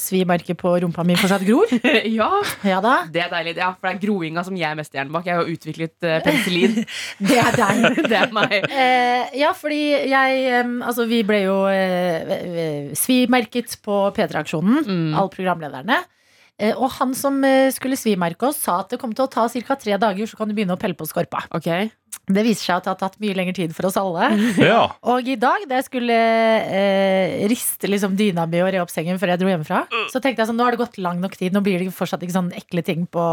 [SPEAKER 2] svimerket på rumpa mi fortsatt gror.
[SPEAKER 9] ja,
[SPEAKER 2] [LAUGHS] Ja da.
[SPEAKER 9] det er deilig. Ja, for det er groinga som jeg er mest gjerne bak. Jeg har jo utviklet eh, penicillin. [LAUGHS]
[SPEAKER 2] Det er deg.
[SPEAKER 9] det er meg.
[SPEAKER 2] Eh, ja, fordi jeg eh, Altså, vi ble jo eh, eh, svimerket på P3-aksjonen,
[SPEAKER 9] Mm.
[SPEAKER 2] alle programlederne. Eh, og han som eh, skulle svimerke oss, sa at det kom til å ta ca. tre dager, så kan du begynne å pelle på skorpa.
[SPEAKER 9] Ok.
[SPEAKER 2] Det viser seg at det har tatt mye lengre tid for oss alle.
[SPEAKER 9] Mm.
[SPEAKER 7] Ja.
[SPEAKER 2] Og i dag, da jeg skulle eh, riste liksom dyna mi og re opp sengen før jeg dro hjemmefra,
[SPEAKER 9] Mm.
[SPEAKER 2] så tenkte jeg sånn, nå har det gått lang nok tid, nå blir det fortsatt ikke sånn ekle ting på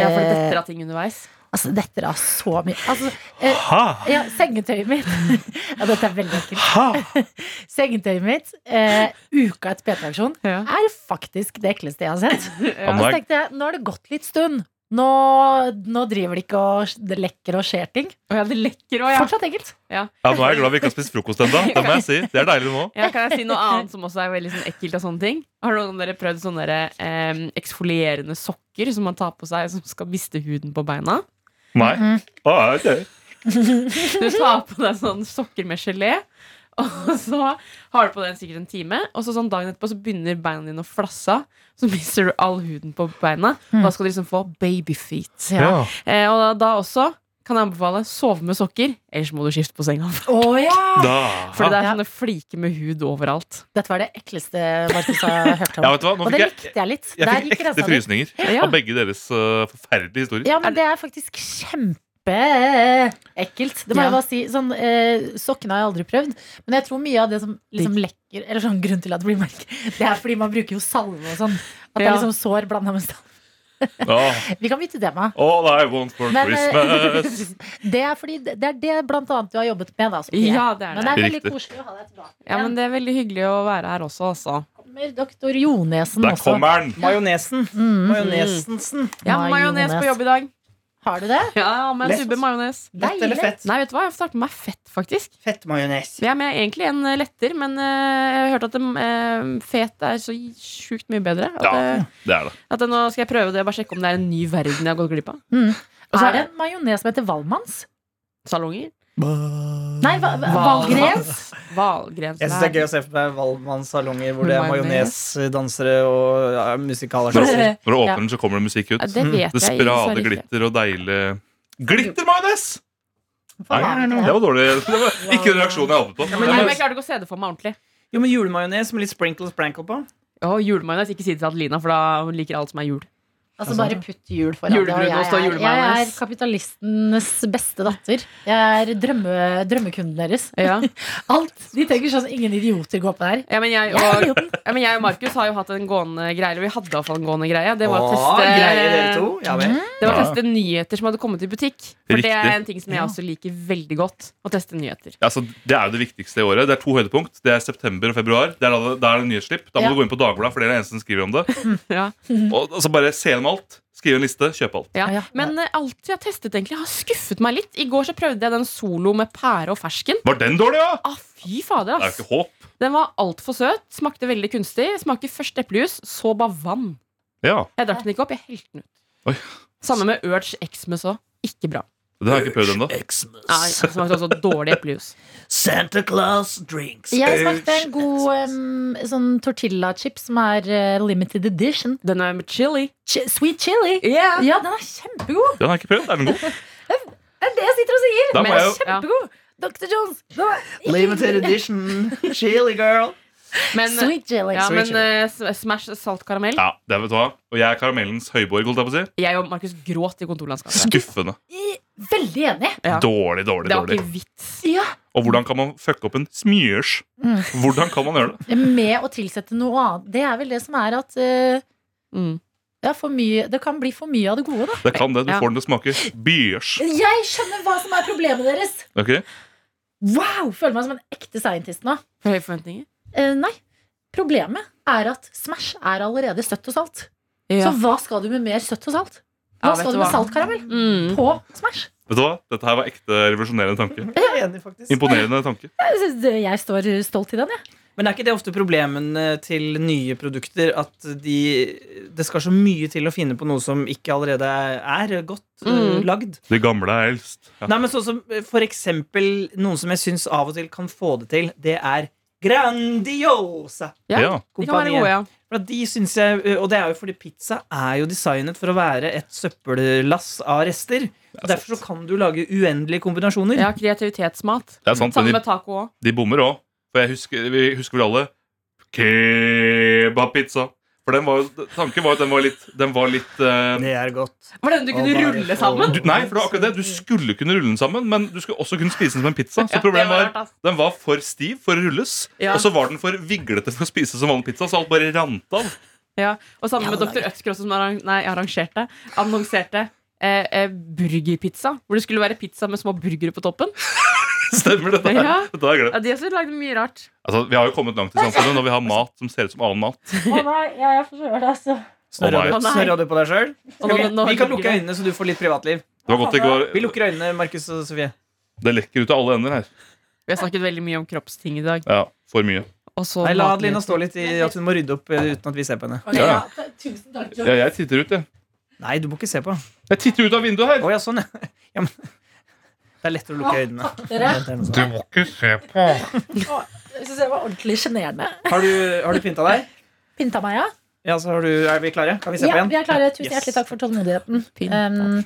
[SPEAKER 9] Ja, for det
[SPEAKER 2] eh,
[SPEAKER 9] detter av ting underveis.
[SPEAKER 2] Altså, dette er så mye Altså, eh,
[SPEAKER 7] Ha!
[SPEAKER 2] ja, sengetøyet mitt [LAUGHS] Ja, dette er veldig ekkelt. [LAUGHS] Sengetøyet mitt, eh, uka etter PT-aksjon,
[SPEAKER 9] Ja.
[SPEAKER 2] er faktisk det ekleste jeg har sett.
[SPEAKER 7] Ja,
[SPEAKER 2] Og
[SPEAKER 7] nå
[SPEAKER 2] så
[SPEAKER 7] er-
[SPEAKER 2] tenkte jeg, nå har det gått litt stund. Nå, nå driver det ikke og det lekker og skjer ting.
[SPEAKER 9] Og ja, det lekker òg, ja.
[SPEAKER 2] Fortsatt ekkelt.
[SPEAKER 7] ja, nå er jeg glad vi ikke har spist frokost ennå. Det må jeg si. Det er deilig nå.
[SPEAKER 9] Ja, kan jeg si noe annet som også er veldig sånn ekkelt av sånne ting? Har noen av dere prøvd sånne der, eh, eksfolierende sokker som man tar på seg som skal miste huden på beina?
[SPEAKER 7] Nei. Å, er det gøy?
[SPEAKER 9] Du tar på deg sånne sokker med gelé, og så har du på den sikkert en time, og så sånn dagen etterpå så begynner beina dine å flasse av, så mister du all huden på beina, og da skal du liksom få babyfeet.
[SPEAKER 7] Ja.
[SPEAKER 9] Eh, og da, da også kan jeg anbefale sove med sokker, ellers må du skifte på senga.
[SPEAKER 2] Å ja!
[SPEAKER 7] Da.
[SPEAKER 9] For det er
[SPEAKER 2] Ja.
[SPEAKER 9] sånne fliker med hud overalt.
[SPEAKER 2] Dette var det ekleste Markus har hørt om.
[SPEAKER 7] Ja, vet du hva? Nå
[SPEAKER 2] og det
[SPEAKER 7] fikk jeg,
[SPEAKER 2] likte jeg litt.
[SPEAKER 7] jeg
[SPEAKER 2] Der
[SPEAKER 7] fikk
[SPEAKER 2] gikk grensa
[SPEAKER 7] ekte
[SPEAKER 2] di.
[SPEAKER 7] frysninger
[SPEAKER 9] Ja.
[SPEAKER 7] av begge deres eh, forferdelige historier.
[SPEAKER 2] Ja, men det er faktisk kjempeekkelt. Det må jeg
[SPEAKER 9] Ja.
[SPEAKER 2] bare si. Sånn, eh, sokkene har jeg aldri prøvd. Men jeg tror mye av det som liksom lekker Eller sånn grunn til at det blir merk, det er fordi man bruker jo salve og sånn. At det er
[SPEAKER 9] Ja.
[SPEAKER 2] liksom sår blanda med salve.
[SPEAKER 7] Åh,
[SPEAKER 2] Vi kan bytte tema.
[SPEAKER 7] All I want for
[SPEAKER 2] Men, eh,
[SPEAKER 7] Christmas.
[SPEAKER 2] [LAUGHS] det er fordi det det er det blant annet du har jobbet med, da. Sofie.
[SPEAKER 9] Ja, det er
[SPEAKER 2] men
[SPEAKER 9] det.
[SPEAKER 2] det er veldig
[SPEAKER 7] Riktig.
[SPEAKER 2] koselig å ha deg tilbake.
[SPEAKER 9] Ja, men det er veldig hyggelig å være her også, altså.
[SPEAKER 2] Kommer doktor Jonesen
[SPEAKER 7] Der
[SPEAKER 2] også.
[SPEAKER 7] kommer den!
[SPEAKER 3] Majonesen.
[SPEAKER 2] Mhm.
[SPEAKER 3] Majonesensen.
[SPEAKER 9] Ja,
[SPEAKER 2] Nei,
[SPEAKER 9] majones på
[SPEAKER 2] majones.
[SPEAKER 9] jobb i dag.
[SPEAKER 2] Har du det?
[SPEAKER 9] Ja, med en
[SPEAKER 3] Lett.
[SPEAKER 9] subbe majones.
[SPEAKER 3] Lett eller fett?
[SPEAKER 9] Nei, vet du hva? Jeg har startet med meg fett, faktisk.
[SPEAKER 3] Fettmajones.
[SPEAKER 9] Jeg er med egentlig en eh, letter, men eh, jeg har hørt at det, eh, fet er så sjukt mye bedre. At,
[SPEAKER 7] Ja.
[SPEAKER 9] eh,
[SPEAKER 7] Det er det.
[SPEAKER 9] at eh, nå skal jeg prøve det og bare sjekke om det er en ny verden jeg har gått glipp av.
[SPEAKER 2] Mm.
[SPEAKER 9] Og så
[SPEAKER 2] Er det en majones som heter Valmanns?
[SPEAKER 9] salonger.
[SPEAKER 2] Nei, hva, hva, Valgrens?
[SPEAKER 9] Valgrens.
[SPEAKER 3] Jeg syns det er gøy å se for meg Waldmann-salonger hvor det er
[SPEAKER 9] Majones.
[SPEAKER 3] majonesdansere og ja,
[SPEAKER 2] [LAUGHS]
[SPEAKER 3] musikalartister.
[SPEAKER 2] Nei,
[SPEAKER 7] Når du åpner den, så kommer det musikk ut.
[SPEAKER 9] Det vet jeg
[SPEAKER 7] Det
[SPEAKER 9] dessverre
[SPEAKER 7] sprader
[SPEAKER 9] ikke.
[SPEAKER 7] glitter og deilig Glittermajones! Nei,
[SPEAKER 2] faen, det er
[SPEAKER 7] det var dårlig. [LAUGHS] Det var ikke den reaksjonen jeg håpet på.
[SPEAKER 9] Nei, men jeg klarte ikke å se det for meg ordentlig.
[SPEAKER 3] Jo, men Julemajones med litt sprinkle og sprankle på.
[SPEAKER 9] Å, julemajones. Ikke si det til Adelina, for da hun liker alt som er jul.
[SPEAKER 2] Altså bare putt jul foran det, og
[SPEAKER 9] Julebrun, og så
[SPEAKER 2] jeg, er, jeg er
[SPEAKER 9] julemajones.
[SPEAKER 2] kapitalistenes beste datter. Jeg er drømme, drømmekunden deres.
[SPEAKER 9] Ja.
[SPEAKER 2] Alt, De tenker sånn ingen idioter går på der.
[SPEAKER 9] [LAUGHS] Ja, men jeg
[SPEAKER 2] Jeg er
[SPEAKER 9] og,
[SPEAKER 2] idioten.
[SPEAKER 9] ja, men jeg og Markus har jo hatt en gående greie. Eller vi hadde iallfall en gående greie. Det var å
[SPEAKER 3] Åh,
[SPEAKER 9] teste Mhm.
[SPEAKER 3] greier dere to. Ja vel.
[SPEAKER 9] Det var å
[SPEAKER 7] Ja.
[SPEAKER 9] teste nyheter som hadde kommet i butikk. For det er
[SPEAKER 7] Riktig.
[SPEAKER 9] en ting som jeg også liker veldig godt. Å teste nyheter.
[SPEAKER 7] Ja, så det er jo det viktigste i året. Det er to høydepunkt. Det er september og februar. Det er da, da er det nyhetsslipp. Da
[SPEAKER 2] Ja.
[SPEAKER 7] må du gå inn på Dagbladet, for det er det eneste som skriver om det.
[SPEAKER 9] [LAUGHS] Ja.
[SPEAKER 7] Og, og så bare se gjennom alt. Skrive en liste, kjøpe alt.
[SPEAKER 9] Ja.
[SPEAKER 2] Ja.
[SPEAKER 9] Men eh, alt jeg har testet, egentlig har skuffet meg litt. I går så prøvde jeg den solo med pære og fersken.
[SPEAKER 7] Var den dårlig, ja?
[SPEAKER 9] Ah, fy fader,
[SPEAKER 7] Det er jo
[SPEAKER 9] ass.
[SPEAKER 7] ikke håp.
[SPEAKER 9] Den var altfor søt. Smakte veldig kunstig. Smaker først eplejus, så bare vann.
[SPEAKER 7] Ja,
[SPEAKER 9] Jeg drakk den ikke opp, jeg helte den ut.
[SPEAKER 7] Oi.
[SPEAKER 9] Samme med Urge Xmas òg. Ikke bra.
[SPEAKER 7] Den har jeg ikke prøvd ennå.
[SPEAKER 9] Nei, det smakte også dårlig eplejus.
[SPEAKER 6] Santa Claus drinks
[SPEAKER 7] Eh,
[SPEAKER 2] Jeg smakte en god em, sånn tortillachips som er eh, limited edition.
[SPEAKER 9] Den er med chili.
[SPEAKER 2] Ch sweet chili.
[SPEAKER 9] Yeah.
[SPEAKER 2] Ja, den er kjempegod!
[SPEAKER 7] Den har jeg ikke prøvd. Er den god?
[SPEAKER 2] Det er det jeg sitter og sier!
[SPEAKER 7] Da må
[SPEAKER 2] Den er
[SPEAKER 7] jeg
[SPEAKER 9] jo- Ja.
[SPEAKER 2] kjempegod! Dr. Jones. den er ikke-
[SPEAKER 3] Limited edition. Chili girl.
[SPEAKER 9] Men,
[SPEAKER 2] Sweet jelly.
[SPEAKER 9] ja,
[SPEAKER 3] Sweet
[SPEAKER 9] men eh, s- Smash salt karamell.
[SPEAKER 7] Ja, det er, vet du hva. Og jeg er karamellens høyborg, holdt jeg på å si.
[SPEAKER 9] Jeg og Markus gråt i kontorlandskapet.
[SPEAKER 7] Skuffende.
[SPEAKER 2] I- Veldig enig.
[SPEAKER 9] Ja.
[SPEAKER 7] Dårlig, dårlig,
[SPEAKER 9] Det var
[SPEAKER 7] dårlig.
[SPEAKER 9] ikke vits. Mm.
[SPEAKER 2] Ja.
[SPEAKER 7] Og hvordan kan man fucke opp en smyers? Hvordan kan man gjøre det?
[SPEAKER 2] Med å tilsette noe annet. Det er vel det som er at eh,
[SPEAKER 9] Mm.
[SPEAKER 2] ja, Det, er for mye, det kan bli for mye av det gode, da.
[SPEAKER 7] Det kan det. Du
[SPEAKER 9] Ja.
[SPEAKER 7] får den til å smake byers.
[SPEAKER 2] Jeg skjønner hva som er problemet deres!
[SPEAKER 7] Ok?
[SPEAKER 2] Wow! Føler meg som en ekte scientist nå.
[SPEAKER 9] For høye forventninger.
[SPEAKER 2] Eh, nei. Problemet er at Smash er allerede søtt og salt. Så hva skal du med mer søtt og salt? Hva
[SPEAKER 9] Ja, vet
[SPEAKER 2] skal du
[SPEAKER 9] du
[SPEAKER 2] med
[SPEAKER 9] hva?
[SPEAKER 2] saltkaramell
[SPEAKER 9] Mm.
[SPEAKER 2] på Smash?
[SPEAKER 7] Vet du hva? Dette her var ekte revolusjonerende
[SPEAKER 9] eh,
[SPEAKER 7] tanke.
[SPEAKER 3] Jeg er enig, faktisk.
[SPEAKER 7] Imponerende tanke.
[SPEAKER 2] Jeg synes det- Jeg står stolt i den, jeg.
[SPEAKER 3] Men er ikke det ofte problemene til nye produkter? At de, det skal så mye til å finne på noe som ikke allerede er godt eh,
[SPEAKER 9] Mm.
[SPEAKER 3] lagd?
[SPEAKER 7] De gamle er eldst. Ja.
[SPEAKER 3] Nei, men sånn som eh, for eksempel noen som jeg syns av og til kan få det til, det er Grandiosa.
[SPEAKER 9] Ja.
[SPEAKER 7] Ja.
[SPEAKER 9] De kan være gode, ja.
[SPEAKER 3] For at de synes jeg, eh, Og det er jo fordi pizza er jo designet for å være et søppellass av rester. Og derfor så kan du lage uendelige kombinasjoner.
[SPEAKER 9] ja. Kreativitetsmat.
[SPEAKER 7] Det er sant,
[SPEAKER 9] Sammen
[SPEAKER 7] men
[SPEAKER 9] med
[SPEAKER 7] de,
[SPEAKER 9] taco òg.
[SPEAKER 7] de bommer òg. For jeg husker, vi husker vel alle kebabpizza. For den var, jo- tanken var at den var litt, den var litt eh,
[SPEAKER 3] Det er godt.
[SPEAKER 9] Var den du kunne
[SPEAKER 3] Å, bare
[SPEAKER 9] rulle
[SPEAKER 3] få-
[SPEAKER 9] sammen?
[SPEAKER 7] du, Nei, for det var akkurat det. Du skulle kunne rulle den sammen, men du skulle også kunne spise den som en pizza.
[SPEAKER 9] Ja,
[SPEAKER 7] Så
[SPEAKER 9] det
[SPEAKER 7] problemet
[SPEAKER 9] var rart,
[SPEAKER 7] var
[SPEAKER 9] ass.
[SPEAKER 7] den var for stiv for å rulles,
[SPEAKER 9] Ja.
[SPEAKER 7] og så var den for viglete for å spise som vanlig pizza, så alt bare rant av. [LAUGHS]
[SPEAKER 9] Ja. Og sammen med Dr. Ødsker også, som arran nei, arrangerte, annonserte eh, eh, burgerpizza. Hvor det skulle være pizza med små burgere på toppen.
[SPEAKER 7] Stemmer dette her?
[SPEAKER 9] Ja.
[SPEAKER 7] Dette er greit.
[SPEAKER 9] Ja, de også lagde mye rart.
[SPEAKER 7] Altså, vi har jo kommet langt i samfunnet når vi har mat som ser ut som annen mat.
[SPEAKER 2] Å nei, jeg er forkjøla, altså.
[SPEAKER 7] Å, nei.
[SPEAKER 3] Snørra
[SPEAKER 9] Å,
[SPEAKER 3] du,
[SPEAKER 9] nei.
[SPEAKER 3] snørra du på deg sjøl?
[SPEAKER 9] Og nå- nå-
[SPEAKER 3] Vi kan lukke øynene, så du får litt privatliv.
[SPEAKER 7] Det var godt det
[SPEAKER 3] Vi
[SPEAKER 7] ikke var
[SPEAKER 3] lukker øynene, Markus og Sofie.
[SPEAKER 7] Det lekker ut av alle ender her.
[SPEAKER 9] Vi har snakket veldig mye om kroppsting i dag.
[SPEAKER 7] Ja, for mye.
[SPEAKER 9] Og så
[SPEAKER 3] Nei, La
[SPEAKER 9] matnyheter.
[SPEAKER 3] Adelina stå litt i at hun må rydde opp eh, uten at vi ser på henne.
[SPEAKER 7] Ja, ja.
[SPEAKER 2] Tusen takk,
[SPEAKER 7] Ja, jeg titter ut, jeg.
[SPEAKER 3] Nei, du må ikke se på. Å
[SPEAKER 7] Jeg titter ut av vinduet her!
[SPEAKER 3] ja, sånn, ja. [LAUGHS] ja men. Det er lettere å lukke øynene.
[SPEAKER 2] dere.
[SPEAKER 3] Det er noe sånt.
[SPEAKER 7] må ikke se på.
[SPEAKER 2] Jeg syns jeg var ordentlig sjenerende.
[SPEAKER 3] Har du, har du pynta deg?
[SPEAKER 2] Pynta meg, ja.
[SPEAKER 3] Ja, så har du, Er vi klare? Kan vi se på
[SPEAKER 2] Ja,
[SPEAKER 3] igjen?
[SPEAKER 2] vi er klare. Tusen
[SPEAKER 3] Yes.
[SPEAKER 2] hjertelig takk for tålmodigheten. Um,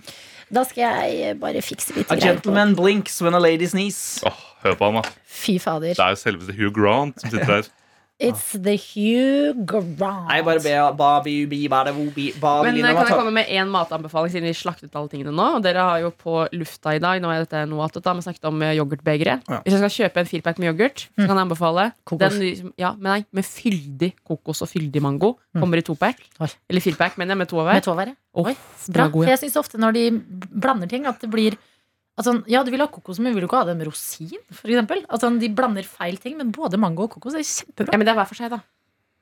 [SPEAKER 2] da skal jeg bare fikse litt
[SPEAKER 3] A
[SPEAKER 2] greier. på-
[SPEAKER 3] gentleman blinks when a lady sneezes.
[SPEAKER 7] Åh, hør på han, da.
[SPEAKER 2] Fy fader.
[SPEAKER 7] Det er jo selveste Hugh Grant som sitter her.
[SPEAKER 2] It's the Hugh Grant.
[SPEAKER 3] Nei, bare be Babi, ubi, bada, wobi, babi,
[SPEAKER 9] Men eh,
[SPEAKER 3] lina,
[SPEAKER 9] kan jeg
[SPEAKER 3] mata.
[SPEAKER 9] komme med én matanbefaling, siden vi slaktet alle tingene nå? Og dere har jo på lufta i dag nå er dette noe attåt, da, men snakket om eh, yoghurtbegre.
[SPEAKER 3] Ja.
[SPEAKER 9] Hvis jeg skal kjøpe en firpack med yoghurt, så kan jeg anbefale
[SPEAKER 2] Mm. Kokos.
[SPEAKER 9] den som- ja, men nei, med fyldig kokos og fyldig mango. Kommer i topack.
[SPEAKER 2] Mm. Oi.
[SPEAKER 9] Eller firpack, mener jeg, med to av
[SPEAKER 2] Med
[SPEAKER 9] hver.
[SPEAKER 2] tå, være.
[SPEAKER 9] Åh,
[SPEAKER 2] Oi,
[SPEAKER 9] den
[SPEAKER 2] bra.
[SPEAKER 9] er god,
[SPEAKER 2] For
[SPEAKER 9] ja.
[SPEAKER 2] jeg syns ofte når de blander ting, at det blir at sånn, ja, du vil ha kokos, men vil du ikke ha det med rosin? For eksempel? at sånn, de blander feil ting, men både mango og kokos er kjempebra.
[SPEAKER 9] Ja, men det er hver for seg, da.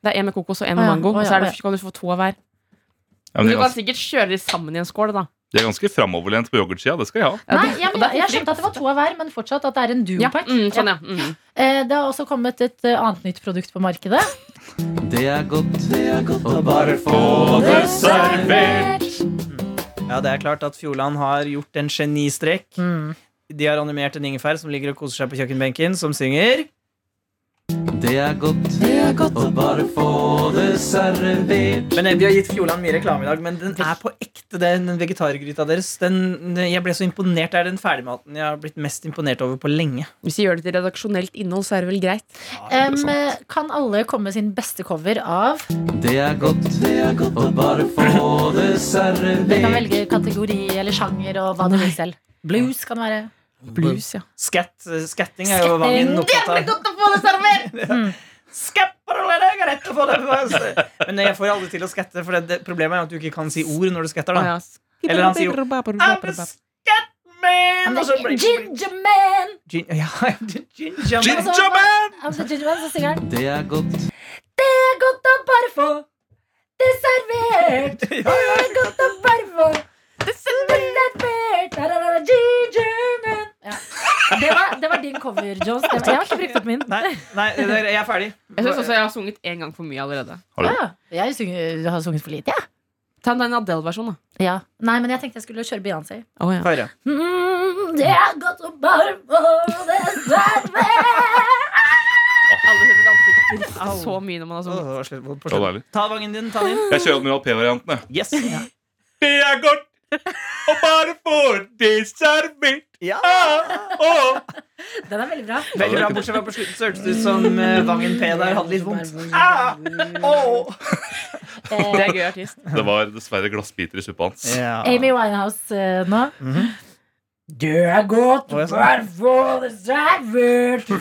[SPEAKER 9] Det er én med kokos og én
[SPEAKER 2] Å
[SPEAKER 9] med
[SPEAKER 2] ja,
[SPEAKER 9] mango.
[SPEAKER 2] å
[SPEAKER 9] Og
[SPEAKER 2] ja,
[SPEAKER 9] så er
[SPEAKER 2] å
[SPEAKER 9] det,
[SPEAKER 2] ja.
[SPEAKER 9] kan du få to av hver.
[SPEAKER 7] Ja,
[SPEAKER 9] Men
[SPEAKER 7] men de,
[SPEAKER 9] du
[SPEAKER 7] er
[SPEAKER 9] kan
[SPEAKER 2] altså-
[SPEAKER 7] ganske,
[SPEAKER 9] sikkert kjøre de sammen i en skål, da.
[SPEAKER 7] de er ganske framoverlent på yoghurtsida. Det skal jeg ha.
[SPEAKER 9] Ja,
[SPEAKER 2] Nei,
[SPEAKER 9] det-
[SPEAKER 2] ja,
[SPEAKER 9] og
[SPEAKER 2] men
[SPEAKER 9] det
[SPEAKER 2] jeg,
[SPEAKER 9] er
[SPEAKER 2] jeg
[SPEAKER 9] helt
[SPEAKER 2] skjønte at det var to av hver, men fortsatt at det er en
[SPEAKER 9] Ja,
[SPEAKER 2] duo-pack.
[SPEAKER 9] mm, sånn, ja. Mm.
[SPEAKER 2] Eh, Det har også kommet et eh, annet nytt produkt på markedet.
[SPEAKER 4] Det er godt, det er godt å bare få
[SPEAKER 3] Ja, det er klart at Fjordland har gjort en genistrek.
[SPEAKER 2] Mm.
[SPEAKER 3] De har animert en ingefær som ligger og koser seg på kjøkkenbenken, som synger
[SPEAKER 4] Det er godt, det er godt å bare få det servert.
[SPEAKER 3] Men eh, De har gitt Fjordland mye reklame i dag, men den er på ekte, den vegetargryta deres. Den, jeg ble så imponert. Det er den ferdigmaten jeg har blitt mest imponert over på lenge.
[SPEAKER 9] Hvis vi gjør det til redaksjonelt innhold, så er det vel greit.
[SPEAKER 2] Em, eh, kan alle komme med sin beste cover av
[SPEAKER 4] Det er godt, det er godt å bare få det
[SPEAKER 2] Dere kan
[SPEAKER 4] servert.
[SPEAKER 2] velge kategori eller sjanger og hva dere vil selv. Blues kan det være.
[SPEAKER 9] Blues, ja.
[SPEAKER 3] Skatt, eh, skatting er jo hva min opptatt av.
[SPEAKER 2] godt å få det
[SPEAKER 3] [LAUGHS]
[SPEAKER 2] servert!
[SPEAKER 3] Men jeg får aldri til å skatte, for det, det, problemet er jo at du ikke kan si ord når du skatter.
[SPEAKER 9] Å,
[SPEAKER 3] da
[SPEAKER 9] ja.
[SPEAKER 3] Eller han sier jo, I'm a scat man, og så blir det-
[SPEAKER 2] Ginger man!
[SPEAKER 3] Gin- ja, [LAUGHS] ginger man.
[SPEAKER 2] Altså,
[SPEAKER 7] Ginger man!
[SPEAKER 2] altså, Ginger man, så synger han
[SPEAKER 4] Det er godt,
[SPEAKER 2] Det er godt å bare få det
[SPEAKER 3] [LAUGHS]
[SPEAKER 2] servert. Det er godt å bare få det servert. Da, da, da, da, ginger man. Ja. Det, var, det var din cover, Jones. Det var, jeg har ikke brukt opp min.
[SPEAKER 3] Nei, nei, det der- jeg er ferdig.
[SPEAKER 9] Jeg synes også jeg har sunget én gang for mye allerede.
[SPEAKER 2] Ja, jeg synger, har sunget for lite, jeg.
[SPEAKER 9] Ta en Adele-versjon, da.
[SPEAKER 2] Ja. Nei, men jeg tenkte jeg skulle kjøre Beyoncé.
[SPEAKER 9] Oh, ja.
[SPEAKER 3] Få høre.
[SPEAKER 2] Mm, det er godt å bare få det servert.
[SPEAKER 9] Alle setter ansiktet riktig så mye når man har sånn-
[SPEAKER 3] Åh, det
[SPEAKER 9] sunget.
[SPEAKER 3] var slutt på- på
[SPEAKER 7] Det var
[SPEAKER 3] slutt.
[SPEAKER 7] deilig.
[SPEAKER 3] Ta vangen din, ta den inn.
[SPEAKER 7] Jeg kjører den UAP-varianten, jeg.
[SPEAKER 9] [LAUGHS]
[SPEAKER 3] Yes.
[SPEAKER 7] Det er godt å bare få det servert. Ah,
[SPEAKER 3] Ja.
[SPEAKER 7] Åh.
[SPEAKER 2] Den er veldig bra.
[SPEAKER 3] Veldig bra, bortsett fra på slutten så hørtes det ut som eh, Vangen P der hadde litt vondt. Ah! Åh!
[SPEAKER 9] Det er gøy
[SPEAKER 2] Eh,
[SPEAKER 9] artist.
[SPEAKER 7] Det var dessverre glassbiter i suppa hans.
[SPEAKER 2] Amy Winehouse eh, nå. Du er godt,
[SPEAKER 3] Å, jeg sa-
[SPEAKER 2] få det servert.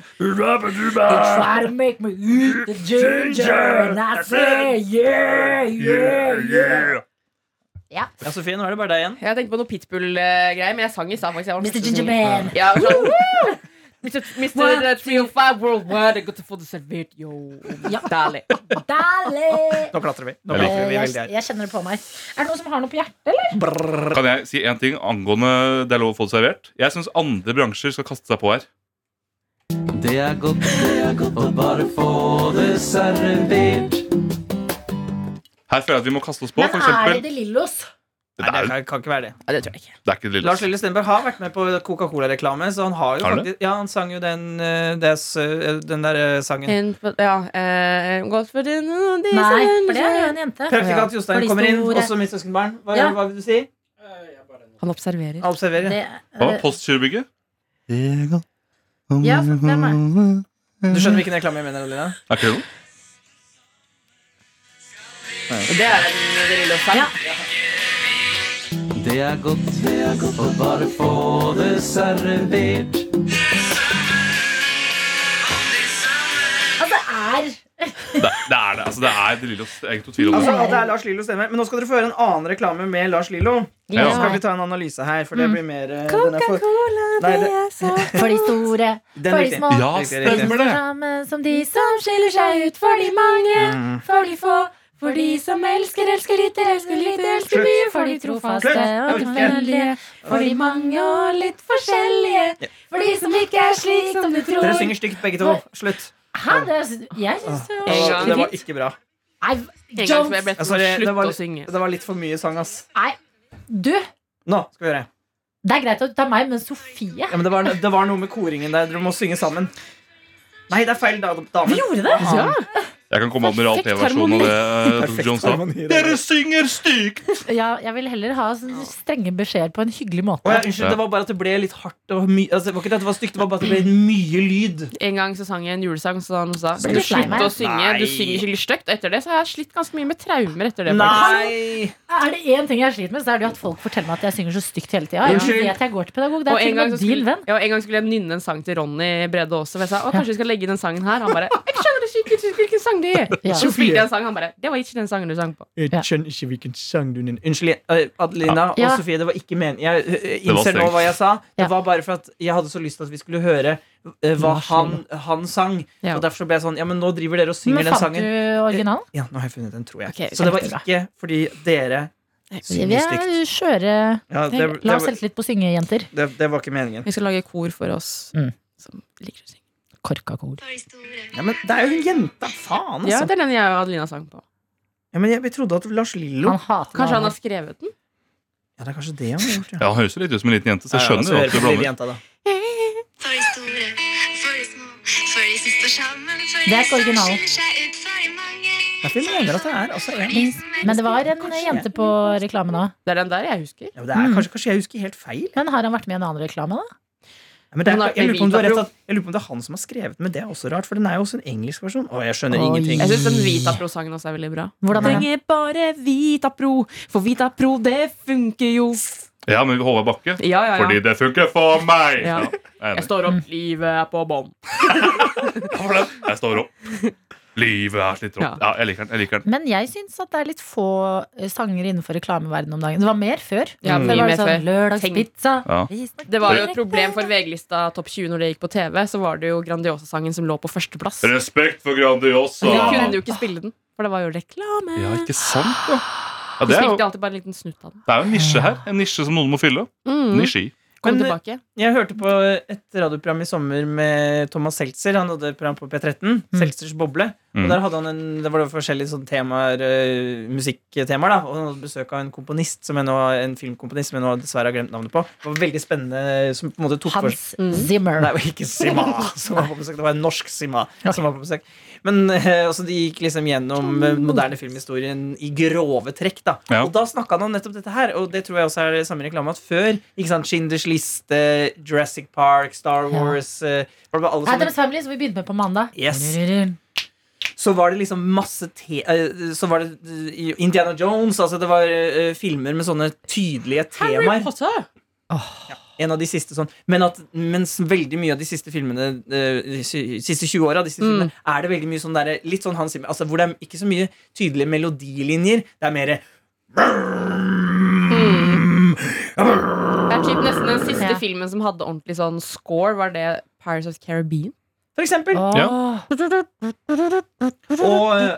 [SPEAKER 2] Try to make me eat the ginger, and I say yeah, yeah, yeah.
[SPEAKER 3] Ja, Sofie, nå er det bare deg igjen.
[SPEAKER 9] Jeg tenkte på noe pitbull-greier, men jeg sang i stad, faktisk. Jeg var
[SPEAKER 2] Mr.
[SPEAKER 9] nesten
[SPEAKER 2] Ginger
[SPEAKER 9] sånn-
[SPEAKER 2] Man.
[SPEAKER 9] Ja, sånn, «Woo!» Mr. Mr. 305 Worldwide, jeg går til å få det servert, yo.
[SPEAKER 2] Ja.
[SPEAKER 9] Deilig.
[SPEAKER 2] Deilig!
[SPEAKER 3] Nå klatrer vi. Nå
[SPEAKER 7] Jeg
[SPEAKER 3] klatrer vi
[SPEAKER 2] Eh,
[SPEAKER 3] veldig
[SPEAKER 2] jeg,
[SPEAKER 3] her.
[SPEAKER 2] jeg kjenner det på meg. Er det noen som har noe på hjertet? eller?
[SPEAKER 7] Kan jeg si en ting angående det er lov å få det servert? Jeg syns andre bransjer skal kaste seg på her.
[SPEAKER 8] Det er godt, det er godt å bare få det servert.
[SPEAKER 7] Her føler jeg at vi må kaste oss på.
[SPEAKER 2] Men
[SPEAKER 7] For
[SPEAKER 2] er det
[SPEAKER 7] eksempel,
[SPEAKER 2] De Lillos?
[SPEAKER 7] det,
[SPEAKER 3] Nei, det
[SPEAKER 7] er,
[SPEAKER 3] kan- kan ikke være det.
[SPEAKER 9] Ja, det tror jeg ikke.
[SPEAKER 7] det er ikke det
[SPEAKER 3] Lars
[SPEAKER 7] lille.
[SPEAKER 3] Lille Stenberg har vært med på Coca-Cola-reklame, så han har jo
[SPEAKER 7] Har han
[SPEAKER 3] faktisk Ja, han sang jo den, eh, des, eh, den der eh, sangen.
[SPEAKER 9] En, ja, eh, godt for din, din
[SPEAKER 2] Nei, for det er sånn- jo en jente.
[SPEAKER 3] Praktikant
[SPEAKER 2] For
[SPEAKER 3] Jostein
[SPEAKER 2] de
[SPEAKER 3] kommer inn,
[SPEAKER 2] store-
[SPEAKER 3] også mitt søskenbarn. Hva,
[SPEAKER 2] Ja.
[SPEAKER 3] hva vil du si?
[SPEAKER 9] Han observerer.
[SPEAKER 3] Han observerer.
[SPEAKER 2] Det,
[SPEAKER 7] Å, Postgirobygget?
[SPEAKER 2] ja, for hvem er
[SPEAKER 3] Du skjønner hvilken reklame jeg mener? Adelina?
[SPEAKER 7] Er ikke det noe?
[SPEAKER 9] Det er en eh, det lille sang.
[SPEAKER 2] Ja.
[SPEAKER 8] Det er godt, det er godt å bare få det servert.
[SPEAKER 2] Altså, er
[SPEAKER 7] Det, det er det. altså Det er det lille. Det er ikke noe tvil om det.
[SPEAKER 3] Altså, det er Lars Lillo stemmer. Men nå skal dere få høre en annen reklame med Lars Lillo.
[SPEAKER 7] Ja.
[SPEAKER 3] Så skal vi ta en analyse her, for det
[SPEAKER 9] Mm.
[SPEAKER 3] blir mer eh, den er for, Nei, det-
[SPEAKER 2] For de store,
[SPEAKER 3] den
[SPEAKER 2] for
[SPEAKER 3] er
[SPEAKER 2] de små.
[SPEAKER 3] riktig.
[SPEAKER 7] Ja,
[SPEAKER 3] Riktig, riktig.
[SPEAKER 7] stemmer det!
[SPEAKER 2] Samme som de som skiller seg ut for de mange,
[SPEAKER 3] Mm.
[SPEAKER 2] for de få. For de som elsker, elsker litt, elsker litt, elsker
[SPEAKER 3] Slutt.
[SPEAKER 2] mye. For de trofaste og
[SPEAKER 3] Slutt.
[SPEAKER 2] tålmodige. For de mange og litt forskjellige. For de som ikke er slik som du tror.
[SPEAKER 3] Dere synger stygt, begge to. Slutt.
[SPEAKER 2] Hæ? Det er, jeg syns det
[SPEAKER 9] En
[SPEAKER 2] var
[SPEAKER 9] gang.
[SPEAKER 3] Det var
[SPEAKER 2] skikkelig
[SPEAKER 3] ikke bra.
[SPEAKER 2] Nei,
[SPEAKER 9] En gang som jeg
[SPEAKER 2] Jones.
[SPEAKER 9] ble
[SPEAKER 3] Ja,
[SPEAKER 9] til å
[SPEAKER 3] sorry, det,
[SPEAKER 9] slutte
[SPEAKER 3] var,
[SPEAKER 9] å synge.
[SPEAKER 3] det var litt for mye sang, ass.
[SPEAKER 2] Du,
[SPEAKER 3] Nå skal vi høre.
[SPEAKER 2] det er greit at du tar meg, men Sofie
[SPEAKER 3] Ja, men det, var, det var noe med koringen der. Dere må synge sammen. Nei, det er feil da-
[SPEAKER 2] Vi
[SPEAKER 3] dame.
[SPEAKER 2] gjorde det!
[SPEAKER 7] Jeg kan komme med Admiral
[SPEAKER 9] Perfekt
[SPEAKER 7] P-versjonen av det. eh, Dr. Jones sa.
[SPEAKER 3] harmoni, det der.
[SPEAKER 7] Dere synger stygt!
[SPEAKER 2] Ja, jeg vil heller ha sånne strenge beskjeder på en hyggelig
[SPEAKER 3] Å,
[SPEAKER 2] måte.
[SPEAKER 3] ja, unnskyld, det var bare at det ble litt hardt. Og my, altså, det var ikke det at det var stygt, det var bare at det ble mye lyd.
[SPEAKER 9] En gang så sang jeg en julesang, så han sa
[SPEAKER 2] Ble du
[SPEAKER 9] du
[SPEAKER 2] lei meg?
[SPEAKER 9] slutte å synge. Du
[SPEAKER 3] Nei.
[SPEAKER 9] synger skikkelig stygt. Og etter det så har jeg slitt ganske mye med traumer. etter det faktisk.
[SPEAKER 3] Nei!
[SPEAKER 2] Er det én ting jeg sliter med, så er det jo at folk forteller meg at jeg synger så stygt hele tida. Jeg
[SPEAKER 3] Unnskyld.
[SPEAKER 2] vet jeg går til pedagog. Det
[SPEAKER 9] Og
[SPEAKER 2] er
[SPEAKER 9] en,
[SPEAKER 2] til og
[SPEAKER 9] gang
[SPEAKER 2] med
[SPEAKER 9] så
[SPEAKER 2] din
[SPEAKER 9] skulle,
[SPEAKER 2] venn.
[SPEAKER 9] ja, og en gang skulle jeg nynne en sang til Ronny Brede også. For jeg sa å, kanskje vi skal legge den sangen her. Han bare jeg skjønner ikke ikke hvilken sang det er.
[SPEAKER 2] Ja.
[SPEAKER 9] Så spilte jeg en sang, han bare det var ikke den sangen du sang på.
[SPEAKER 3] Jeg
[SPEAKER 2] Ja.
[SPEAKER 3] skjønner ikke hvilken sang du nynner. Unnskyld, eh, Adelina og
[SPEAKER 2] Ja.
[SPEAKER 3] Sofie. Det var ikke meningen. Jeg eh,
[SPEAKER 7] var
[SPEAKER 3] innser nå
[SPEAKER 7] strengt.
[SPEAKER 3] hva jeg sa. Det
[SPEAKER 2] Ja.
[SPEAKER 3] var bare for at jeg hadde så lyst til at vi skulle høre eh, hva han, han sang.
[SPEAKER 9] Ja.
[SPEAKER 3] Og derfor så ble jeg sånn Ja, men nå driver dere og synger
[SPEAKER 2] Men
[SPEAKER 3] den
[SPEAKER 2] fant du
[SPEAKER 3] sangen.
[SPEAKER 2] originalen?
[SPEAKER 3] Ja, nå har jeg funnet den, tror jeg.
[SPEAKER 9] Ok,
[SPEAKER 3] så det var
[SPEAKER 9] kjempebra.
[SPEAKER 3] ikke fordi dere
[SPEAKER 2] Vi
[SPEAKER 3] synger
[SPEAKER 2] er
[SPEAKER 3] stygt.
[SPEAKER 2] skjøre.
[SPEAKER 3] Ja, det, det,
[SPEAKER 2] La oss
[SPEAKER 3] var-
[SPEAKER 2] selvtillit på syngejenter.
[SPEAKER 3] det, det var ikke meningen.
[SPEAKER 9] Vi skal lage kor for oss
[SPEAKER 2] Mm.
[SPEAKER 9] som liker å synge.
[SPEAKER 2] Korkakor.
[SPEAKER 3] Ja, men det er jo hun jenta! Faen, altså.
[SPEAKER 9] Ja, det er den jeg og Adelina sang på.
[SPEAKER 3] Ja, men jeg, jeg trodde at Lars Lillo
[SPEAKER 2] Han hater
[SPEAKER 9] Kanskje han har
[SPEAKER 2] navnet.
[SPEAKER 9] skrevet den?
[SPEAKER 3] Ja, det er kanskje det han har gjort, ja.
[SPEAKER 7] Ja, Han høres jo litt ut som en liten jente, så
[SPEAKER 3] Ja,
[SPEAKER 7] jeg
[SPEAKER 3] ja,
[SPEAKER 7] skjønner jo
[SPEAKER 3] hører
[SPEAKER 7] at du
[SPEAKER 3] på lille
[SPEAKER 7] blander.
[SPEAKER 3] jenta, da.
[SPEAKER 11] For de store, for de små, for de som står sammen, for
[SPEAKER 2] Det er
[SPEAKER 11] de
[SPEAKER 2] ikke
[SPEAKER 11] som
[SPEAKER 2] originalen.
[SPEAKER 11] skiller seg ut, for de mange.
[SPEAKER 3] Derfor jeg mener at det er altså en
[SPEAKER 2] Men det var en jente på reklamen òg.
[SPEAKER 9] Det er den der jeg husker.
[SPEAKER 3] ja, men det
[SPEAKER 2] Mm.
[SPEAKER 3] er kanskje, kanskje jeg husker helt feil.
[SPEAKER 2] Men har han vært med i en annen reklame, da?
[SPEAKER 3] Ja, men det er,
[SPEAKER 9] Han har-
[SPEAKER 3] jeg, lurer på om du har rett, at, jeg lurer på om det er han som har skrevet den, men det er også rart, for den er jo også en engelsk versjon. Å, jeg skjønner
[SPEAKER 2] Oi.
[SPEAKER 3] ingenting.
[SPEAKER 9] Jeg syns den Vitapro-sangen også er veldig bra.
[SPEAKER 2] Hvordan er den?
[SPEAKER 9] Trenger bare Vitapro, for Vitapro, det funker jo.
[SPEAKER 7] Ja, men Håvard Bakke.
[SPEAKER 9] Ja, ja, ja.
[SPEAKER 7] Fordi det funker for meg!
[SPEAKER 9] Ja.
[SPEAKER 7] Ja, jeg er
[SPEAKER 9] Jeg
[SPEAKER 7] enig.
[SPEAKER 9] står
[SPEAKER 2] Mm.
[SPEAKER 9] opp, livet er på bånn.
[SPEAKER 7] Ja, for det. Jeg står opp. Livet er slitt rått. Ja, jeg liker den. jeg liker den
[SPEAKER 2] Men jeg syns at det er litt få eh, sanger innenfor reklameverdenen om dagen. Det var mer før.
[SPEAKER 9] Ja,
[SPEAKER 2] det
[SPEAKER 9] mye
[SPEAKER 2] var
[SPEAKER 9] mer
[SPEAKER 2] sånn
[SPEAKER 9] før.
[SPEAKER 2] Lørdagspizza.
[SPEAKER 7] Ja.
[SPEAKER 2] vi snakker
[SPEAKER 9] Det var jo et
[SPEAKER 2] direkte.
[SPEAKER 9] problem for VG-lista Topp 20 når det gikk på TV. Så var det jo Grandiosa-sangen som lå på førsteplass. Vi
[SPEAKER 7] Respekt for Grandiosa!
[SPEAKER 9] kunne jo ikke spille den, for det var jo reklame.
[SPEAKER 7] Ja, ikke sant, da. Ja,
[SPEAKER 9] Vi
[SPEAKER 7] det, er jo,
[SPEAKER 9] spilte alltid bare en liten snutt av den.
[SPEAKER 7] det er jo en nisje her. En nisje som noen må fylle.
[SPEAKER 9] Mm.
[SPEAKER 7] Nisji.
[SPEAKER 9] Kom
[SPEAKER 3] Men- eh,
[SPEAKER 9] tilbake.
[SPEAKER 3] Jeg hørte på et radioprogram i sommer med Thomas Seltzer. Han hadde et program på P13, Seltzers boble.
[SPEAKER 7] Mm.
[SPEAKER 3] Og der hadde han en, det var da forskjellige sånne temaer, eh, musikktemaer. da Og han hadde besøk av en komponist som jeg nå, en filmkomponist som jeg nå dessverre har glemt navnet på. Det var veldig spennende som på en måte tok for
[SPEAKER 2] Hans
[SPEAKER 9] Mm.
[SPEAKER 2] Zimmer.
[SPEAKER 3] [LAUGHS] Nei, det var ikke Sima som var på besøk. Det var en norsk Sima som var på besøk. Men eh, altså, de gikk liksom gjennom eh, moderne filmhistorien i grove trekk. da
[SPEAKER 7] Ja.
[SPEAKER 3] Og da snakka han om nettopp dette her, og det tror jeg også er det samme reklame at før. ikke sant, Schinders liste, Jurassic Park, Star Wars eh, bla, bla, alle
[SPEAKER 2] Adams
[SPEAKER 3] sånne.
[SPEAKER 2] Family, som vi begynte med på mandag.
[SPEAKER 3] Yes. så var det liksom masse te eh, Så var det eh, Indiana Jones. Altså det var eh, filmer med sånne tydelige temaer.
[SPEAKER 9] Potter!
[SPEAKER 3] En av de siste sånn Men at, mens veldig mye av de siste filmene eh, De sy- siste 20 åra
[SPEAKER 9] Mm.
[SPEAKER 3] er det veldig mye sånn derre Litt sånn Hans Zimmer altså, Hvor det er ikke så mye tydelige melodilinjer. Det er mer
[SPEAKER 9] Det er typ nesten den siste
[SPEAKER 2] Ja.
[SPEAKER 9] filmen som hadde ordentlig sånn score, var det Pirates of the Caribbean.
[SPEAKER 3] For eksempel.
[SPEAKER 9] Ah.
[SPEAKER 3] Og,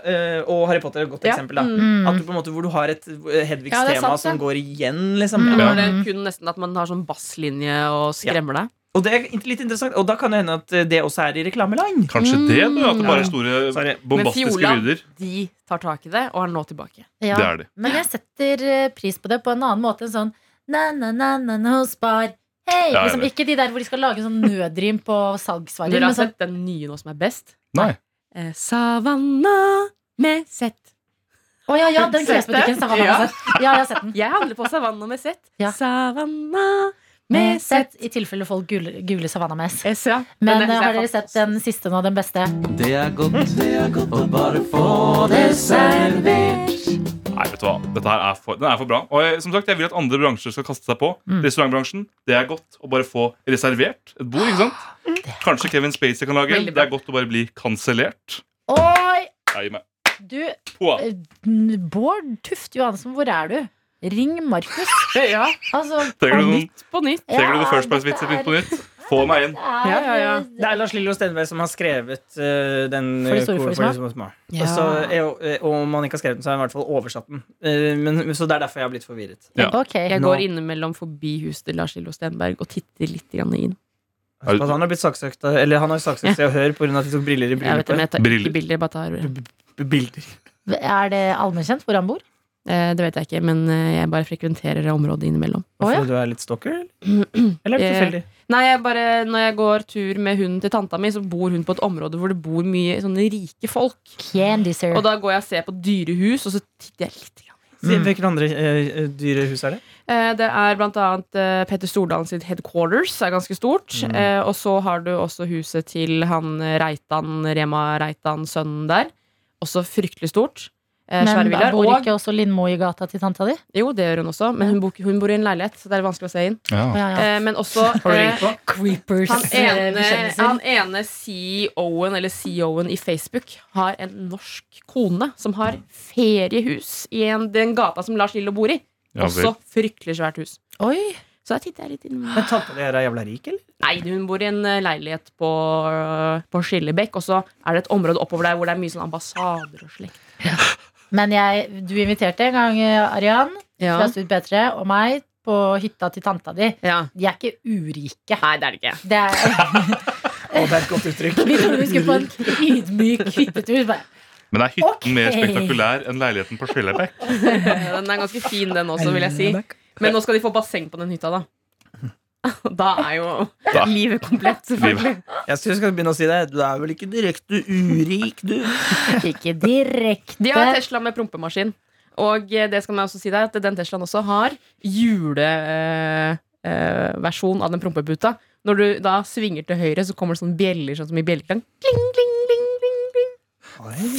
[SPEAKER 3] eh, og Harry Potter er et godt
[SPEAKER 9] Ja.
[SPEAKER 3] eksempel. da
[SPEAKER 2] Mm.
[SPEAKER 3] At du på en måte Hvor du har et eh, Hedvigs
[SPEAKER 9] Ja, Mm. det er
[SPEAKER 3] tema
[SPEAKER 9] sant,
[SPEAKER 3] som
[SPEAKER 9] det.
[SPEAKER 3] går igjen, liksom.
[SPEAKER 9] Det
[SPEAKER 3] Ja.
[SPEAKER 9] var det kun nesten at man har sånn basslinje og skremmer deg.
[SPEAKER 3] Og det er litt interessant Og da kan det hende at eh, det også er i reklameland.
[SPEAKER 7] Kanskje det, du? At det
[SPEAKER 3] Ja.
[SPEAKER 7] bare
[SPEAKER 9] Mm.
[SPEAKER 7] er store,
[SPEAKER 3] Sorry.
[SPEAKER 9] Men
[SPEAKER 7] bombastiske
[SPEAKER 9] Fjola,
[SPEAKER 7] lyder?
[SPEAKER 9] de tar tak i det og er nå tilbake.
[SPEAKER 2] Ja.
[SPEAKER 7] Det er de.
[SPEAKER 2] Men jeg setter eh, pris på det på en annen måte enn sånn na-na-na-na hos bar. Hei!
[SPEAKER 7] Ja,
[SPEAKER 2] Liksom,
[SPEAKER 7] enig.
[SPEAKER 2] ikke de der hvor de skal lage en sånn nødrim på salgsvarer.
[SPEAKER 9] Dere
[SPEAKER 2] Men
[SPEAKER 9] har
[SPEAKER 2] sånn,
[SPEAKER 9] sett den nye nå som er best?
[SPEAKER 7] Nei.
[SPEAKER 9] Eh, Savanna med sett.
[SPEAKER 2] å ja, ja, den
[SPEAKER 9] Sett det?
[SPEAKER 2] klesbutikken. sa han
[SPEAKER 9] Ja.
[SPEAKER 2] også. Ja, jeg har sett den.
[SPEAKER 9] Jeg handler på Savanna med sett.
[SPEAKER 2] Ja.
[SPEAKER 9] Savanna med
[SPEAKER 2] Med
[SPEAKER 9] sett.
[SPEAKER 2] sett, I tilfelle folk gule, gule Savannah Mess.
[SPEAKER 9] Jeg ser.
[SPEAKER 2] Men
[SPEAKER 9] den
[SPEAKER 2] eh,
[SPEAKER 9] synes jeg
[SPEAKER 2] har dere
[SPEAKER 9] er
[SPEAKER 2] sett den siste nå, den beste?
[SPEAKER 4] Det er godt, det er godt å bare få det servert.
[SPEAKER 7] Nei, vet du hva? Dette her er for, den er for bra. Og jeg, som sagt, jeg vil at andre bransjer skal kaste seg på. Restaurantbransjen. Det er godt å bare få reservert et bord. ikke sant? Kanskje Kevin Spacey kan lage en.
[SPEAKER 9] Veldig
[SPEAKER 7] Det
[SPEAKER 9] bra.
[SPEAKER 7] er godt å bare bli kansellert.
[SPEAKER 2] Oi!
[SPEAKER 7] Nei, gi meg.
[SPEAKER 2] Du,
[SPEAKER 7] Pua.
[SPEAKER 2] eh, n- Bård Tufte Johansen, hvor er du? Ring Markus.
[SPEAKER 9] fa- [LAUGHS] Ja,
[SPEAKER 2] Altså,
[SPEAKER 7] Trenger du noen,
[SPEAKER 9] på nytt.
[SPEAKER 7] trenger du noen
[SPEAKER 2] ja,
[SPEAKER 7] First Price-vitser
[SPEAKER 2] dette
[SPEAKER 7] nytt på nytt? Få meg
[SPEAKER 2] er-
[SPEAKER 7] inn.
[SPEAKER 2] eh,
[SPEAKER 9] Ja, ja, ja.
[SPEAKER 3] Det er Lars Lillo Stenberg som har skrevet eh, den.
[SPEAKER 2] For de store, for de små.
[SPEAKER 3] Og så, eh, og om han ikke har skrevet den, så har han i hvert fall oversatt den. Eh, men, så det er derfor jeg har blitt forvirret.
[SPEAKER 7] Ja.
[SPEAKER 2] Ok.
[SPEAKER 9] Jeg
[SPEAKER 3] Nå.
[SPEAKER 9] går innimellom forbi huset til Lars Lillo Stenberg og titter litt grann inn.
[SPEAKER 7] Er
[SPEAKER 3] At
[SPEAKER 7] du-
[SPEAKER 3] han har blitt saksøkt av- Eller han har jo saksøkt seg og hør pga. at de tok briller i
[SPEAKER 9] Jeg vet det, men
[SPEAKER 3] bryllup.
[SPEAKER 9] jeg tar
[SPEAKER 7] Briller.
[SPEAKER 9] ikke bilder, jeg bare tar
[SPEAKER 3] Bilder.
[SPEAKER 2] Er det allmennkjent hvor han bor?
[SPEAKER 9] eh, Det vet jeg ikke, men eh, jeg bare frekventerer området innimellom.
[SPEAKER 2] Å, ja.
[SPEAKER 3] Fordi du er litt stalker? Eller er det
[SPEAKER 9] [CLEARS THROAT] Eh,
[SPEAKER 3] tilfeldig?
[SPEAKER 9] Nei, jeg bare, når jeg går tur med hunden til tanta mi, så bor hun på et område hvor det bor mye sånne rike folk.
[SPEAKER 2] Candy, sir.
[SPEAKER 9] Og da går jeg og ser på dyrehus, og så titter jeg litt. Grann.
[SPEAKER 3] Si, Hvilket andre eh, dyre hus er det?
[SPEAKER 9] Eh, Det er blant annet eh, Petter Stordalen sitt headquarters, er ganske stort. Eh, Og så har du også huset til han eh, Reitan, Rema Reitan, sønnen der. Også fryktelig stort. Eh, Svære
[SPEAKER 2] Men da
[SPEAKER 9] villaer.
[SPEAKER 2] bor
[SPEAKER 9] Og
[SPEAKER 2] ikke også Lindmo i gata til tanta di?
[SPEAKER 9] Jo, det gjør hun også, men hun bor, ikke- hun bor i en leilighet, så det er vanskelig å se inn.
[SPEAKER 2] Ja, ja.
[SPEAKER 9] Eh, men også [LAUGHS] eh,
[SPEAKER 2] Creepers. Eh,
[SPEAKER 9] han, ene,
[SPEAKER 2] bekjennelser.
[SPEAKER 9] han ene CEO-en, eller CEO-en i Facebook, har en norsk kone som har feriehus i en, den gata som Lars Lillo bor i.
[SPEAKER 7] Ja,
[SPEAKER 9] også
[SPEAKER 7] vel.
[SPEAKER 9] fryktelig svært hus.
[SPEAKER 2] Oi!
[SPEAKER 9] Så der titter jeg litt innom.
[SPEAKER 3] Men tanta di er jævla rik, eller?
[SPEAKER 9] Nei, hun bor i en eh, leilighet på, eh, på Skillebekk, og så er det et område oppover der hvor det er mye sånn ambassader og slikt.
[SPEAKER 2] Men jeg, du inviterte en gang, eh, Arian, fra Stud P3, og meg på hytta til tanta di.
[SPEAKER 9] Ja.
[SPEAKER 2] De er ikke urike.
[SPEAKER 9] Nei, det er det ikke.
[SPEAKER 2] [LAUGHS] Det er,
[SPEAKER 3] Å, det er et godt uttrykk.
[SPEAKER 9] [LAUGHS]
[SPEAKER 2] vi trodde vi skulle på en ydmyk hyttetur. Bare,
[SPEAKER 7] Men er hytten
[SPEAKER 2] Ok.
[SPEAKER 7] mer spektakulær enn leiligheten på Skillebekk?
[SPEAKER 9] Den er ganske fin, den også, vil jeg si.
[SPEAKER 3] Mm,
[SPEAKER 9] Men nå skal de få basseng på den hytta, da. Da er jo
[SPEAKER 7] Da.
[SPEAKER 9] livet komplett, selvfølgelig.
[SPEAKER 3] Jeg synes du skal begynne å si det. Du er vel ikke direkte urik, du?
[SPEAKER 2] Ikke direkte.
[SPEAKER 9] De har Tesla med prompemaskin. Og eh, det skal man også si deg at den Teslaen også har juleversjon eh, versjon av den prompeputa. Når du da svinger til høyre, så kommer det sånne bjeller sånn som i bjelleklang. Kling, kling, kling, kling, kling.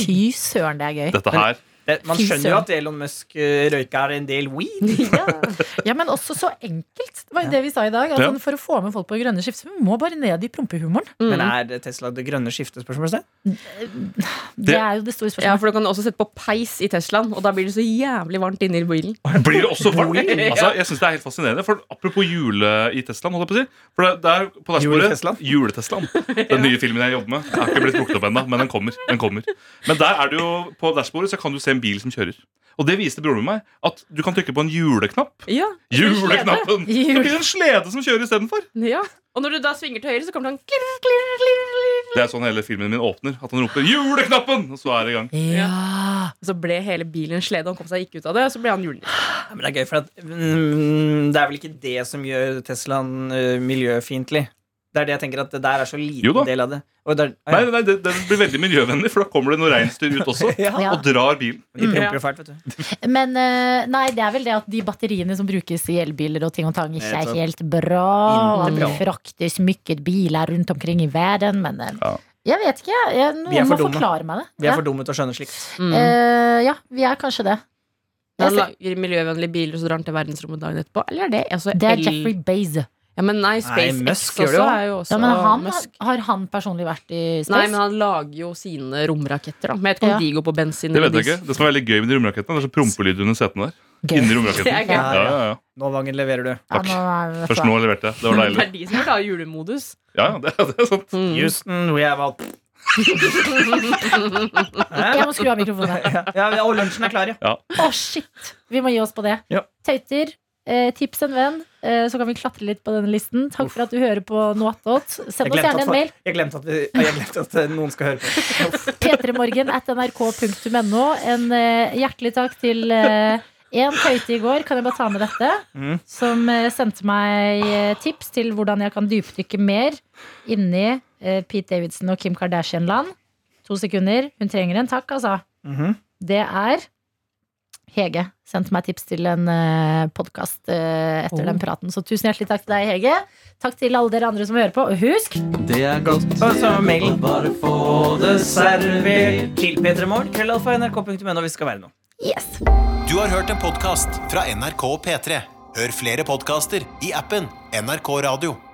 [SPEAKER 2] Fy søren, det er gøy.
[SPEAKER 7] Dette her
[SPEAKER 3] Det, man
[SPEAKER 2] Fy
[SPEAKER 3] skjønner jo
[SPEAKER 2] søren.
[SPEAKER 3] at Elon Musk eh, røyker en del weed.
[SPEAKER 2] [LAUGHS]
[SPEAKER 9] [LAUGHS]
[SPEAKER 2] Ja, Men også så enkelt. Det var jo det vi sa i dag. at
[SPEAKER 7] Ja.
[SPEAKER 2] sånn, for å få med folk på grønne skift, så vi må bare ned i prompehumoren.
[SPEAKER 9] Mm.
[SPEAKER 3] Men er Tesla det grønne skiftet? Spørsmålstegn?
[SPEAKER 2] Det er jo det store
[SPEAKER 9] Ja,
[SPEAKER 2] spørsmålet.
[SPEAKER 9] for du kan også sette på peis i Teslaen, og da blir det så jævlig varmt inni bilen.
[SPEAKER 7] [LAUGHS] Blir det også varmt? Altså, jeg synes det er helt fascinerende. For Apropos jule i Teslaen. Holdt jeg på å si. For det, det er på
[SPEAKER 3] Jule-Teslaen?
[SPEAKER 7] dashbordet Jule-Teslaen. Den nye filmen jeg jobber med. Jeg har ikke blitt brukt opp ennå, men den kommer. den kommer Men der er det jo på dashbordet så kan du se en bil som kjører. Og det viste broren min meg at du kan trykke på en juleknapp.
[SPEAKER 9] Ja,
[SPEAKER 7] Juleknappen! Det blir en slede som kjører istedenfor.
[SPEAKER 9] ja. Og når du da svinger til høyre, så kommer det sånn klirr, klirr, klirr, klirr.
[SPEAKER 7] Det er sånn hele filmen min åpner. At han roper 'juleknappen', og så er det i gang.
[SPEAKER 2] Ja.
[SPEAKER 9] Så ble hele bilen en slede, han kom seg ikke ut av det, og så ble han julenissen.
[SPEAKER 3] Ja, men det er gøy, for at, mm, det er vel ikke det som gjør Teslaen eh, miljøfiendtlig. Det er det jeg tenker at det der er så
[SPEAKER 7] Jo da.
[SPEAKER 3] liten del av det. Og det er, ah,
[SPEAKER 7] Nei,
[SPEAKER 3] ja.
[SPEAKER 7] nei, det, det blir veldig miljøvennlig, for da kommer det noen reinsdyr ut også
[SPEAKER 3] Ja.
[SPEAKER 7] og drar bilen.
[SPEAKER 3] De promper jo fælt, vet du.
[SPEAKER 2] Men eh, nei, det er vel det at de batteriene som brukes i elbiler og ting og tang, ikke er
[SPEAKER 3] Nettopp.
[SPEAKER 2] helt bra. Og
[SPEAKER 3] Ikke
[SPEAKER 2] at det
[SPEAKER 3] bra.
[SPEAKER 2] fraktes mykket biler rundt omkring i verden. Men eh,
[SPEAKER 7] Ja.
[SPEAKER 2] Jeg vet ikke. jeg- Jeg,
[SPEAKER 3] Vi er
[SPEAKER 2] noen
[SPEAKER 3] for
[SPEAKER 2] må
[SPEAKER 3] dumme.
[SPEAKER 2] forklare meg det.
[SPEAKER 3] Vi er
[SPEAKER 2] Ja.
[SPEAKER 3] for dumme til å skjønne slikt.
[SPEAKER 9] Mm.
[SPEAKER 2] Eh, ja, vi er kanskje det.
[SPEAKER 9] Han
[SPEAKER 2] Jeg ser-
[SPEAKER 9] lager miljøvennlige biler og så drar han til verdensrommet dagen etterpå? Eller er det altså,
[SPEAKER 2] Det er
[SPEAKER 9] el-
[SPEAKER 2] Jeffrey Baze.
[SPEAKER 9] Ja, men nei,
[SPEAKER 3] Nei,
[SPEAKER 9] SpaceX
[SPEAKER 3] Musk gjør
[SPEAKER 9] også
[SPEAKER 3] det jo.
[SPEAKER 9] er jo også
[SPEAKER 2] Ja, men han,
[SPEAKER 9] Musk.
[SPEAKER 2] har han personlig vært i space?
[SPEAKER 9] Nei, men han lager jo sine romraketter, da. Men jeg vet ikke om
[SPEAKER 2] Ja.
[SPEAKER 9] de går på bensin.
[SPEAKER 7] Det vet
[SPEAKER 9] eller
[SPEAKER 7] jeg ikke.
[SPEAKER 9] diesel.
[SPEAKER 7] Det som er veldig gøy med de romrakettene, det er så prompelyd under setene der.
[SPEAKER 2] Gøy.
[SPEAKER 7] Inni
[SPEAKER 9] [LAUGHS] [LAUGHS]
[SPEAKER 7] romraketten.
[SPEAKER 9] Det er gøy.
[SPEAKER 7] Ja, ja, ja.
[SPEAKER 3] Nå, Vangen, leverer du.
[SPEAKER 2] Ja, nå er- vet du
[SPEAKER 7] Først
[SPEAKER 2] hva.
[SPEAKER 7] nå leverte jeg. Det var
[SPEAKER 9] Det [LAUGHS]
[SPEAKER 7] deilig.
[SPEAKER 9] er de som vil ha julemodus.
[SPEAKER 7] Ja, ja, det, [LAUGHS] det er sant.
[SPEAKER 3] Houston, we have all
[SPEAKER 2] Jeg må skru av mikrofonen. her.
[SPEAKER 3] [LAUGHS] ja, Og lunsjen er klar, ja.
[SPEAKER 2] Å, shit! Vi må gi oss på det.
[SPEAKER 3] Ja.
[SPEAKER 2] Tøyter, eh, tips en venn, eh, så kan vi klatre litt på denne listen. Takk for at du hører på Noatot.
[SPEAKER 3] Jeg
[SPEAKER 2] Send oss
[SPEAKER 3] glemte
[SPEAKER 2] gjerne
[SPEAKER 3] at,
[SPEAKER 2] en mail.
[SPEAKER 3] jeg glemte at, vi, jeg glemte at eh, noen skal høre på.
[SPEAKER 2] P3morgen at nrk.no. En eh, hjertelig takk til eh, en tøyte i går, kan jeg bare ta med dette,
[SPEAKER 3] Mm.
[SPEAKER 2] som eh, sendte meg eh, tips til hvordan jeg kan dypdykke mer inni eh, Pete Davidson og Kim Kardashian-land. To sekunder. Hun trenger en takk, altså.
[SPEAKER 3] Mhm.
[SPEAKER 2] Det er Hege sendte meg tips til en uh, podkast etter den praten. Så tusen hjertelig takk til deg, Hege. Takk til alle dere andre som hører på. Og husk
[SPEAKER 4] Det er godt.
[SPEAKER 3] Og så mailen. Bare få det servert til P3morgen. Krøllalfa.nrk.no. Vi skal være noe.
[SPEAKER 2] Yes!
[SPEAKER 1] Du har hørt en podkast fra NRK P3. Hør flere podkaster i appen NRK Radio.